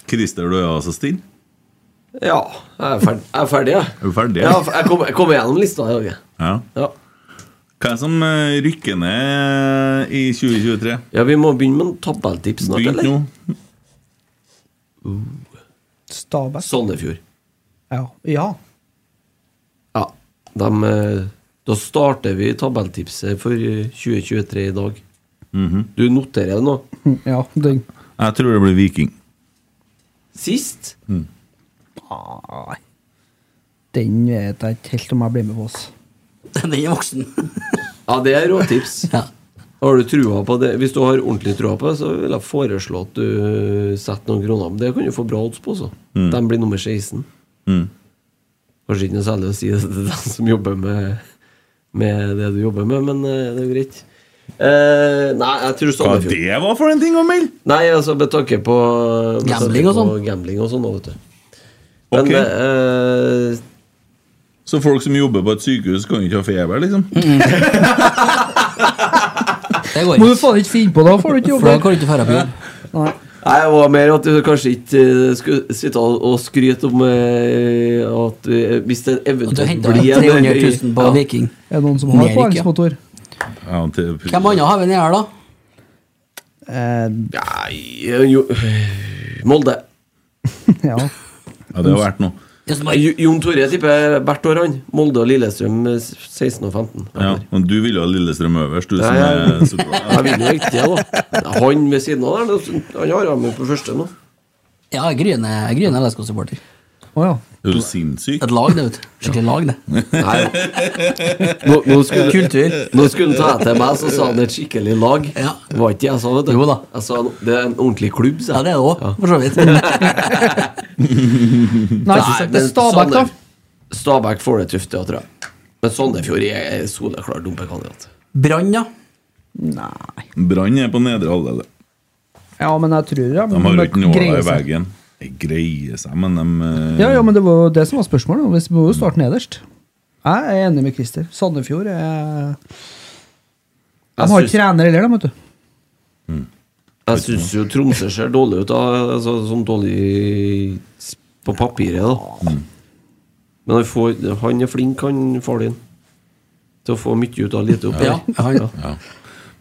Christer, du er altså stille?
Ja, jeg er ferdig, jeg. Er ferdig, jeg.
Er du ferdig?
Ja, jeg kom- jeg kommer gjennom lista. i dag, jeg.
Ja.
Ja.
Hva er det som eh, rykker ned i 2023?
ja, vi må begynne med en tabelltips snart,
Begynt
eller?
nå.
Stabæk.
Sandefjord.
Ja. ja.
Ja. dem, eh, da starter vi tabelltipset for eh, 2023 i dag.
Mhm.
Du noterer nå.
Hm, Ja, den
Jeg tror det blir Viking.
Sist
Nei. Den vet jeg ikke helt om jeg blir med på. Oss.
Den er voksen.
Ja, det er råtips.
Ja.
Har du trua på det? Hvis du har ordentlig trua på det, så vil jeg foreslå at du eh, setter noen kroner. Men det kan du få bra odds på, så. De blir nummer 16.
Mm.
Kanskje ikke noe særlig å si det til dem som jobber med, med det du jobber med, men eh, det er jo greit. Eh, nei, jeg tror
Hva
Sandefjord
det var for en ting å melde?!
Nei, altså med tanke på med
Gambling
tanke
og
på
sånn.
Gambling og sånn, da, vet du. Men
Ok.
eh,
Så folk som jobber på et sykehus, kan ikke ha feber, liksom?
Mm. Det går
Må du
ikke.
faen ikke finne på, da får du ikke
For da
jobbe!
kan du ikke dra på jobb.
Nei.
Nei, det var mer at du kanskje ikke eh, skulle sitte og og skryte om eh, at eh, hvis det
Og du
eventuelt
henter 300 000 på
Ja.
Viking.
Er det noen som har
Nedrykk, ja.
påhengsmotor?
Ja, til-
Hvem andre har vi nede her, da?
Eh,
Nei, eh, jo, eh, Molde.
ja.
Ja, det har vært noe.
Nei, Jo- Jon Tore tipper hvert år, han. Molde og Lillestrøm eh, 16 og 15. hvert
Ja,
år.
men du ville ha Lillestrøm øverst, du som
Ja, ja.
er supporter.
Jeg vil jo ikke det, da. Han ved siden av der, det- han har ham på første nå.
Ja, Gryne Gryne LSK-supporter.
Å ja.
Er du sinnssyk?
Et lag, det, vet du. Skikkelig lag, det.
Nei, nå, nå skulle
Kultur.
Eh, Nå skulle han ta til meg, så sa han et skikkelig lag.
Ja.
Det var ikke det jeg sa, vet du.
Jo da.
Jeg sa det er en ordentlig klubb, sa
Ja, det er det òg,
Ja.
for så vidt. Men
Nei, det er Stabæk, da.
Stabæk får det tøft, ja, tror jeg. Men Sandefjord er soleklar dumpekandidat.
Brann, ja.
Brann er på nedre halvdel.
Ja, men jeg tror ja,
De har jo ikke nåla
greier
i
seg.
veggen. De greier seg, men de eh,
Ja, ja, men det var jo det som var spørsmålet. og Hvis vi må jo starte nederst. Jeg er enig med Christer. Sandefjord er De har
Jeg syns-
ikke trener heller, de, vet du.
Jeg syns jo Tromsø ser dårlig ut, da. Altså, sånn dårlig s- på papiret, da.
Mm.
Men han, får, han er flink, han far din. Til å få mye ut av lite opp.
ja. Han,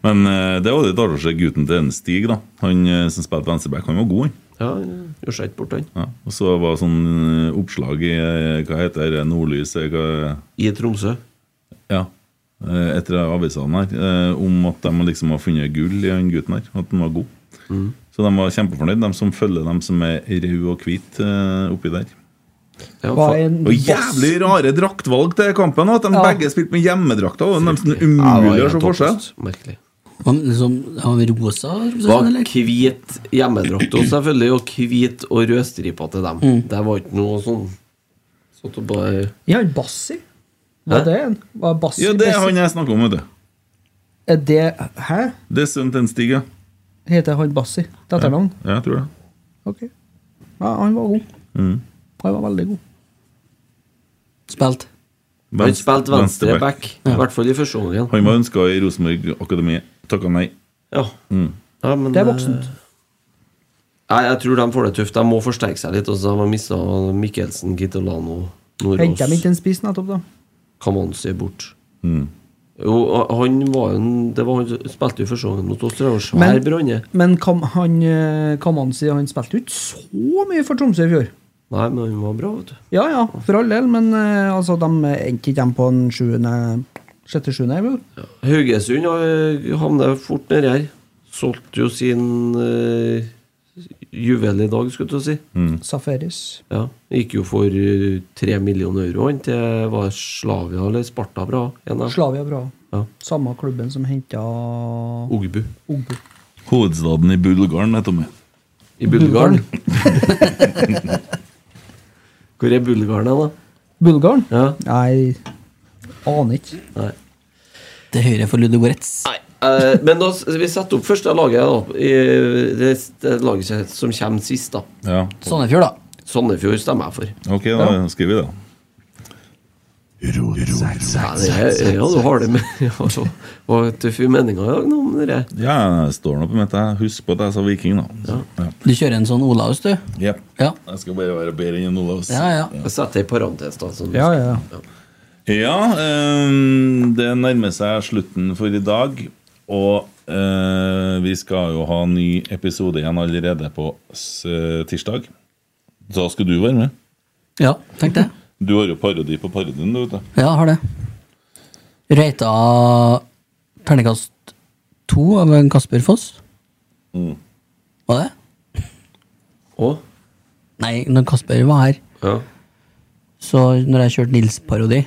Men eh, det var litt artig å se gutten til en Stig, da. Han eh, som spilte venstreback, han var god, han.
ja han gjør seg ikke bort, han.
Ja. Og så var det sånn eh, oppslag i eh, hva heter det, Nordlys eh, hva,
I Tromsø.
Ja. eh, Etter avisene her, eh, om at de liksom har funnet gull i han gutten her. At han var god. Så de var kjempefornøyd, de som følger dem som er røde og hvite eh, oppi der.
Ja,
Var
fa-
en
Og
boss.
jævlig rare draktvalg til kampen. At de
Ja.
begge spilte med hjemmedrakter. Det var nesten
Ja, det var
umulig å se
helt
forskjell.
håpløst, Merkelig.
han, liksom, han rosa,
Det var
Rosenborg, eller?
hvit hjemmedrakt også, selvfølgelig, og hvit og rødstripa til dem.
Mm.
Det var ikke noe sånn Satt og bare
Ja, han Bassi. Hva
Hæ?
er det? en? Hva er Bassi?
Ja, det er
Bassi?
han jeg snakker om, vet du.
Er det Hæ?
Det er sønnen til en Stig, ja.
Heter han Bassi? Det er etternavn?
Ja, Jeg tror det.
Ok. Ja, han var god.
Mm.
Han var veldig god.
Spilt.
Han spilte venstre
venstreback.
back, i hvert fall i første omgang.
Han var ønska i Rosenborg Akademi. Takka nei.
Ja. Ja, men,
Det er voksent.
eh, Nei, jeg tror de får det tøft. De må forsterke seg litt. Og så har man mista Mikkelsen, Gitolano, Nordås,
Henter de ikke en spiss nettopp, da?
Kamanzi bort. Jo, og han var jo en Det var han som spilte jo første gangen mot oss. Det var jo svær
Men-
branne.
Men Kam, han, eh, Kamanzi han spilte jo ikke så mye for Tromsø i fjor.
Nei, men han var bra, vet du.
Ja ja, for all del, men eh, altså, de endte ikke de på en sjuende Sjette-sjuende, vel?
Haugesund eh, havner fort nedi her. Solgte jo sin eh, juvel i dag, skulle jeg til å si.
Mm.
Safaris.
Ja, Gikk jo for eh, tre millioner euro han til var Slavia eller Sparta bra. En av
Slavia bra.
Ja.
Samme klubben som henta
Ogbu.
Ogbu.
Hovedstaden i Bulgaren, heter Tommy.
I Bulgaren. Hvor er Bulgaren, da?
Bulgaren?
Ja.
Nei, aner ikke.
Nei.
Til høyre for Ludogorets.
Nei. eh, men da, s- vi setter opp første laget, da. I, det, det laget som kommer sist, da.
Ja.
Sandefjord, da.
Sandefjord stemmer jeg for.
Ok, da skriver vi det.
Ja, det er, ja, du har det med ja, så, Og tøffe meninger i dag, nå, men det er-
Ja, jeg står nå på mitt. jeg. Husk på at jeg sa viking, da. Ja.
Du kjører en sånn Olaus, du.
Jep.
Ja.
Jeg skal bare være bedre enn Olav. ass.
Ja, ja.
Jeg setter i parentes, da. Sånn.
Ja, ja.
Ja, ehm, det nærmer seg slutten for i dag. Og eh, vi skal jo ha en ny episode igjen allerede på s- tirsdag. Da skal du være med.
Ja, tenk det.
Du har jo parodi på parodien, du, vet du.
Ja, jeg har det. Reita terningkast to av en Kasper Foss. Var det?
Å?
Nei, når Kasper var her,
Ja.
så når jeg kjørte Nils-parodi,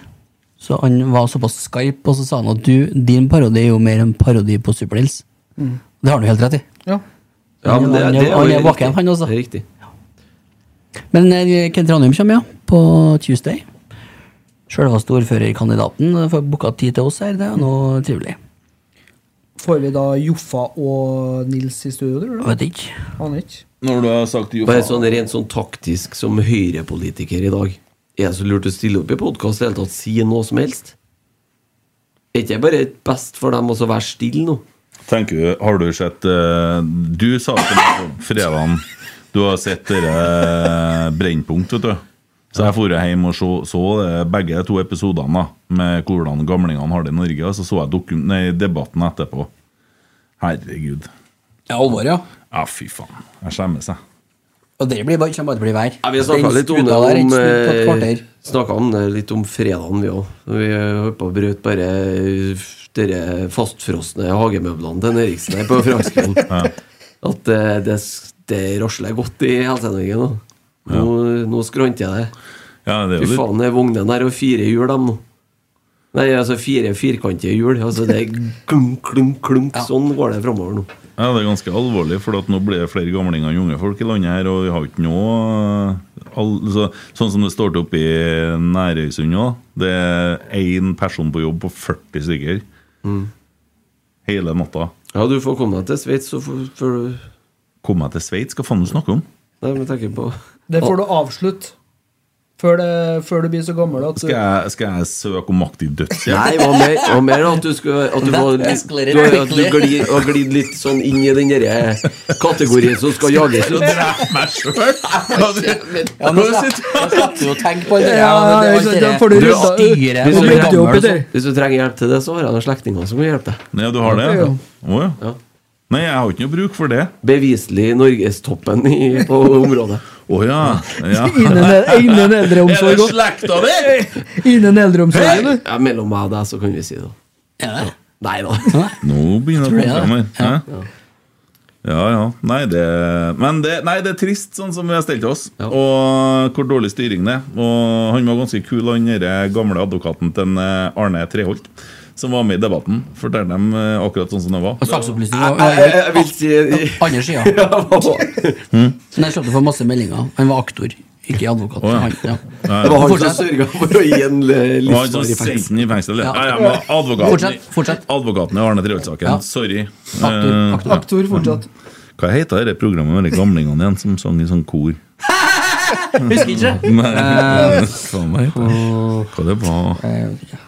så han var såpass skarp, og så sa han at du, din parodi er jo mer en parodi på Super-Nils.
Mm.
Det har han jo helt rett i.
Ja.
ja men det,
Han er-
det er jo
han er
riktig.
våken, han også.
Det er riktig.
Men eh, Kent Ranum kommer, ja. På Tuesday. Sjølveste ordførerkandidaten eh, får booka tid til oss her. Det er noe trivelig.
Får vi da Joffa og Nils i studio, tror du?
Vet ikke.
Aner ikke.
Når du har sagt jo
Bare sånn rent sånn taktisk som høyrepolitiker i dag. Er det så lurt å stille opp i podkast i det hele tatt? Si noe som helst? Er ikke det bare best for dem også å være stille nå?
Tenker du, har du sett eh, Du sa det til meg på fredagen Du har sett dere Brennpunkt, vet du Så jeg for hjem og så, så det, begge to episodene da, Med hvordan gamlingene har det i Norge Og så så jeg dokum- nei, debatten etterpå Herregud
Ja, alvor, ja.
Ja, fy faen, jeg skjemmer seg
Og det blir bare, kommer bare til å bli vær.
Ja, vi har snakka
Den
litt om det
skuta der er ikke snudd på et
om,
kvarter.
eh, snakket om det litt om fredagen, vi òg. Vi holdt på å bryte bare de fastfrosne hagemøblene til Eriksen her på fredagskvelden. At eh, det, s- det rasler godt i Helse-Norge nå. Nå, nå skranter jeg det.
ja, det er
Fy
jo litt,
faen, det er vognene her og fire hjul, dem nå. Nei, altså fire firkantige hjul. Altså det er klunk, klunk, klunk. Sånn går det framover nå.
ja, det er ganske alvorlig For at nå blir det flere gamlinger enn unge folk i landet her Og vi har jo ikke noe eh, all, så, Sånn som det står til oppe i Nærøysund nå Det er en person på jobb på 40 stykker Hele natta
Ja, du får komme deg til Sveits, så får får du
Kom jeg til Sveits, hva faen du snakker om?
Nei, men tenker på
Det får du avslutte. Før, det, før du blir så gammel at du
Skal jeg, skal jeg søke om aktiv dødshjelp?
Nei, hva mer, hva mer da? At du skulle At du, var,
That escalated
du, har- at du
quickly.
glir, har glidd litt sånn inn i den derre kategorien som skal jages.
Til å drepe meg sjøl!
Ja, nå satt- jeg satt jo og tenkte på det der.
Ja,
men det
ja,
var
ikke sant,
alt
da får du
det der
rydda-
styret
Hvis
og
du
blir
rydder opp i
gammel,
det.
så-
Hvis du trenger hjelp til det, så har jeg noen slektninger som kan hjelpe deg.
Ja, du har det?
Ja, ja.
Å ja.
Ja.
Nei, jeg har ikke noe bruk for det.
Beviselig norgestoppen i- på området.
Å ja. ja.
Innen, innen eldreomsorg òg.
slekta di?!
Innen eldreomsorgen, du.
Ja, mellom meg og deg, så kan vi si det.
Ja, det er det.
Nei da.
Nå begynner
Tror
det
jeg
å komme
det.
fram her. Hæ? Ja, ja. Nei, det, men det, nei, det er trist, sånn som vi har stelt oss,
Ja.
og hvor dårlig styring det er. Og han var ganske kul, han derre gamle advokaten til en, eh, Arne Treholt, som var med i debatten. Fortalte dem eh, akkurat sånn som det var.
Og saksopplysning var-
Jeg, jeg, jeg vil si
Andre sida. Men jeg skjønte for masse meldinger. Han var aktor, ikke advokat.
Å, ja.
Han, ja.
Det var han som
Fortsett.
sørga for å gi en eh,
Det var han som
livsvarig
sendte
fengsel.
den i fengsel. Ja.
Ja.
Ja, ja, men advokaten,
Fortsett, fortsett.
advokaten i Arne Treholt-saken.
Ja.
Sorry.
Aktor,
Eh,
aktor.
Aktor fortsatt.
Hva heter det programmet med de gamlingene igjen som sang i sånn kor?
Husker ikke.
Nei, faen meg. Hva det var
Jeg vet ikke.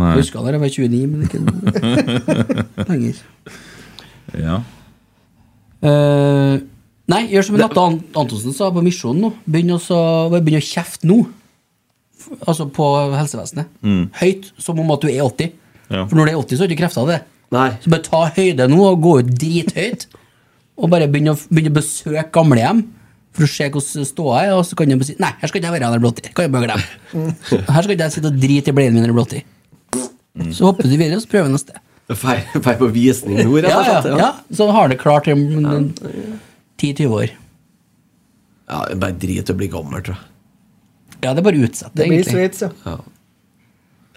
Nei.
Jeg husker da jeg var 29, men ikke lenger.
Ja.
Eh, nei, gjør som Natta Ant Antonsen sa på Misjonen nå. Begynn også, bare begynn å kjefte nå. F- Altså på helsevesenet. Høyt, som om at du er 80.
Mm. Ja.
For når du er 80, så har du ikke krefter til det.
Nei.
Så bare ta høyde nå og gå ut drithøyt. Og bare begynne å, begynne å besøke gamlehjem for å se hvordan ståa er. Og så kan jeg bare si Nei, her skal ikke jeg være når jeg blir 80. Kan jeg bare glemme. Her skal ikke jeg sitte og drite i bleien min når jeg blir 80. Så hopper du videre, og så prøver vi neste.
Feil på visning nå, rett
Ja,
og
ja,
slett.
ja. Så har det klart i en- en 10-20 år.
Ja, bare drit i å bli gammel, tror jeg.
Ja, det er bare å utsette,
Det blir
egentlig.
Sveits, ja.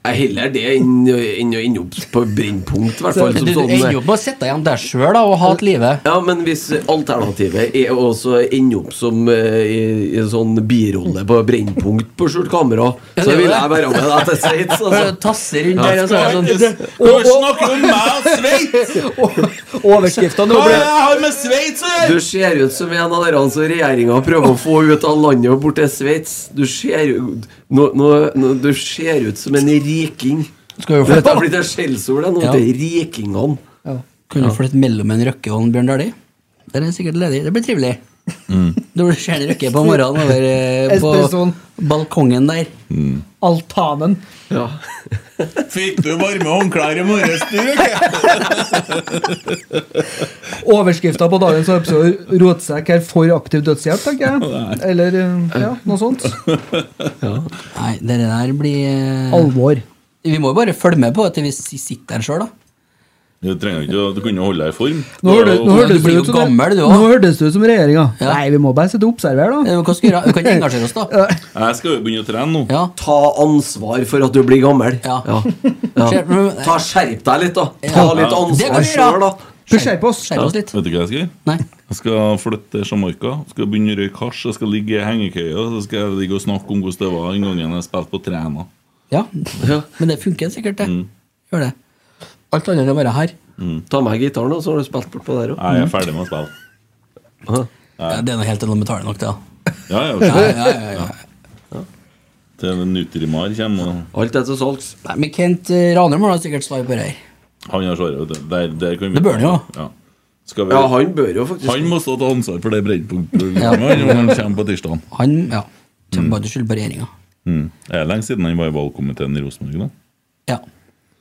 Jeg heller det enn eh, enn å ende opp på brennpunkt, i hvert fall.
Du
som
du
sånn,
ender jo opp med å sitte igjen der sjøl og hate livet.
Ja, men hvis alternativet er å også ende opp som eh, i, i en sånn birolle på Brennpunkt på skjult kamera,
Ja, det er
så
jo
vil
det.
jeg være med deg til Sveits.
Bare
Altså.
Tasse rundt der og så er det sånn
Hvorfor snakker du om meg og Sveits?!
Overskrifta nå ble
jeg har med Sveits å
Du ser ut som en av dere som regjeringa prøver å få ut av landet og bort til Sveits. Du ser jo- nå, nå, nå, Du ser ut som en riking.
Skal jo
Dette
flytte,
har blitt et skjellsord, det nå,
Ja.
til rikingene.
Kunne du flytte mellom en Røkke og en Bjørn Dæhlie? Der er det sikkert ledig. Det blir trivelig. Når du ser en Røkke på morgenen over eh,
Espressoen.
på balkongen der.
altanen.
Ja.
Fikk du varme håndklær i morges, du?
Overskrifta på dagens episode 'Rotsekk er for aktiv dødshjelp', tenker jeg. Eller eh, ja, noe sånt.
Nei, det der blir eh,
Alvor.
Vi må jo bare følge med på at vi si- sitter der sjøl, da.
Du trenger ikke å- Du kunne jo holde deg i form.
Nå, hørte, nå,
Du
hørte-
hørtes
Du blir
det
jo
ut som det-
gammel, du også.
nå hørtes det ut som regjeringa.
Ja.
Nei, vi må bare sitte og observere,
Eh,
da.
Hva skal vi gjøre? Vi kan ikke engasjere oss, da.
er jo- Jeg skal jo begynne å trene nå.
Ja.
Ta ansvar for at du blir gammel.
Ja.
Ja.
Skjer- men-
Ta Skjerp deg litt, da. Ta
Ja.
litt
Det kan
ansvar
vi gjøre.
sjøl, da.
Skjerp oss.
Skjerp oss litt.
Vet du hva jeg skal gjøre?
Nei.
Jeg skal flytte til Jamaica. Skal begynne å røyke hasj. Jeg skal ligge i hengekøya. Så skal jeg ligge og snakke om hvordan det var den gangen jeg spilte på Træna.
Ja.
Ja.
Men det funker sikkert, det. Gjør det. Alt annet enn å være her.
Ta med gitaren, da, så har du spilt bort på der òg.
Mm.
Nei, Jeg er ferdig med å spille.
Ja, det er noe helt annet å betale nok, det. da.
Ja, ja,
Ja,
ja.
ja, ja, ja.
Til Nutrimar kommer og
Alt er til salgs.
Nei, men Kent eh, Ranum har da sikkert svar på det her.
Han har svaret. vet du. Der, der kan vi
Det bør han jo.
Ja. Skal vi...
Ja, han bør jo faktisk
Han må stå til ansvar for det
Ja.
Brennpunkt-programmet når han kommer på tirsdag.
Han ja, kommer bare til skyld på regjeringa.
Mm. Det er lenge siden han var i valgkomiteen i Rosenborg. da.
Ja.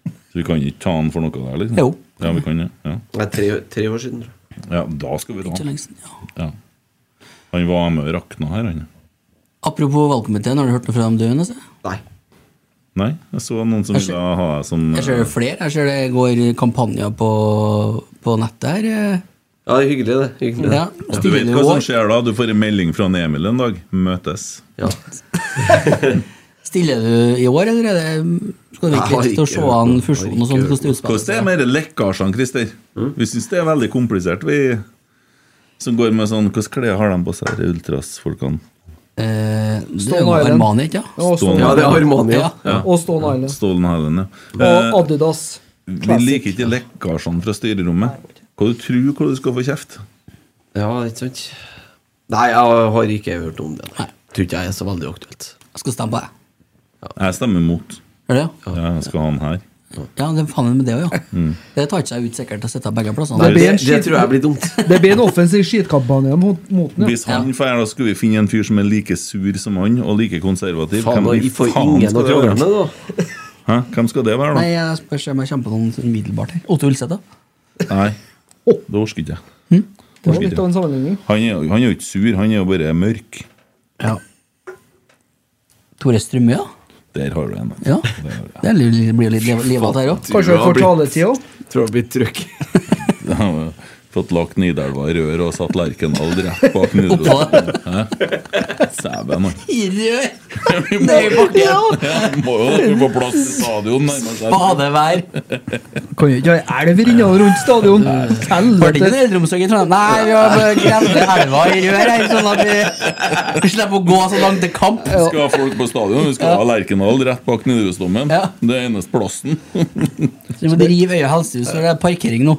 Så vi kan ikke ta han for noe der, liksom?
Jo.
Ja, vi kan det. Ja.
Nei, tre, tre år siden. tror jeg.
ja, da skal vi ta
Ikke
han.
lenge siden. Ja.
Ja. Han var med og rakna her, han.
Apropos valgkomiteen, har du hørt noe fra dem du, Nesse?
Nei.
Nei, jeg så noen som
Jeg ser-
ville ha deg som
Jeg ser det
eh,
flere. Jeg ser det går kampanjer på, på nettet her. eh.
Ja, det er hyggelig, det. Hyggelig, det.
Ja,
Du vet hva
stiller,
som
du,
skjer da? Du får en melding fra en Emil en dag. Møtes.
Ja.
stiller du i år, eller er det, skal du
Jeg har
vente litt til å
ikke
se
hørt
an
noe.
fusjonen
Jeg har
og
ikke
sånn?
hørt
Hvordan det utspiller
Hvordan det er med de lekkasjene, Christer? Vi syns det er veldig komplisert, vi som går med sånn Hvilke klær har de på seg, de Ultras-folkene?
Eh, det er
Stone
jo
Island.
Armani, ikke sant?
Og Stone,
ja, det er Armania.
Ja.
og Stone Island.
Stolen Helen, ja. Eh,
Eh,
Og Adidas.
Vi liker ikke lekkasjene fra styrerommet. Hva du tror hvor du skal få kjeft?
Ja, ikke sant? Nei, jeg har ikke hørt om det. Nei. Tror ikke jeg er så veldig aktuelt.
Jeg skal stemme på deg.
Jeg stemmer mot.
Gjør det, ja?
Ja, Mm. jeg skal ha han her.
Ja, det er faen med det òg, ja. Det tar ikke seg ut sikkert å sitte begge plassene.
Det
Det,
blir en
det
skit-
tror jeg blir dumt.
Det blir en offensiv skitkampanje mot mot den. ja.
Hvis han får her, da skal vi finne en fyr som er like sur som han, og like konservativ.
Faen,
i
da får ingen å
skal det
krangle
være?
med, da.
Hæ? Hvem skal det være,
Nei, jeg spør se om jeg kommer på noen sånn umiddelbart her. Otto Ulseth, da?
da? Nei. Det orker ikke jeg.
Hm?
Det var
Orker
litt av
ikke.
en sammenligning.
Han er, jo- han er jo ikke sur, han er jo bare mørk.
Ja. Tore Strømøy, da?
Der har du en.
Ja.
Der har du en.
Det er litt- blir litt liv- liv av det her òg.
Kanskje vi
har
får
blitt-
taletid òg.
Tror jeg blir trøkk.
Da har vi Fått lagt Nidelva i rør og satt Lerkendal rett bak Nidaros. Hæ? Sæven, han.
Nei, bakken!
Må jo da, vi får plass til stadion nærmest her.
Badevær!
Kan jo ikke ha elver inne og rundt stadion.
Var det ikke
Helvete.
en eldreomsorg i Trondheim? Nei, vi har bare glemt elva i rør her, sånn at vi, vi slipper å gå så langt til kamp.
Vi skal ha folk på stadion. Vi skal ha Lerkendal rett bak Nidarosdomen.
Ja.
Det er eneste plassen.
Så vi må rive Øya helsehus, for det er parkering nå.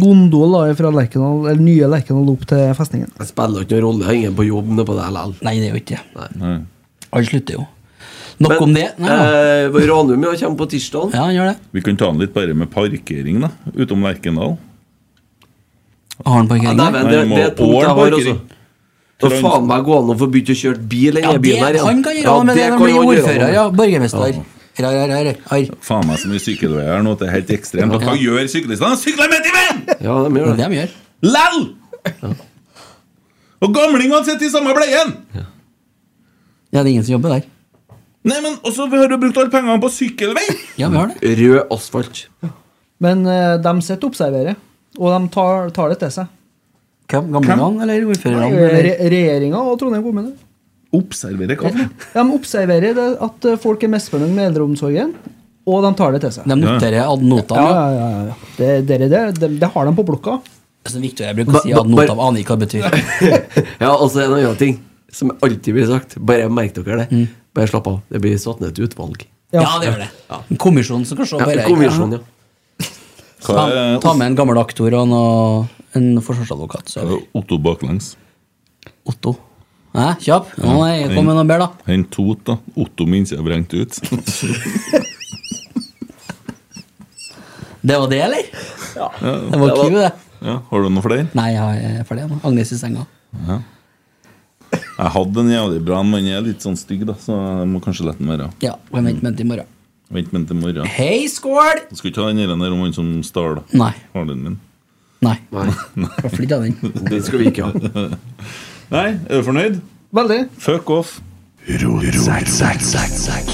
Gondol da, fra Lerkendal, eller nye Lerkendal opp til festningen.
Det spiller ikke noen rolle. Jeg er ingen på jobb nede på det likevel.
Nei, det er jo ikke det.
Nei.
Alt slutter jo. Nok om det. Nei, ja.
eh, Ranum ja, kommer på tirsdag.
ja, han gjør det.
Vi kan ta den litt bare med parkering, da. Utom Lerkendal.
Har han
Ja,
parkering der?
Dæven, det, det er et punkt jeg har også.
Årparkering.
Da faen meg gå an å få begynt å kjøre bil i
Ja,
denne
det,
byen her. ja.
han kan gjøre noe med det
kan
når han blir
han gjøre
ordfører,
noe
ja.
med.
Borgermester. Rar, rar, rar, rar.
Faen meg så mye sykkelveier her nå at det er helt ekstremt. Og Hva gjør syklistene? De Sykler midt i veien!
Ja, de
Det er
gjør
det
det.
de gjør.
Læll! Og gamlingene sitter i samme bleien!
Ja, det er ingen som jobber der.
Nei, men også, Vi har jo brukt alle pengene på sykkelvei!
Ja, vi har det.
Rød asfalt.
Men eh, de sitter og observerer, og de tar, tar det til seg. Eh,
Hvem? Gamlingene eller ordførerne?
Re
eller-
Regjeringa og Trondheim kommune.
Observerer hva? for noe?
De observerer det at eh, folk er misfornøyd med eldreomsorgen, og de tar det til seg.
De noterer ad notam.
Ja,
Ja,
ja, ja, ja. Det, det, det, det, det har de på blokka.
Altså, Victor, jeg bruker å si
Ba-
ad
ba-
notam, aner ikke hva det betyr.
Ja, og så er det en annen ting som alltid blir sagt. Bare merk dere det. Bare slapp av. Det blir satt ned et utvalg.
Ja.
Ja, det gjør det. En kommisjon som kan se
Ja,
bare-
Kommisjon,
Ja.
ja.
Hva
Ta,
er
ta med en gammel aktor og noe, en forsvarsadvokat. Så er det
Otto baklengs?
Otto. Hæ, kjapp? Å nei, kom med noe bedre, da.
En tot, da. Otto minst jeg vrengte ut.
Det var det, eller? Det var
Det var-
cue, det.
Ja, har du noen flere?
Nei, jeg er ferdig. nå. Agnes i senga.
Jeg hadde en jævlig bra en, men jeg er litt sånn stygg, da, så jeg må kanskje la den være.
Ja, hvem venter med til i morgen?
Vent med den til morgen.
Hei, skål!
Du skal ikke ha den der der om han som stjal
Nei.
faren din?
Nei.
Nei,
Hvorfor ikke ha den?
den skal vi ikke ha.
Nei, er du fornøyd?
Veldig.
Fuck off.
Ro, ro, ro, ro, ro, ro, ro.